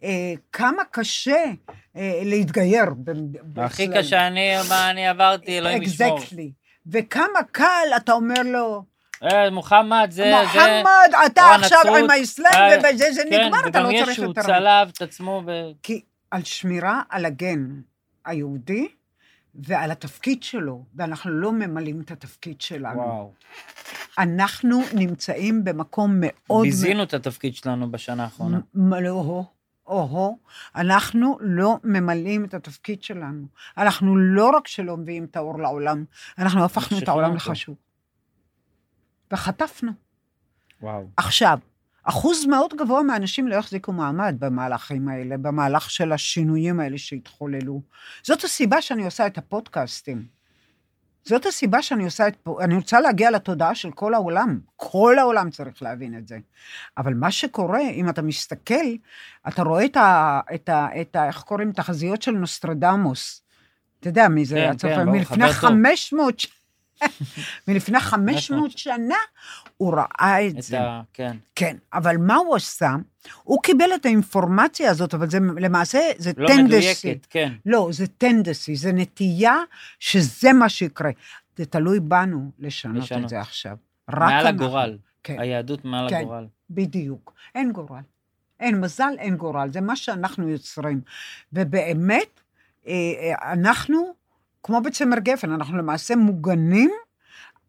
Speaker 3: אה, כמה קשה אה, להתגייר. ב-
Speaker 2: הכי
Speaker 3: אצלנו.
Speaker 2: קשה, אני, מה אני עברתי, אלוהים ישמור.
Speaker 3: Exactly. וכמה קל, אתה אומר לו,
Speaker 2: אה, מוחמד, זה, זה...
Speaker 3: מוחמד, אתה
Speaker 2: או
Speaker 3: עכשיו
Speaker 2: הנצרות,
Speaker 3: עם האסלאם,
Speaker 2: אה,
Speaker 3: ובזה זה
Speaker 2: כן,
Speaker 3: נגמר, אתה לא
Speaker 2: וגם
Speaker 3: צריך
Speaker 2: ישו
Speaker 3: יותר.
Speaker 2: צלב את עצמו, ב-
Speaker 3: כי על שמירה על הגן היהודי ועל התפקיד שלו, ואנחנו לא ממלאים את התפקיד שלנו.
Speaker 2: וואו.
Speaker 3: אנחנו נמצאים במקום מאוד
Speaker 2: ביזינו את התפקיד שלנו בשנה האחרונה.
Speaker 3: מ- לא, או, או, אנחנו לא ממלאים את התפקיד שלנו. אנחנו לא רק שלא מביאים את האור לעולם, אנחנו הפכנו את
Speaker 2: משחררים
Speaker 3: העולם
Speaker 2: אותו.
Speaker 3: לחשוב. וחטפנו.
Speaker 2: וואו.
Speaker 3: עכשיו, אחוז מאוד גבוה מהאנשים לא יחזיקו מעמד במהלכים האלה, במהלך של השינויים האלה שהתחוללו. זאת הסיבה שאני עושה את הפודקאסטים. זאת הסיבה שאני עושה את... פו- אני רוצה להגיע לתודעה של כל העולם. כל העולם צריך להבין את זה. אבל מה שקורה, אם אתה מסתכל, אתה רואה את ה... את ה, את ה איך קוראים? תחזיות של נוסטרדמוס. אתה יודע מי זה
Speaker 2: כן,
Speaker 3: הצופה?
Speaker 2: כן, ברור,
Speaker 3: מלפני
Speaker 2: חבר טוב.
Speaker 3: 500 ש- מלפני 500 שנה הוא ראה את
Speaker 2: את
Speaker 3: זה.
Speaker 2: ה... כן.
Speaker 3: כן, אבל מה הוא עשה? הוא קיבל את האינפורמציה הזאת, אבל זה למעשה, זה
Speaker 2: לא
Speaker 3: טנדסי.
Speaker 2: מדויקת, כן.
Speaker 3: לא, זה טנדסי, זה נטייה שזה מה שיקרה. זה תלוי בנו לשנות,
Speaker 2: לשנות.
Speaker 3: את זה עכשיו. רק
Speaker 2: מעל
Speaker 3: אנחנו.
Speaker 2: הגורל.
Speaker 3: כן,
Speaker 2: היהדות מעל
Speaker 3: כן.
Speaker 2: הגורל.
Speaker 3: בדיוק. אין גורל. אין מזל, אין גורל. זה מה שאנחנו יוצרים. ובאמת, אה, אה, אנחנו, כמו בצמר גפן, אנחנו למעשה מוגנים,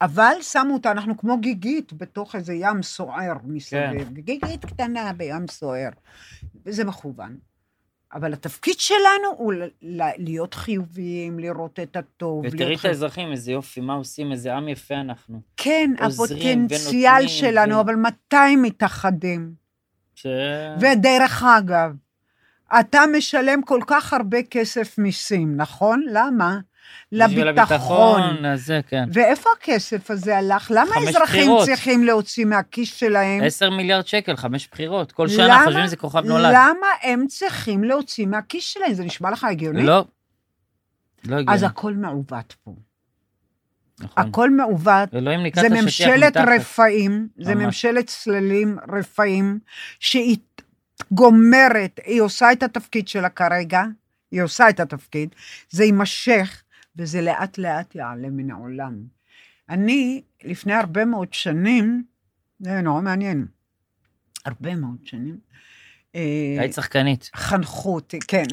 Speaker 3: אבל שמו אותה, אנחנו כמו גיגית בתוך איזה ים סוער מסביב. כן. גיגית קטנה בים סוער. וזה מכוון. אבל התפקיד שלנו הוא ל- ל- להיות חיוביים, לראות את הטוב.
Speaker 2: ותראי
Speaker 3: להיות
Speaker 2: את
Speaker 3: חי-
Speaker 2: האזרחים, איזה יופי, מה עושים, איזה עם יפה אנחנו.
Speaker 3: כן,
Speaker 2: עוזרים
Speaker 3: הפוטנציאל
Speaker 2: ונותנים כן.
Speaker 3: שלנו,
Speaker 2: ו-
Speaker 3: אבל מתי מתאחדים?
Speaker 2: ש...
Speaker 3: ודרך אגב, אתה משלם כל כך הרבה כסף מיסים, נכון? למה?
Speaker 2: בשביל
Speaker 3: לביטחון.
Speaker 2: הביטחון, אז זה, כן.
Speaker 3: ואיפה הכסף הזה הלך? למה
Speaker 2: חמש
Speaker 3: האזרחים
Speaker 2: בחירות.
Speaker 3: צריכים להוציא מהכיס שלהם?
Speaker 2: 10 מיליארד שקל, חמש בחירות. כל
Speaker 3: למה?
Speaker 2: שנה חושבים שזה כוכב נולד.
Speaker 3: למה הם צריכים להוציא מהכיס שלהם? זה נשמע לך הגיוני?
Speaker 2: לא. לא הגיוני.
Speaker 3: אז הכל מעוות פה.
Speaker 2: נכון.
Speaker 3: הכל מעוות.
Speaker 2: אלוהים ניקה את
Speaker 3: זה
Speaker 2: השטיח
Speaker 3: ממשלת
Speaker 2: מתחת.
Speaker 3: רפאים, זה
Speaker 2: ממש.
Speaker 3: ממשלת צללים רפאים, שהיא גומרת, היא עושה את התפקיד שלה כרגע, היא עושה את התפקיד, זה יימשך, וזה לאט לאט יעלה מן העולם. אני, לפני הרבה מאוד שנים, זה נורא מעניין, הרבה מאוד שנים, אה,
Speaker 2: היית שחקנית.
Speaker 3: חנכו אותי, כן,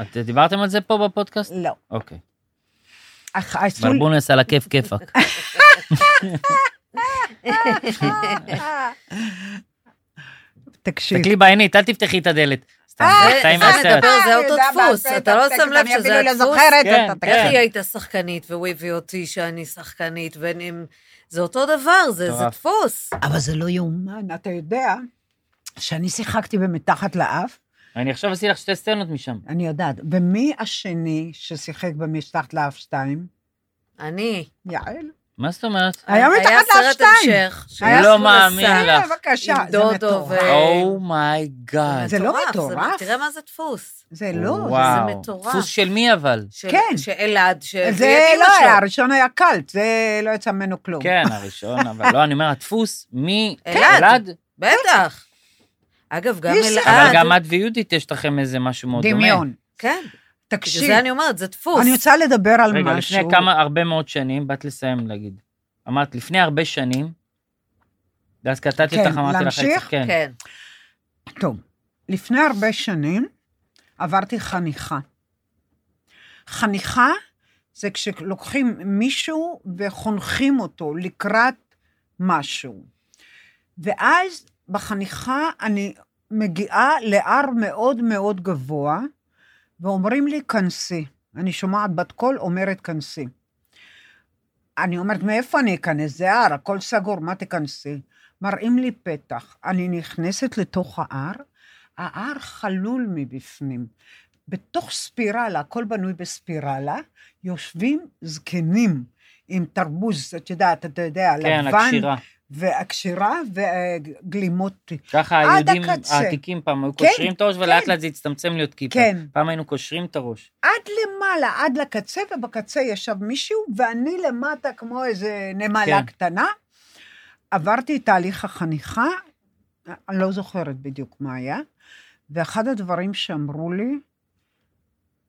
Speaker 2: את דיברתם על זה פה בפודקאסט?
Speaker 3: לא.
Speaker 2: אוקיי.
Speaker 3: אך עשו לי-
Speaker 2: ברבונס על הכיף כיפאק.
Speaker 3: תקשיב.
Speaker 2: תסתכלי בעינית, אל תפתחי את הדלת. סתם,
Speaker 3: אה,
Speaker 2: זה חיים
Speaker 1: אה,
Speaker 2: עשר.
Speaker 1: מדבר, זה
Speaker 3: אני
Speaker 1: אותו
Speaker 3: יודעת
Speaker 1: דפוס,
Speaker 3: בעל פה
Speaker 1: אתה
Speaker 3: את
Speaker 1: לא
Speaker 3: הטקסט,
Speaker 1: שם לב
Speaker 3: אני
Speaker 1: שזה
Speaker 3: אפילו לא
Speaker 1: הדפוס?
Speaker 3: זוכרת
Speaker 2: כן,
Speaker 3: את
Speaker 1: איך
Speaker 3: הטקסט.
Speaker 2: כן.
Speaker 1: היא הייתה שחקנית והוא הביא אותי שאני שחקנית, בין אם... זה אותו דבר, זה זה
Speaker 2: מטורף.
Speaker 1: דפוס.
Speaker 3: אבל זה לא יאומן, אתה יודע שאני שיחקתי במתחת לאף,
Speaker 2: אני עכשיו עשיתי לך שתי סצנות משם.
Speaker 3: אני יודעת, ומי השני ששיחק במתחת לאף 2?
Speaker 1: אני.
Speaker 3: יעל.
Speaker 2: מה זאת אומרת?
Speaker 3: היה מתחת לאף
Speaker 1: היה סרט
Speaker 3: 2.
Speaker 1: המשך.
Speaker 3: היה
Speaker 1: של
Speaker 2: לא
Speaker 1: אסון
Speaker 2: מאמין
Speaker 1: אסף.
Speaker 2: לך.
Speaker 3: אה, בבקשה,
Speaker 1: עם
Speaker 3: זה
Speaker 1: דודו
Speaker 3: מטורף.
Speaker 1: ו-
Speaker 2: Oh אומייגאד.
Speaker 3: אה. זה לא
Speaker 1: זה-
Speaker 3: מטורף.
Speaker 1: תראה מה זה דפוס.
Speaker 3: זה לא,
Speaker 2: וואו.
Speaker 1: זה מטורף.
Speaker 2: דפוס של מי אבל?
Speaker 1: של-
Speaker 3: כן.
Speaker 1: שאלעד,
Speaker 3: זה-
Speaker 1: שהביא
Speaker 3: זה
Speaker 1: את אמא
Speaker 3: לא היה,
Speaker 1: שלו.
Speaker 3: הראשון היה קלט, זה לא יצא ממנו כלום.
Speaker 2: כן, הראשון, אבל לא, אני אומר, הדפוס מי?
Speaker 1: אלעד.
Speaker 2: אלעד?
Speaker 1: בטח. אגב, גם
Speaker 3: איש אחד.
Speaker 2: אבל
Speaker 1: אלעד.
Speaker 2: גם את ויהודית יש לכם איזה משהו מאוד דומה.
Speaker 3: דמיון.
Speaker 1: כן, בגלל
Speaker 3: תקשיב,
Speaker 1: זה אני אומרת, זה דפוס.
Speaker 3: אני רוצה לדבר על
Speaker 2: רגע,
Speaker 3: משהו.
Speaker 2: לפני כמה, הרבה מאוד שנים, באת לסיים להגיד. אמרת, לפני הרבה שנים, ואז קטעתי
Speaker 3: כן,
Speaker 2: אותך, אמרתי לך,
Speaker 3: להמשיך?
Speaker 2: כן,
Speaker 1: כן.
Speaker 3: טוב, לפני הרבה שנים עברתי חניכה. חניכה זה כשלוקחים מישהו וחונכים אותו לקראת משהו. ואז בחניכה אני מגיעה להר מאוד מאוד גבוה, ואומרים לי, כנסי. אני שומעת בת קול אומרת, כנסי. אני אומרת, מאיפה אני אכנס? זה הר, הכל סגור, מה תיכנסי? מראים לי פתח. אני נכנסת לתוך ההר, ההר חלול מבפנים. בתוך ספירלה, הכל בנוי בספירלה, יושבים זקנים עם תרבוז, את יודעת, אתה יודע,
Speaker 2: כן,
Speaker 3: לבן,
Speaker 2: הקשירה.
Speaker 3: והקשירה וגלימות.
Speaker 2: ככה
Speaker 3: עד
Speaker 2: היהודים
Speaker 3: הקצה.
Speaker 2: העתיקים פעם היו
Speaker 3: כן,
Speaker 2: קושרים את הראש, ולאט
Speaker 3: כן.
Speaker 2: לאט זה הצטמצם להיות כיפה.
Speaker 3: כן.
Speaker 2: פעם היינו קושרים את הראש.
Speaker 3: עד למעלה, עד לקצה, ובקצה ישב מישהו, ואני למטה כמו איזה נמלה
Speaker 2: כן.
Speaker 3: כן. קטנה. עברתי את תהליך החניכה, אני לא זוכרת בדיוק מה היה, ואחד הדברים שאמרו לי,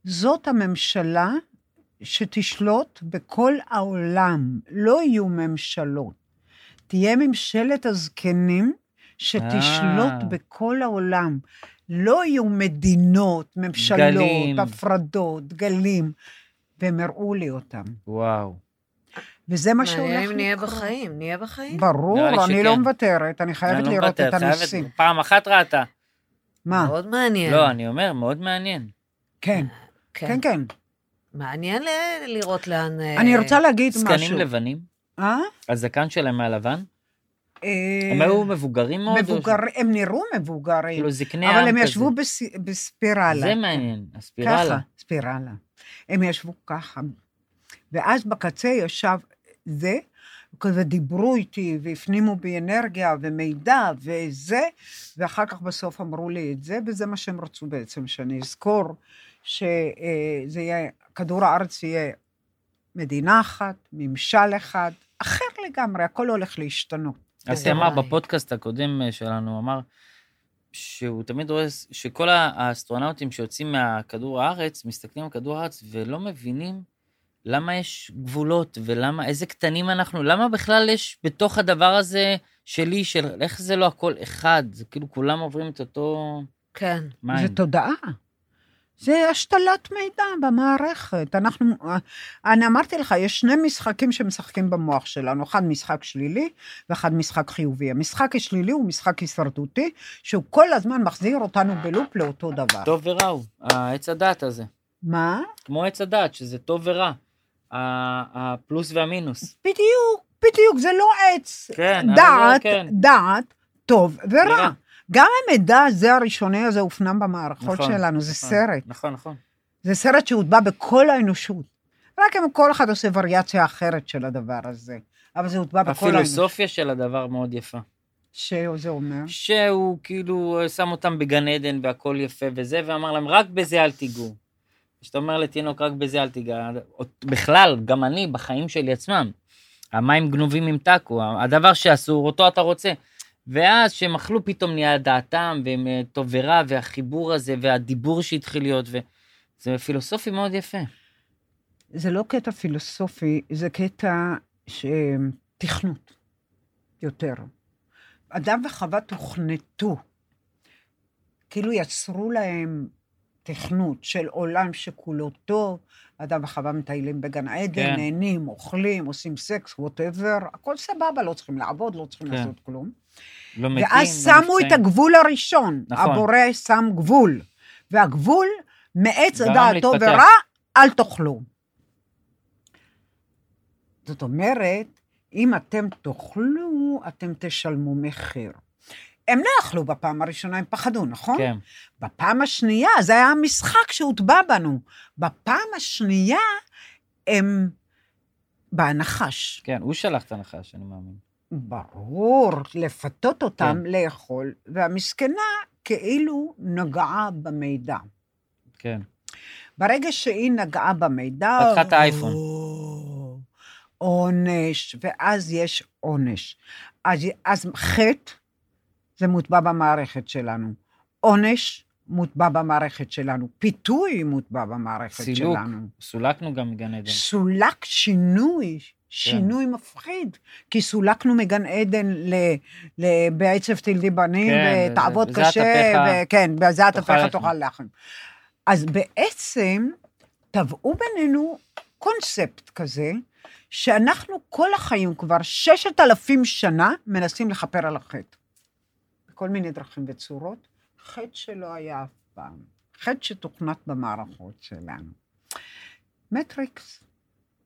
Speaker 3: זאת הממשלה שתשלוט בכל העולם, לא יהיו ממשלות. תהיה ממשלת הזקנים שתשלוט
Speaker 2: אה.
Speaker 3: בכל העולם. לא יהיו מדינות, ממשלות,
Speaker 2: גלים.
Speaker 3: הפרדות, גלים, והם הראו לי אותם.
Speaker 2: וואו.
Speaker 3: וזה מה שהולך
Speaker 1: מעניין אם
Speaker 3: לקרות.
Speaker 1: נהיה בחיים, נהיה בחיים.
Speaker 3: ברור,
Speaker 2: נראה לי
Speaker 3: אני
Speaker 2: שכן.
Speaker 3: לא מוותרת, אני
Speaker 2: אני
Speaker 3: חייבת
Speaker 2: לא
Speaker 3: לראות
Speaker 2: מוותר,
Speaker 3: את
Speaker 2: חייבת-
Speaker 3: הניסים. כן.
Speaker 2: פעם אחת ראתה.
Speaker 3: מה?
Speaker 1: מאוד מעניין. כן,
Speaker 2: לא, אני אומר, מאוד מעניין.
Speaker 3: כן, כן, כן.
Speaker 1: מעניין ל- לראות לאן... אה,
Speaker 3: אני רוצה להגיד משהו.
Speaker 2: זקנים לבנים,
Speaker 3: אה?
Speaker 2: הזקן שלהם היה לבן,
Speaker 3: אה,
Speaker 2: הם היו מבוגרים מאוד. או ש-
Speaker 3: מבוגר, הם נראו מבוגרים,
Speaker 2: כאילו זקני עם כזה.
Speaker 3: אבל הם ישבו בס- בספירלה.
Speaker 2: זה מעניין, הספירלה.
Speaker 3: ככה, ספירלה. הם ישבו ככה. ואז בקצה ישב זה, כזה דיברו איתי והפנימו בי אנרגיה ומידע וזה, ואחר כך בסוף אמרו לי את זה, וזה מה שהם רצו בעצם, שאני אזכור שזה יהיה, כדור הארץ יהיה מדינה אחת, ממשל אחד, אחר לגמרי, הכל הולך להשתנות.
Speaker 2: אז
Speaker 1: כן.
Speaker 2: אמר
Speaker 1: וואי.
Speaker 2: בפודקאסט הקודם אה, שלנו, הוא אמר שהוא תמיד רואה ס- שכל ה- האסטרונאוטים שיוצאים מהכדור הארץ, מסתכלים על כדור הארץ ולא מבינים למה יש גבולות ולמה, איזה קטנים אנחנו, למה בכלל יש בתוך הדבר הזה שלי, של איך זה לא הכל אחד, זה כאילו כולם עוברים את אותו
Speaker 1: כן.
Speaker 2: מים.
Speaker 3: זה תודעה. זה השתלת מידע במערכת. אנחנו, אני אמרתי לך, יש שני משחקים שמשחקים במוח שלנו, אחד משחק שלילי ואחד משחק חיובי. המשחק השלילי הוא משחק הישרדותי, שהוא כל הזמן מחזיר אותנו בלופ לאותו דבר.
Speaker 2: טוב ורע הוא, העץ הדעת הזה.
Speaker 3: מה?
Speaker 2: כמו עץ הדעת, שזה טוב ורע. ה- הפלוס והמינוס.
Speaker 3: בדיוק, בדיוק, זה לא עץ.
Speaker 2: כן, אבל לא,
Speaker 3: דעת,
Speaker 2: כן.
Speaker 3: דעת, טוב
Speaker 2: ורע.
Speaker 3: ורע. גם המידע הזה הראשוני הזה הופנם במערכות
Speaker 2: נכון,
Speaker 3: שלנו, זה
Speaker 2: נכון,
Speaker 3: סרט.
Speaker 2: נכון, נכון.
Speaker 3: זה סרט שהוטבע בכל האנושות. רק אם כל אחד עושה וריאציה אחרת של הדבר הזה. אבל זה הוטבע בכל האנושות.
Speaker 2: הפילוסופיה של הדבר מאוד יפה.
Speaker 3: שזה אומר.
Speaker 2: שהוא כאילו שם אותם בגן עדן והכל יפה וזה, ואמר להם, רק בזה אל תיגעו. כשאתה אומר לתינוק, רק בזה אל תיגע, בכלל, גם אני, בחיים שלי עצמם, המים גנובים עם טאקו, הדבר שאסור, אותו אתה רוצה. ואז שהם אכלו, פתאום נהיה דעתם, והם אה, טוב ורע, והחיבור הזה, והדיבור שהתחיל להיות, וזה פילוסופי מאוד יפה.
Speaker 3: זה לא קטע פילוסופי, זה קטע ש... תכנות יותר. אדם וחווה תוכנתו, כאילו יצרו להם תכנות של עולם שכולו טוב, אדם וחווה מטיילים בגן עדן,
Speaker 2: כן.
Speaker 3: כן. נהנים, אוכלים, עושים סקס, ווטאבר, הכל סבבה, לא צריכים לעבוד, לא צריכים
Speaker 2: כן.
Speaker 3: כן. לעשות כלום.
Speaker 2: לא מתים,
Speaker 3: ואז
Speaker 2: לא
Speaker 3: שמו את
Speaker 2: נפצעים.
Speaker 3: הגבול הראשון.
Speaker 2: נכון.
Speaker 3: נכון. הבורא שם גבול. והגבול, מעץ
Speaker 2: גרם
Speaker 3: הדעתו
Speaker 2: להתפתח.
Speaker 3: ורע, אל תאכלו. זאת אומרת, אם אתם תאכלו, אתם תשלמו מחיר. הם לא אכלו בפעם הראשונה, הם פחדו, נכון?
Speaker 2: כן,
Speaker 3: בפעם השנייה, זה היה המשחק שהוטבע בנו. בפעם השנייה, הם... בהנחש.
Speaker 2: כן, הוא שלח את הנחש, אני מאמין.
Speaker 3: ברור, לפתות אותם כן. לאכול, והמסכנה כאילו נגעה במידע.
Speaker 2: כן.
Speaker 3: ברגע שהיא נגעה במידע...
Speaker 2: פתחה את האייפון.
Speaker 3: או, עונש, ואז יש עונש. אז, אז חטא זה מוטבע במערכת שלנו. עונש מוטבע במערכת שלנו. פיתוי מוטבע במערכת
Speaker 2: סילוק.
Speaker 3: שלנו.
Speaker 2: סולקנו גם מגן עדן. כן.
Speaker 3: סולק שינוי, שינוי מפחיד, כי סולקנו מגן עדן ל, ל, בעצב תלדי בנים,
Speaker 2: כן,
Speaker 3: ותעבוד
Speaker 2: וזה-
Speaker 3: קשה,
Speaker 2: זעת אפיך-
Speaker 3: וכן, בזעת
Speaker 2: תאכל לחם.
Speaker 3: אפיך תאכל לחם. אז בעצם טבעו בינינו קונספט כזה, שאנחנו כל החיים כבר ששת אלפים שנה מנסים לכפר על החטא. בכל מיני דרכים וצורות, חטא שלא היה אף פעם, חטא שתוכנת במערכות שלנו. מטריקס,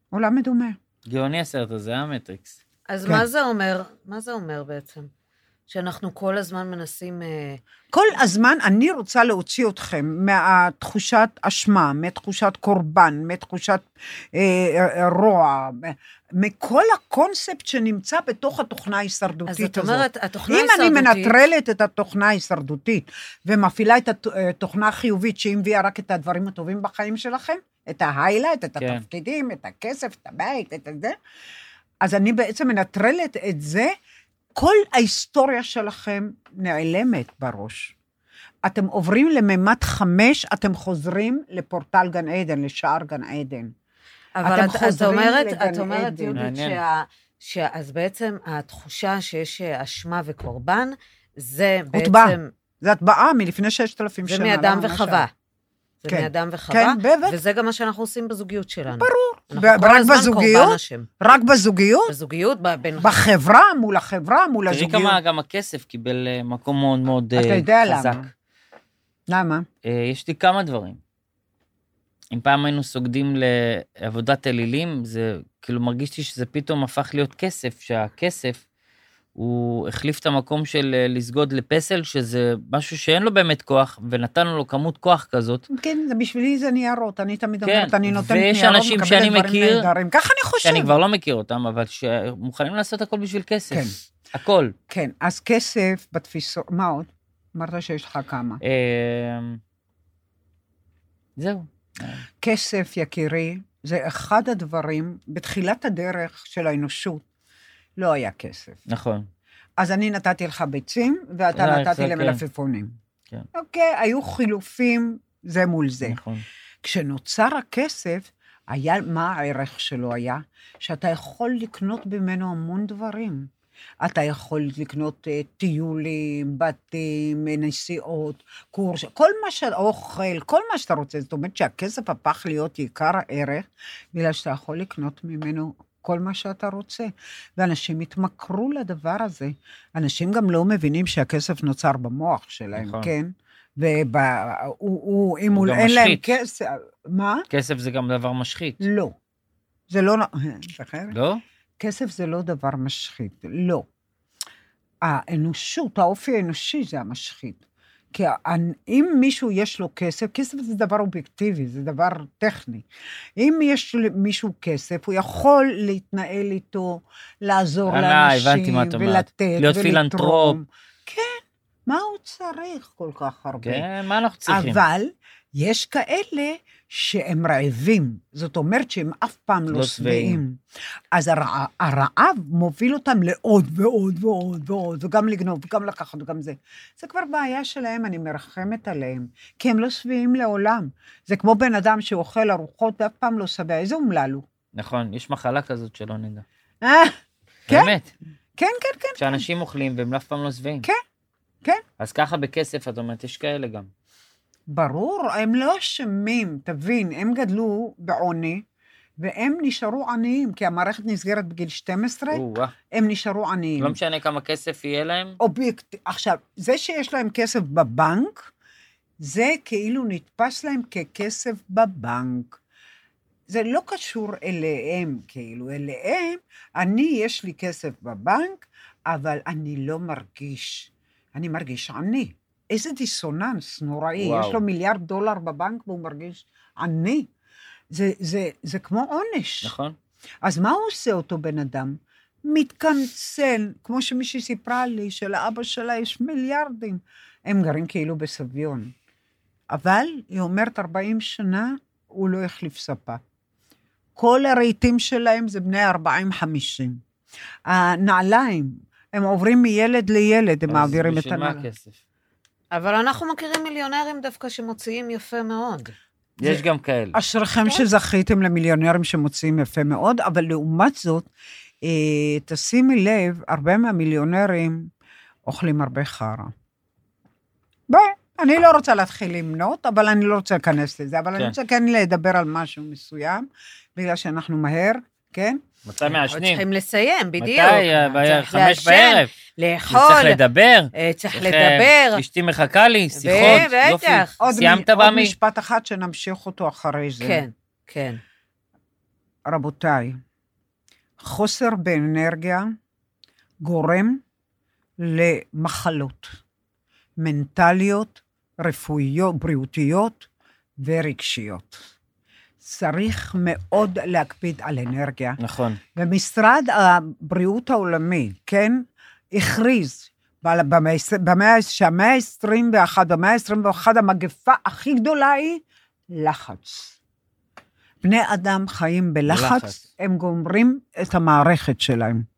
Speaker 3: עולם מדומה.
Speaker 2: גאוני הסרט הזה, אה, מטריקס?
Speaker 1: אז
Speaker 3: כן.
Speaker 1: מה זה אומר? מה זה אומר בעצם? שאנחנו כל הזמן מנסים... אה,
Speaker 3: כל הזמן אני רוצה להוציא אתכם מהתחושת אשמה, מתחושת קורבן, מתחושת אה, אה, רוע, מכל הקונספט שנמצא בתוך התוכנה ההישרדותית
Speaker 1: אז
Speaker 3: הזאת.
Speaker 1: את אומרת, התוכנה
Speaker 3: אם אני
Speaker 1: ההישרדותית...
Speaker 3: מנטרלת את התוכנה ההישרדותית ומפעילה את הת- אה, התוכנה החיובית שהיא מביאה רק את הדברים הטובים בחיים שלכם, את ההיילייט, את
Speaker 2: כן.
Speaker 3: התפקידים, את הכסף, את הבית, את זה, אז אני בעצם מנטרלת את זה, כל ההיסטוריה שלכם נעלמת בראש. אתם עוברים לממד חמש, אתם חוזרים לפורטל גן עדן, לשער גן עדן.
Speaker 1: אבל
Speaker 3: אתם
Speaker 1: את, את
Speaker 3: חוזרים
Speaker 1: אומרת,
Speaker 3: לגן
Speaker 1: את אומרת,
Speaker 3: עדן.
Speaker 1: יהודית,
Speaker 2: מעניין.
Speaker 1: שה, שה, אז בעצם התחושה שיש אה, אשמה וקורבן, זה
Speaker 3: הוטבע.
Speaker 1: בעצם...
Speaker 3: זו הטבעה מלפני ששת אלפים שנה.
Speaker 1: זה מאדם
Speaker 3: למה מה
Speaker 1: וחווה.
Speaker 3: שם?
Speaker 1: זה
Speaker 3: כן.
Speaker 1: מאדם וחווה,
Speaker 3: כן, בטח.
Speaker 1: וזה גם מה שאנחנו עושים בזוגיות שלנו.
Speaker 3: ברור.
Speaker 1: אנחנו כל
Speaker 3: ורק
Speaker 1: הזמן קורבן
Speaker 3: בזוגיות?
Speaker 1: השם.
Speaker 3: רק בזוגיות?
Speaker 1: בזוגיות, ב- בין...
Speaker 3: בחברה, מול החברה, מול
Speaker 2: תראי
Speaker 3: הזוגיות.
Speaker 2: כמה גם הכסף קיבל אה, מקום מאוד מאוד אה, חזק.
Speaker 3: אתה יודע למה. למה?
Speaker 2: אה, יש לי כמה דברים. אם פעם היינו סוגדים לעבודת אלילים, זה כאילו מרגיש לי שזה פתאום הפך להיות כסף, שהכסף הוא החליף את המקום של אה, לסגוד לפסל, שזה משהו שאין לו באמת כוח, ונתנו לו כמות כוח כזאת,
Speaker 3: כן, זה בשבילי זה ניירות, אני תמיד
Speaker 2: כן,
Speaker 3: אומרת, אני נותנת
Speaker 2: ויש
Speaker 3: ניירות,
Speaker 2: אנשים
Speaker 3: מקבלת
Speaker 2: שאני
Speaker 3: דברים
Speaker 2: מכיר,
Speaker 3: נהדרים. ככה אני חושבת.
Speaker 2: שאני כבר לא מכיר אותם, אבל שמוכנים לעשות הכל בשביל כסף.
Speaker 3: כן.
Speaker 2: הכל.
Speaker 3: כן, אז כסף בתפיסות, מה עוד? אמרת שיש לך כמה.
Speaker 2: אה, זהו.
Speaker 3: כסף, יקירי, זה אחד הדברים, בתחילת הדרך של האנושות, לא היה כסף.
Speaker 2: נכון.
Speaker 3: אז אני נתתי לך ביצים, ואתה
Speaker 2: אה,
Speaker 3: נתתי
Speaker 2: זה כן.
Speaker 3: למלפפונים.
Speaker 2: כן.
Speaker 3: אוקיי, היו חילופים זה מול זה.
Speaker 2: נכון.
Speaker 3: כשנוצר הכסף, היה, מה הערך שלו היה? שאתה יכול לקנות ממנו המון דברים. אתה יכול לקנות אה, טיולים, בתים, אה, נסיעות, קורס, כל מה ש... אוכל, כל מה שאתה רוצה. זאת אומרת שהכסף הפך להיות עיקר הערך, בגלל שאתה יכול לקנות ממנו כל מה שאתה רוצה. ואנשים התמכרו לדבר הזה. אנשים גם לא מבינים שהכסף נוצר במוח שלהם,
Speaker 2: נכון.
Speaker 3: נכון. כן? ואם
Speaker 2: הוא
Speaker 3: הוא,
Speaker 2: גם
Speaker 3: אין להם
Speaker 2: משחית.
Speaker 3: כסף... מה?
Speaker 2: כסף זה גם דבר משחית,
Speaker 3: לא. זה לא... נ- זוכרת?
Speaker 2: לא?
Speaker 3: כסף זה לא דבר משחית, לא. האנושות, האופי האנושי זה המשחית. כי האנ- אם מישהו יש לו כסף, כסף זה דבר אובייקטיבי, זה דבר טכני. אם יש למישהו כסף, הוא יכול להתנהל איתו, לעזור
Speaker 2: אה,
Speaker 3: לאנשים,
Speaker 2: הבנתי מה את אומרת.
Speaker 3: ולתת,
Speaker 2: להיות פילנטרופ.
Speaker 3: כן, מה הוא צריך כל כך הרבה?
Speaker 2: כן, מה אנחנו צריכים?
Speaker 3: אבל יש כאלה שהם רעבים, זאת אומרת שהם אף פעם לא,
Speaker 2: לא
Speaker 3: לא
Speaker 2: שבעים.
Speaker 3: שבעים. אז הרע, הרעב מוביל אותם לעוד ועוד ועוד ועוד, וגם לגנוב, וגם לקחת, וגם זה. זה כבר בעיה שלהם, אני מרחמת עליהם, כי הם לא שבעים לעולם. זה כמו בן אדם שאוכל ארוחות ואף פעם לא שבע, איזה אומלל הוא.
Speaker 2: נכון, יש מחלה כזאת שלא נדע.
Speaker 3: אה, כן?
Speaker 2: באמת,
Speaker 3: כן, כן, כן.
Speaker 2: שאנשים אוכלים והם אף פעם לא שבעים.
Speaker 3: כן, כן.
Speaker 2: אז ככה בכסף, את אומרת, יש כאלה גם.
Speaker 3: ברור, הם לא אשמים, תבין, הם גדלו בעוני, והם נשארו עניים, כי המערכת נסגרת בגיל 12,
Speaker 2: או-אה.
Speaker 3: הם נשארו עניים.
Speaker 2: לא משנה כמה כסף יהיה להם,
Speaker 3: אובייקט... עכשיו, זה שיש להם כסף בבנק, זה כאילו נתפס להם ככסף בבנק. זה לא קשור אליהם, כאילו, אליהם, אני, יש לי כסף בבנק, אבל אני לא מרגיש, אני מרגיש עני. איזה דיסוננס נוראי,
Speaker 2: וואו.
Speaker 3: וואו. יש לו מיליארד דולר בבנק והוא מרגיש עני. זה, זה, זה כמו עונש.
Speaker 2: נכון?
Speaker 3: אז מה הוא עושה אותו בן אדם? מתקמצן, כמו שמישהי סיפרה לי, שלאבא שלה יש מיליארדים. הם גרים כאילו בסביון. אבל, היא אומרת, 40 שנה הוא לא החליף ספה. כל הרהיטים שלהם זה בני 40-50. הנעליים, הם עוברים מילד לילד, הם
Speaker 2: אז
Speaker 3: מעבירים את
Speaker 2: בשביל מה
Speaker 3: הנעליים.
Speaker 2: הכסף?
Speaker 1: אבל אנחנו מכירים מיליונרים דווקא שמוציאים יפה מאוד.
Speaker 3: זה- אה,
Speaker 2: יש גם כאלה.
Speaker 3: אשריכם שזכיתם למיליונרים שמוציאים יפה מאוד, אבל לעומת זאת, אה, תשימי לב, הרבה מהמיליונרים אוכלים הרבה חרא. ביי, אני לא רוצה להתחיל למנות, אבל אני לא רוצה להיכנס לזה, אבל
Speaker 2: כן.
Speaker 3: אני רוצה כן לדבר על משהו מסוים, בגלל שאנחנו מהר, כן?
Speaker 2: מתי מעשנים?
Speaker 3: אה,
Speaker 1: צריכים לסיים, בדיוק.
Speaker 2: אה, מתי? אה, בערב,
Speaker 1: צריך
Speaker 2: חמש
Speaker 1: לעשן,
Speaker 2: בערב. צריך
Speaker 1: לאכול,
Speaker 2: לדבר.
Speaker 1: אה, צריך
Speaker 2: צריך, אה,
Speaker 1: לדבר.
Speaker 2: אשתי מחכה לי, שיחות, יופי.
Speaker 1: בטח.
Speaker 3: עוד,
Speaker 2: סיימת,
Speaker 3: מ- עוד
Speaker 2: במי?
Speaker 3: משפט אחד שנמשיך אותו אחרי זה.
Speaker 1: כן, כן.
Speaker 3: רבותיי, חוסר באנרגיה גורם למחלות מנטליות, רפואיות, בריאותיות ורגשיות. צריך מאוד להקפיד על אנרגיה.
Speaker 2: נכון.
Speaker 3: ומשרד הבריאות העולמי, כן, הכריז ב- במאה ה- במאה- שהמאה ה-21, במאה ה-21 המגפה הכי גדולה היא לחץ. בני אדם חיים בלחץ,
Speaker 2: בלחץ.
Speaker 3: הם גומרים את המערכת שלהם.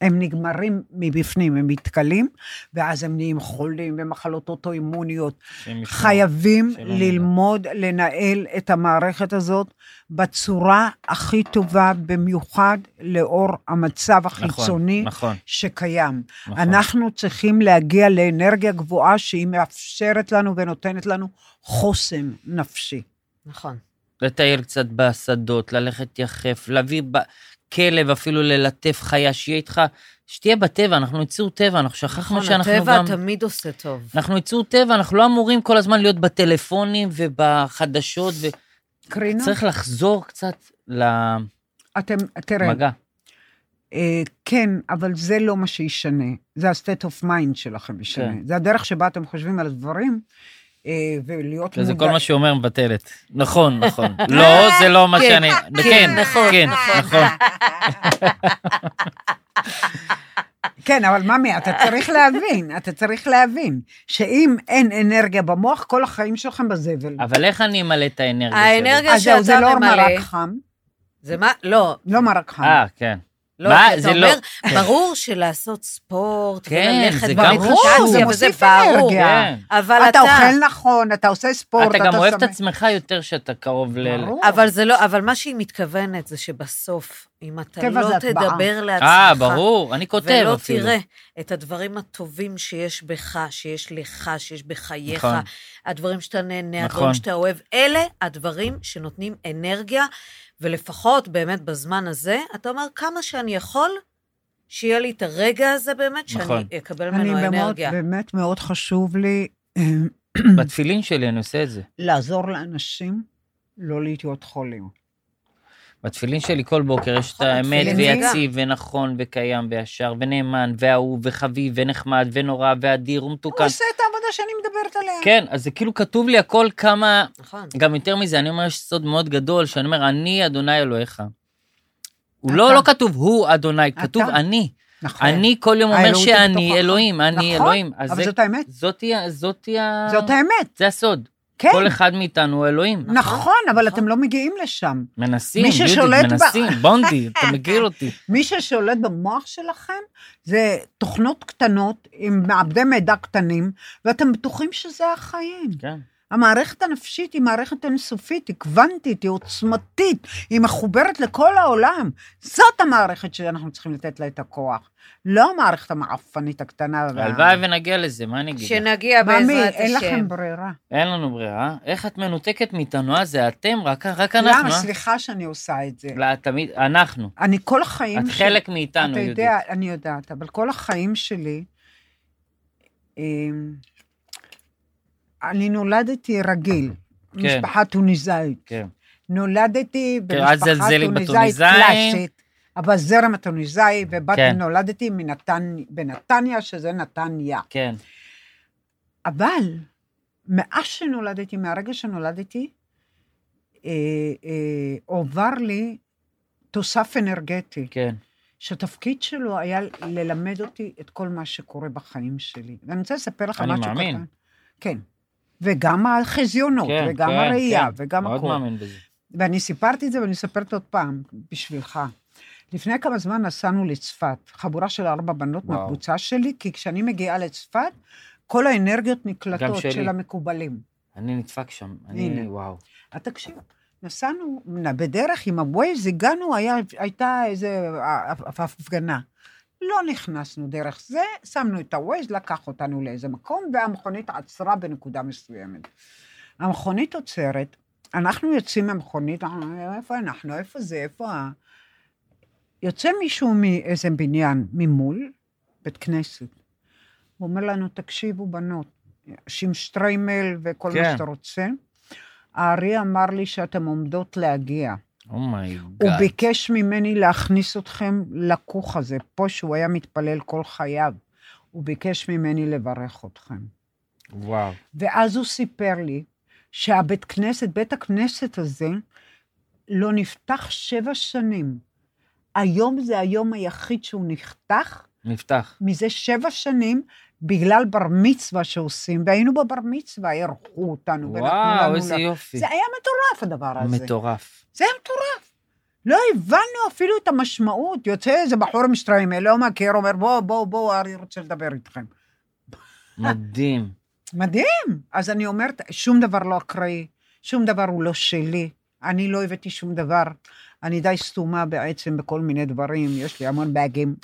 Speaker 3: הם נגמרים מבפנים, הם מתכלים, ואז הם נהיים חולים ומחלות אוטואימוניות.
Speaker 2: שהם ישמעו.
Speaker 3: חייבים
Speaker 2: שלא נדע.
Speaker 3: ללמוד לנהל את המערכת הזאת בצורה הכי טובה, במיוחד לאור המצב
Speaker 2: נכון,
Speaker 3: החיצוני
Speaker 2: נכון,
Speaker 3: שקיים.
Speaker 2: נכון.
Speaker 3: אנחנו צריכים להגיע לאנרגיה גבוהה שהיא מאפשרת לנו ונותנת לנו חוסן נפשי.
Speaker 1: נכון.
Speaker 2: לטייל קצת בשדות, ללכת יחף, להביא ב... כלב אפילו ללטף חיה, שיהיה איתך, שתהיה בטבע, אנחנו יצור טבע, אנחנו שכחנו
Speaker 1: נכון,
Speaker 2: שאנחנו
Speaker 1: הטבע
Speaker 2: גם... נכון.
Speaker 1: תמיד עושה טוב.
Speaker 2: אנחנו יצור טבע, אנחנו לא אמורים כל הזמן להיות בטלפונים ובחדשות,
Speaker 3: קרינה,
Speaker 2: וצריך לחזור קצת למגע.
Speaker 3: אתם, תראה, אה, כן, אבל זה לא מה שישנה. זה ה-state of mind שלכם ישנה.
Speaker 2: כן.
Speaker 3: זה הדרך שבה אתם חושבים על הדברים, אה,
Speaker 1: כן,
Speaker 3: ולהיות
Speaker 2: זה כל
Speaker 3: מודעים.
Speaker 2: מה שאומר מבטלת. נכון, נכון. לא, זה לא מה
Speaker 1: כן,
Speaker 2: שאני... כן,
Speaker 1: נכון,
Speaker 2: כן, נכון.
Speaker 3: כן, אבל ממי, אתה צריך להבין, אתה צריך להבין, שאם אין אנרגיה במוח, כל החיים שלכם בזבל.
Speaker 2: אבל איך אני אמלא את האנרגיה שלי?
Speaker 1: האנרגיה
Speaker 3: אז זהו, זה
Speaker 1: שאתה
Speaker 3: לא
Speaker 1: ממלא,
Speaker 3: מרק חם,
Speaker 1: זה מה, לא,
Speaker 3: לא מרק חם.
Speaker 2: אה, כן.
Speaker 1: לא,
Speaker 2: מה?
Speaker 1: כי
Speaker 2: זה
Speaker 1: אתה
Speaker 2: לא-
Speaker 1: אומר, ברור שלעשות ספורט,
Speaker 2: כן,
Speaker 1: וללכת
Speaker 2: זה גם
Speaker 1: במדיטציה,
Speaker 2: חשוב. זה
Speaker 1: וזה
Speaker 3: מוסיף
Speaker 1: ברור.
Speaker 3: אנרגיה.
Speaker 2: כן.
Speaker 1: אבל
Speaker 3: אתה
Speaker 1: אתה...
Speaker 3: אוכל נכון, אתה עושה ספורט,
Speaker 2: אתה
Speaker 3: אתה
Speaker 2: גם אוהב את
Speaker 3: שמח.
Speaker 2: עצמך יותר שאתה קרוב ל...
Speaker 3: ברור.
Speaker 1: אבל זה לא, אבל מה שהיא מתכוונת זה שבסוף, אם אתה
Speaker 3: טבע
Speaker 1: לא
Speaker 3: זה הטבעה.
Speaker 1: תדבר לעצמך,
Speaker 2: אה, ברור, אני כותב אפילו.
Speaker 1: ולא תראה את הדברים הטובים שיש בך, שיש לך, שיש בחייך,
Speaker 2: נכון.
Speaker 1: הדברים שאתה נהנה,
Speaker 2: נכון.
Speaker 1: הדברים שאתה אוהב, אלה הדברים שנותנים אנרגיה, ולפחות באמת בזמן הזה, אתה אומר, כמה שאני יכול, שיהיה לי את הרגע הזה באמת, שאני
Speaker 2: נכון.
Speaker 1: אקבל
Speaker 3: אני
Speaker 1: ממנו
Speaker 3: באמת,
Speaker 1: אנרגיה.
Speaker 3: באמת מאוד חשוב לי אה,
Speaker 2: בתפילין שלי אני עושה את זה.
Speaker 3: לעזור לאנשים לא להיות חולים.
Speaker 2: בתפילין שלי כל בוקר יש את
Speaker 1: נכון,
Speaker 2: האמת
Speaker 3: התפילין זה
Speaker 2: ויציב ונכון וקיים וישר ונאמן ואהוב וחביב ונחמד ונורא ואדיר
Speaker 3: הוא
Speaker 2: ומתוקן.
Speaker 3: עושה את העבודה שאני מדברת עליה.
Speaker 2: כן, אז זה כאילו כתוב לי הכל כמה,
Speaker 1: נכון.
Speaker 2: גם יותר מזה, אני אומר, יש סוד מאוד גדול, שאני אומר, אני אדוני אלוהיך. הוא לא,
Speaker 3: אתה.
Speaker 2: לא כתוב הוא אדוני, כתוב אני.
Speaker 3: נכון.
Speaker 2: אני כל יום אומר
Speaker 3: האלוהות היא
Speaker 2: שאני
Speaker 3: בתוכך.
Speaker 2: אלוהים, אני
Speaker 3: נכון,
Speaker 2: אלוהים. אז
Speaker 3: אבל
Speaker 2: זה-
Speaker 3: זאת האמת.
Speaker 2: זאתי ה... זאתי ה...
Speaker 3: זאת האמת,
Speaker 2: זה הסוד.
Speaker 3: כן.
Speaker 2: כל אחד מאיתנו הוא אלוהים.
Speaker 3: נכון, אבל
Speaker 1: נכון.
Speaker 3: אתם לא מגיעים לשם.
Speaker 2: מנסים,
Speaker 3: מי
Speaker 2: יהודית,
Speaker 3: ששולט ב-
Speaker 2: מנסים, בונדי, אתה מכיר אותי.
Speaker 3: מי ששולט במוח שלכם זה תוכנות קטנות עם מעבדי מידע קטנים, ואתם בטוחים שזה החיים.
Speaker 2: כן.
Speaker 3: המערכת הנפשית היא מערכת אינסופית, היא קוונטית, היא עוצמתית, היא מחוברת לכל העולם. זאת המערכת שאנחנו צריכים לתת לה את הכוח, לא המערכת המעפנית הקטנה. וה-
Speaker 2: הלוואי ונגיע לזה, מה אני אגיד? לך?
Speaker 1: שנגיע
Speaker 3: מאמי,
Speaker 1: בעזרת
Speaker 3: אין
Speaker 1: השם.
Speaker 3: לכם ברירה.
Speaker 2: אין לנו ברירה. איך את מנותקת מאיתנו? אה, זה אתם, רק רק אנחנו.
Speaker 3: למה?
Speaker 2: אה?
Speaker 3: סליחה שאני עושה את זה.
Speaker 2: לא, תמיד, אנחנו.
Speaker 3: אני כל החיים
Speaker 2: את
Speaker 3: שלי-
Speaker 2: חלק מאיתנו,
Speaker 3: אתה
Speaker 2: יהודית.
Speaker 3: יודע, אני יודעת, אבל כל החיים שלי, אמ, אני נולדתי רגיל,
Speaker 2: כן.
Speaker 3: משפחה טוניסאית.
Speaker 2: כן.
Speaker 3: נולדתי
Speaker 2: כן, אל
Speaker 3: במשפחה
Speaker 2: תזלזלי
Speaker 3: טוניסאית
Speaker 2: בטוניסאים.
Speaker 3: קלאסית, אבל זרם הטוניסאי, ובאתי,
Speaker 2: כן.
Speaker 3: נולדתי מנתנ... בנתניה, שזה נתניה.
Speaker 2: כן.
Speaker 3: אבל מאז שנולדתי, מהרגע שנולדתי, אה, אה, הועבר לי תוסף אנרגטי.
Speaker 2: כן.
Speaker 3: שהתפקיד שלו היה ללמד אותי את כל מה שקורה בחיים שלי. ואני רוצה לספר לך
Speaker 2: אני
Speaker 3: משהו
Speaker 2: מאמין.
Speaker 3: קטן. כן. וגם החזיונות,
Speaker 2: כן,
Speaker 3: וגם
Speaker 2: כן,
Speaker 3: הראייה,
Speaker 2: כן.
Speaker 3: וגם
Speaker 2: מאוד
Speaker 3: הכול.
Speaker 2: מאמין בזה.
Speaker 3: ואני סיפרתי את זה ואני מספרת עוד פעם, בשבילך. לפני כמה זמן נסענו לצפת, חבורה של ארבע בנות
Speaker 2: וואו.
Speaker 3: מהקבוצה שלי, כי כשאני מגיעה לצפת, כל האנרגיות נקלטות
Speaker 2: שלי.
Speaker 3: של המקובלים.
Speaker 2: אני נדפק שם. אני,
Speaker 3: הנה.
Speaker 2: וואו.
Speaker 3: אז תקשיב, נסענו בדרך עם הווייז, הגענו, היה, הייתה איזה אה, הפ- הפגנה. לא נכנסנו דרך זה, שמנו את הווייז, לקח אותנו לאיזה מקום, והמכונית עצרה בנקודה מסוימת. המכונית עוצרת, אנחנו יוצאים מהמכונית, אנחנו, איפה אנחנו, איפה זה, איפה ה... יוצא מישהו מאיזה בניין ממול, בית כנסת, הוא אומר לנו, תקשיבו, בנות, שימשטריימל וכל כן.
Speaker 2: כן.
Speaker 3: מה שאתה רוצה. הארי אמר לי שאתן עומדות להגיע.
Speaker 2: Oh
Speaker 3: הוא
Speaker 2: אומייגאד.
Speaker 3: ביקש ממני להכניס אתכם לכוך הזה, פה שהוא היה מתפלל כל חייו. הוא ביקש ממני לברך אתכם.
Speaker 2: וואו.
Speaker 3: ואז הוא סיפר לי שהבית כנסת, בית הכנסת הזה, לא נפתח שבע שנים. היום זה היום היחיד שהוא נחתך,
Speaker 2: נפתח.
Speaker 3: מזה שבע שנים, בגלל בר מצווה שעושים, והיינו בבר מצווה, אירחו אותנו ונתנו לנו...
Speaker 2: וואו, איזה
Speaker 3: לה-
Speaker 2: יופי.
Speaker 3: זה אה. היה מטורף הדבר הזה.
Speaker 2: מטורף.
Speaker 3: זה היה מטורף. לא הבנו אפילו את המשמעות. יוצא איזה בחור עם שטריימל, לא מכיר, אומר, בואו, בואו, בואו, ארי רוצה לדבר איתכם.
Speaker 2: מדהים.
Speaker 3: מדהים. אז אני אומרת, שום דבר לא אקראי, שום דבר הוא לא שלי. אני לא הבאתי שום דבר. אני די סתומה בעצם בכל מיני דברים, יש לי המון באגים.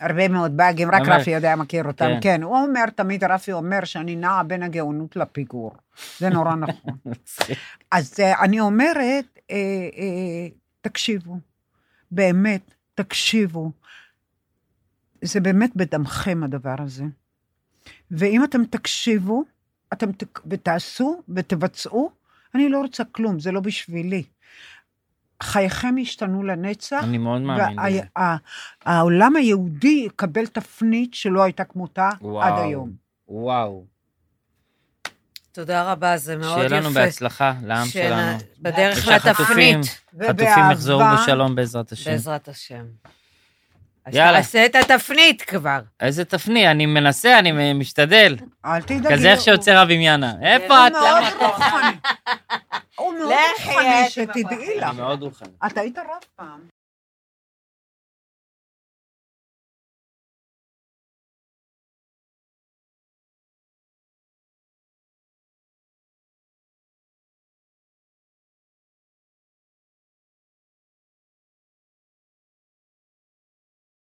Speaker 3: הרבה מאוד באגים, רק
Speaker 2: אומר-
Speaker 3: רפי יודע, מכיר אותם.
Speaker 2: כן.
Speaker 3: כן. כן, הוא אומר, תמיד רפי אומר שאני נעה בין הגאונות לפיגור. זה נורא נכון.
Speaker 2: מצחיק.
Speaker 3: אז אה, אני אומרת, אה, אה, תקשיבו, באמת, תקשיבו. זה באמת בדמכם הדבר הזה. ואם אתם תקשיבו, אתם ת... ותעשו ותבצעו, אני לא רוצה כלום, זה לא בשבילי. חייכם ישתנו לנצח,
Speaker 2: אני מאוד
Speaker 3: אה.
Speaker 2: מאמין בזה.
Speaker 3: והעולם היהודי יקבל תפנית שלא הייתה כמותה עד
Speaker 2: וואו.
Speaker 3: היום.
Speaker 2: וואו.
Speaker 1: תודה רבה, זה מאוד יפה.
Speaker 2: שיהיה לנו בהצלחה, לעם
Speaker 1: שנ-
Speaker 2: שלנו.
Speaker 1: בדרך
Speaker 2: ושהחטופים-
Speaker 1: לתפנית.
Speaker 2: חטופים
Speaker 3: ובאהבה-
Speaker 2: יחזרו בשלום בעזרת השם.
Speaker 1: בעזרת השם.
Speaker 2: יאללה.
Speaker 1: יאללה. תעשה את התפנית כבר.
Speaker 2: איזה תפנית, אני מנסה, אני משתדל.
Speaker 3: אל תדאגי. לא-
Speaker 2: כזה איך
Speaker 3: הוא-
Speaker 2: שיוצא רב עם יאנה. איפה
Speaker 3: הוא
Speaker 2: את?
Speaker 3: מאוד רוחני. הוא מאוד
Speaker 1: לך,
Speaker 3: רוחני,
Speaker 1: יא,
Speaker 3: שתדעי לך.
Speaker 2: אני מאוד רוחני.
Speaker 3: אתה היית רב פעם.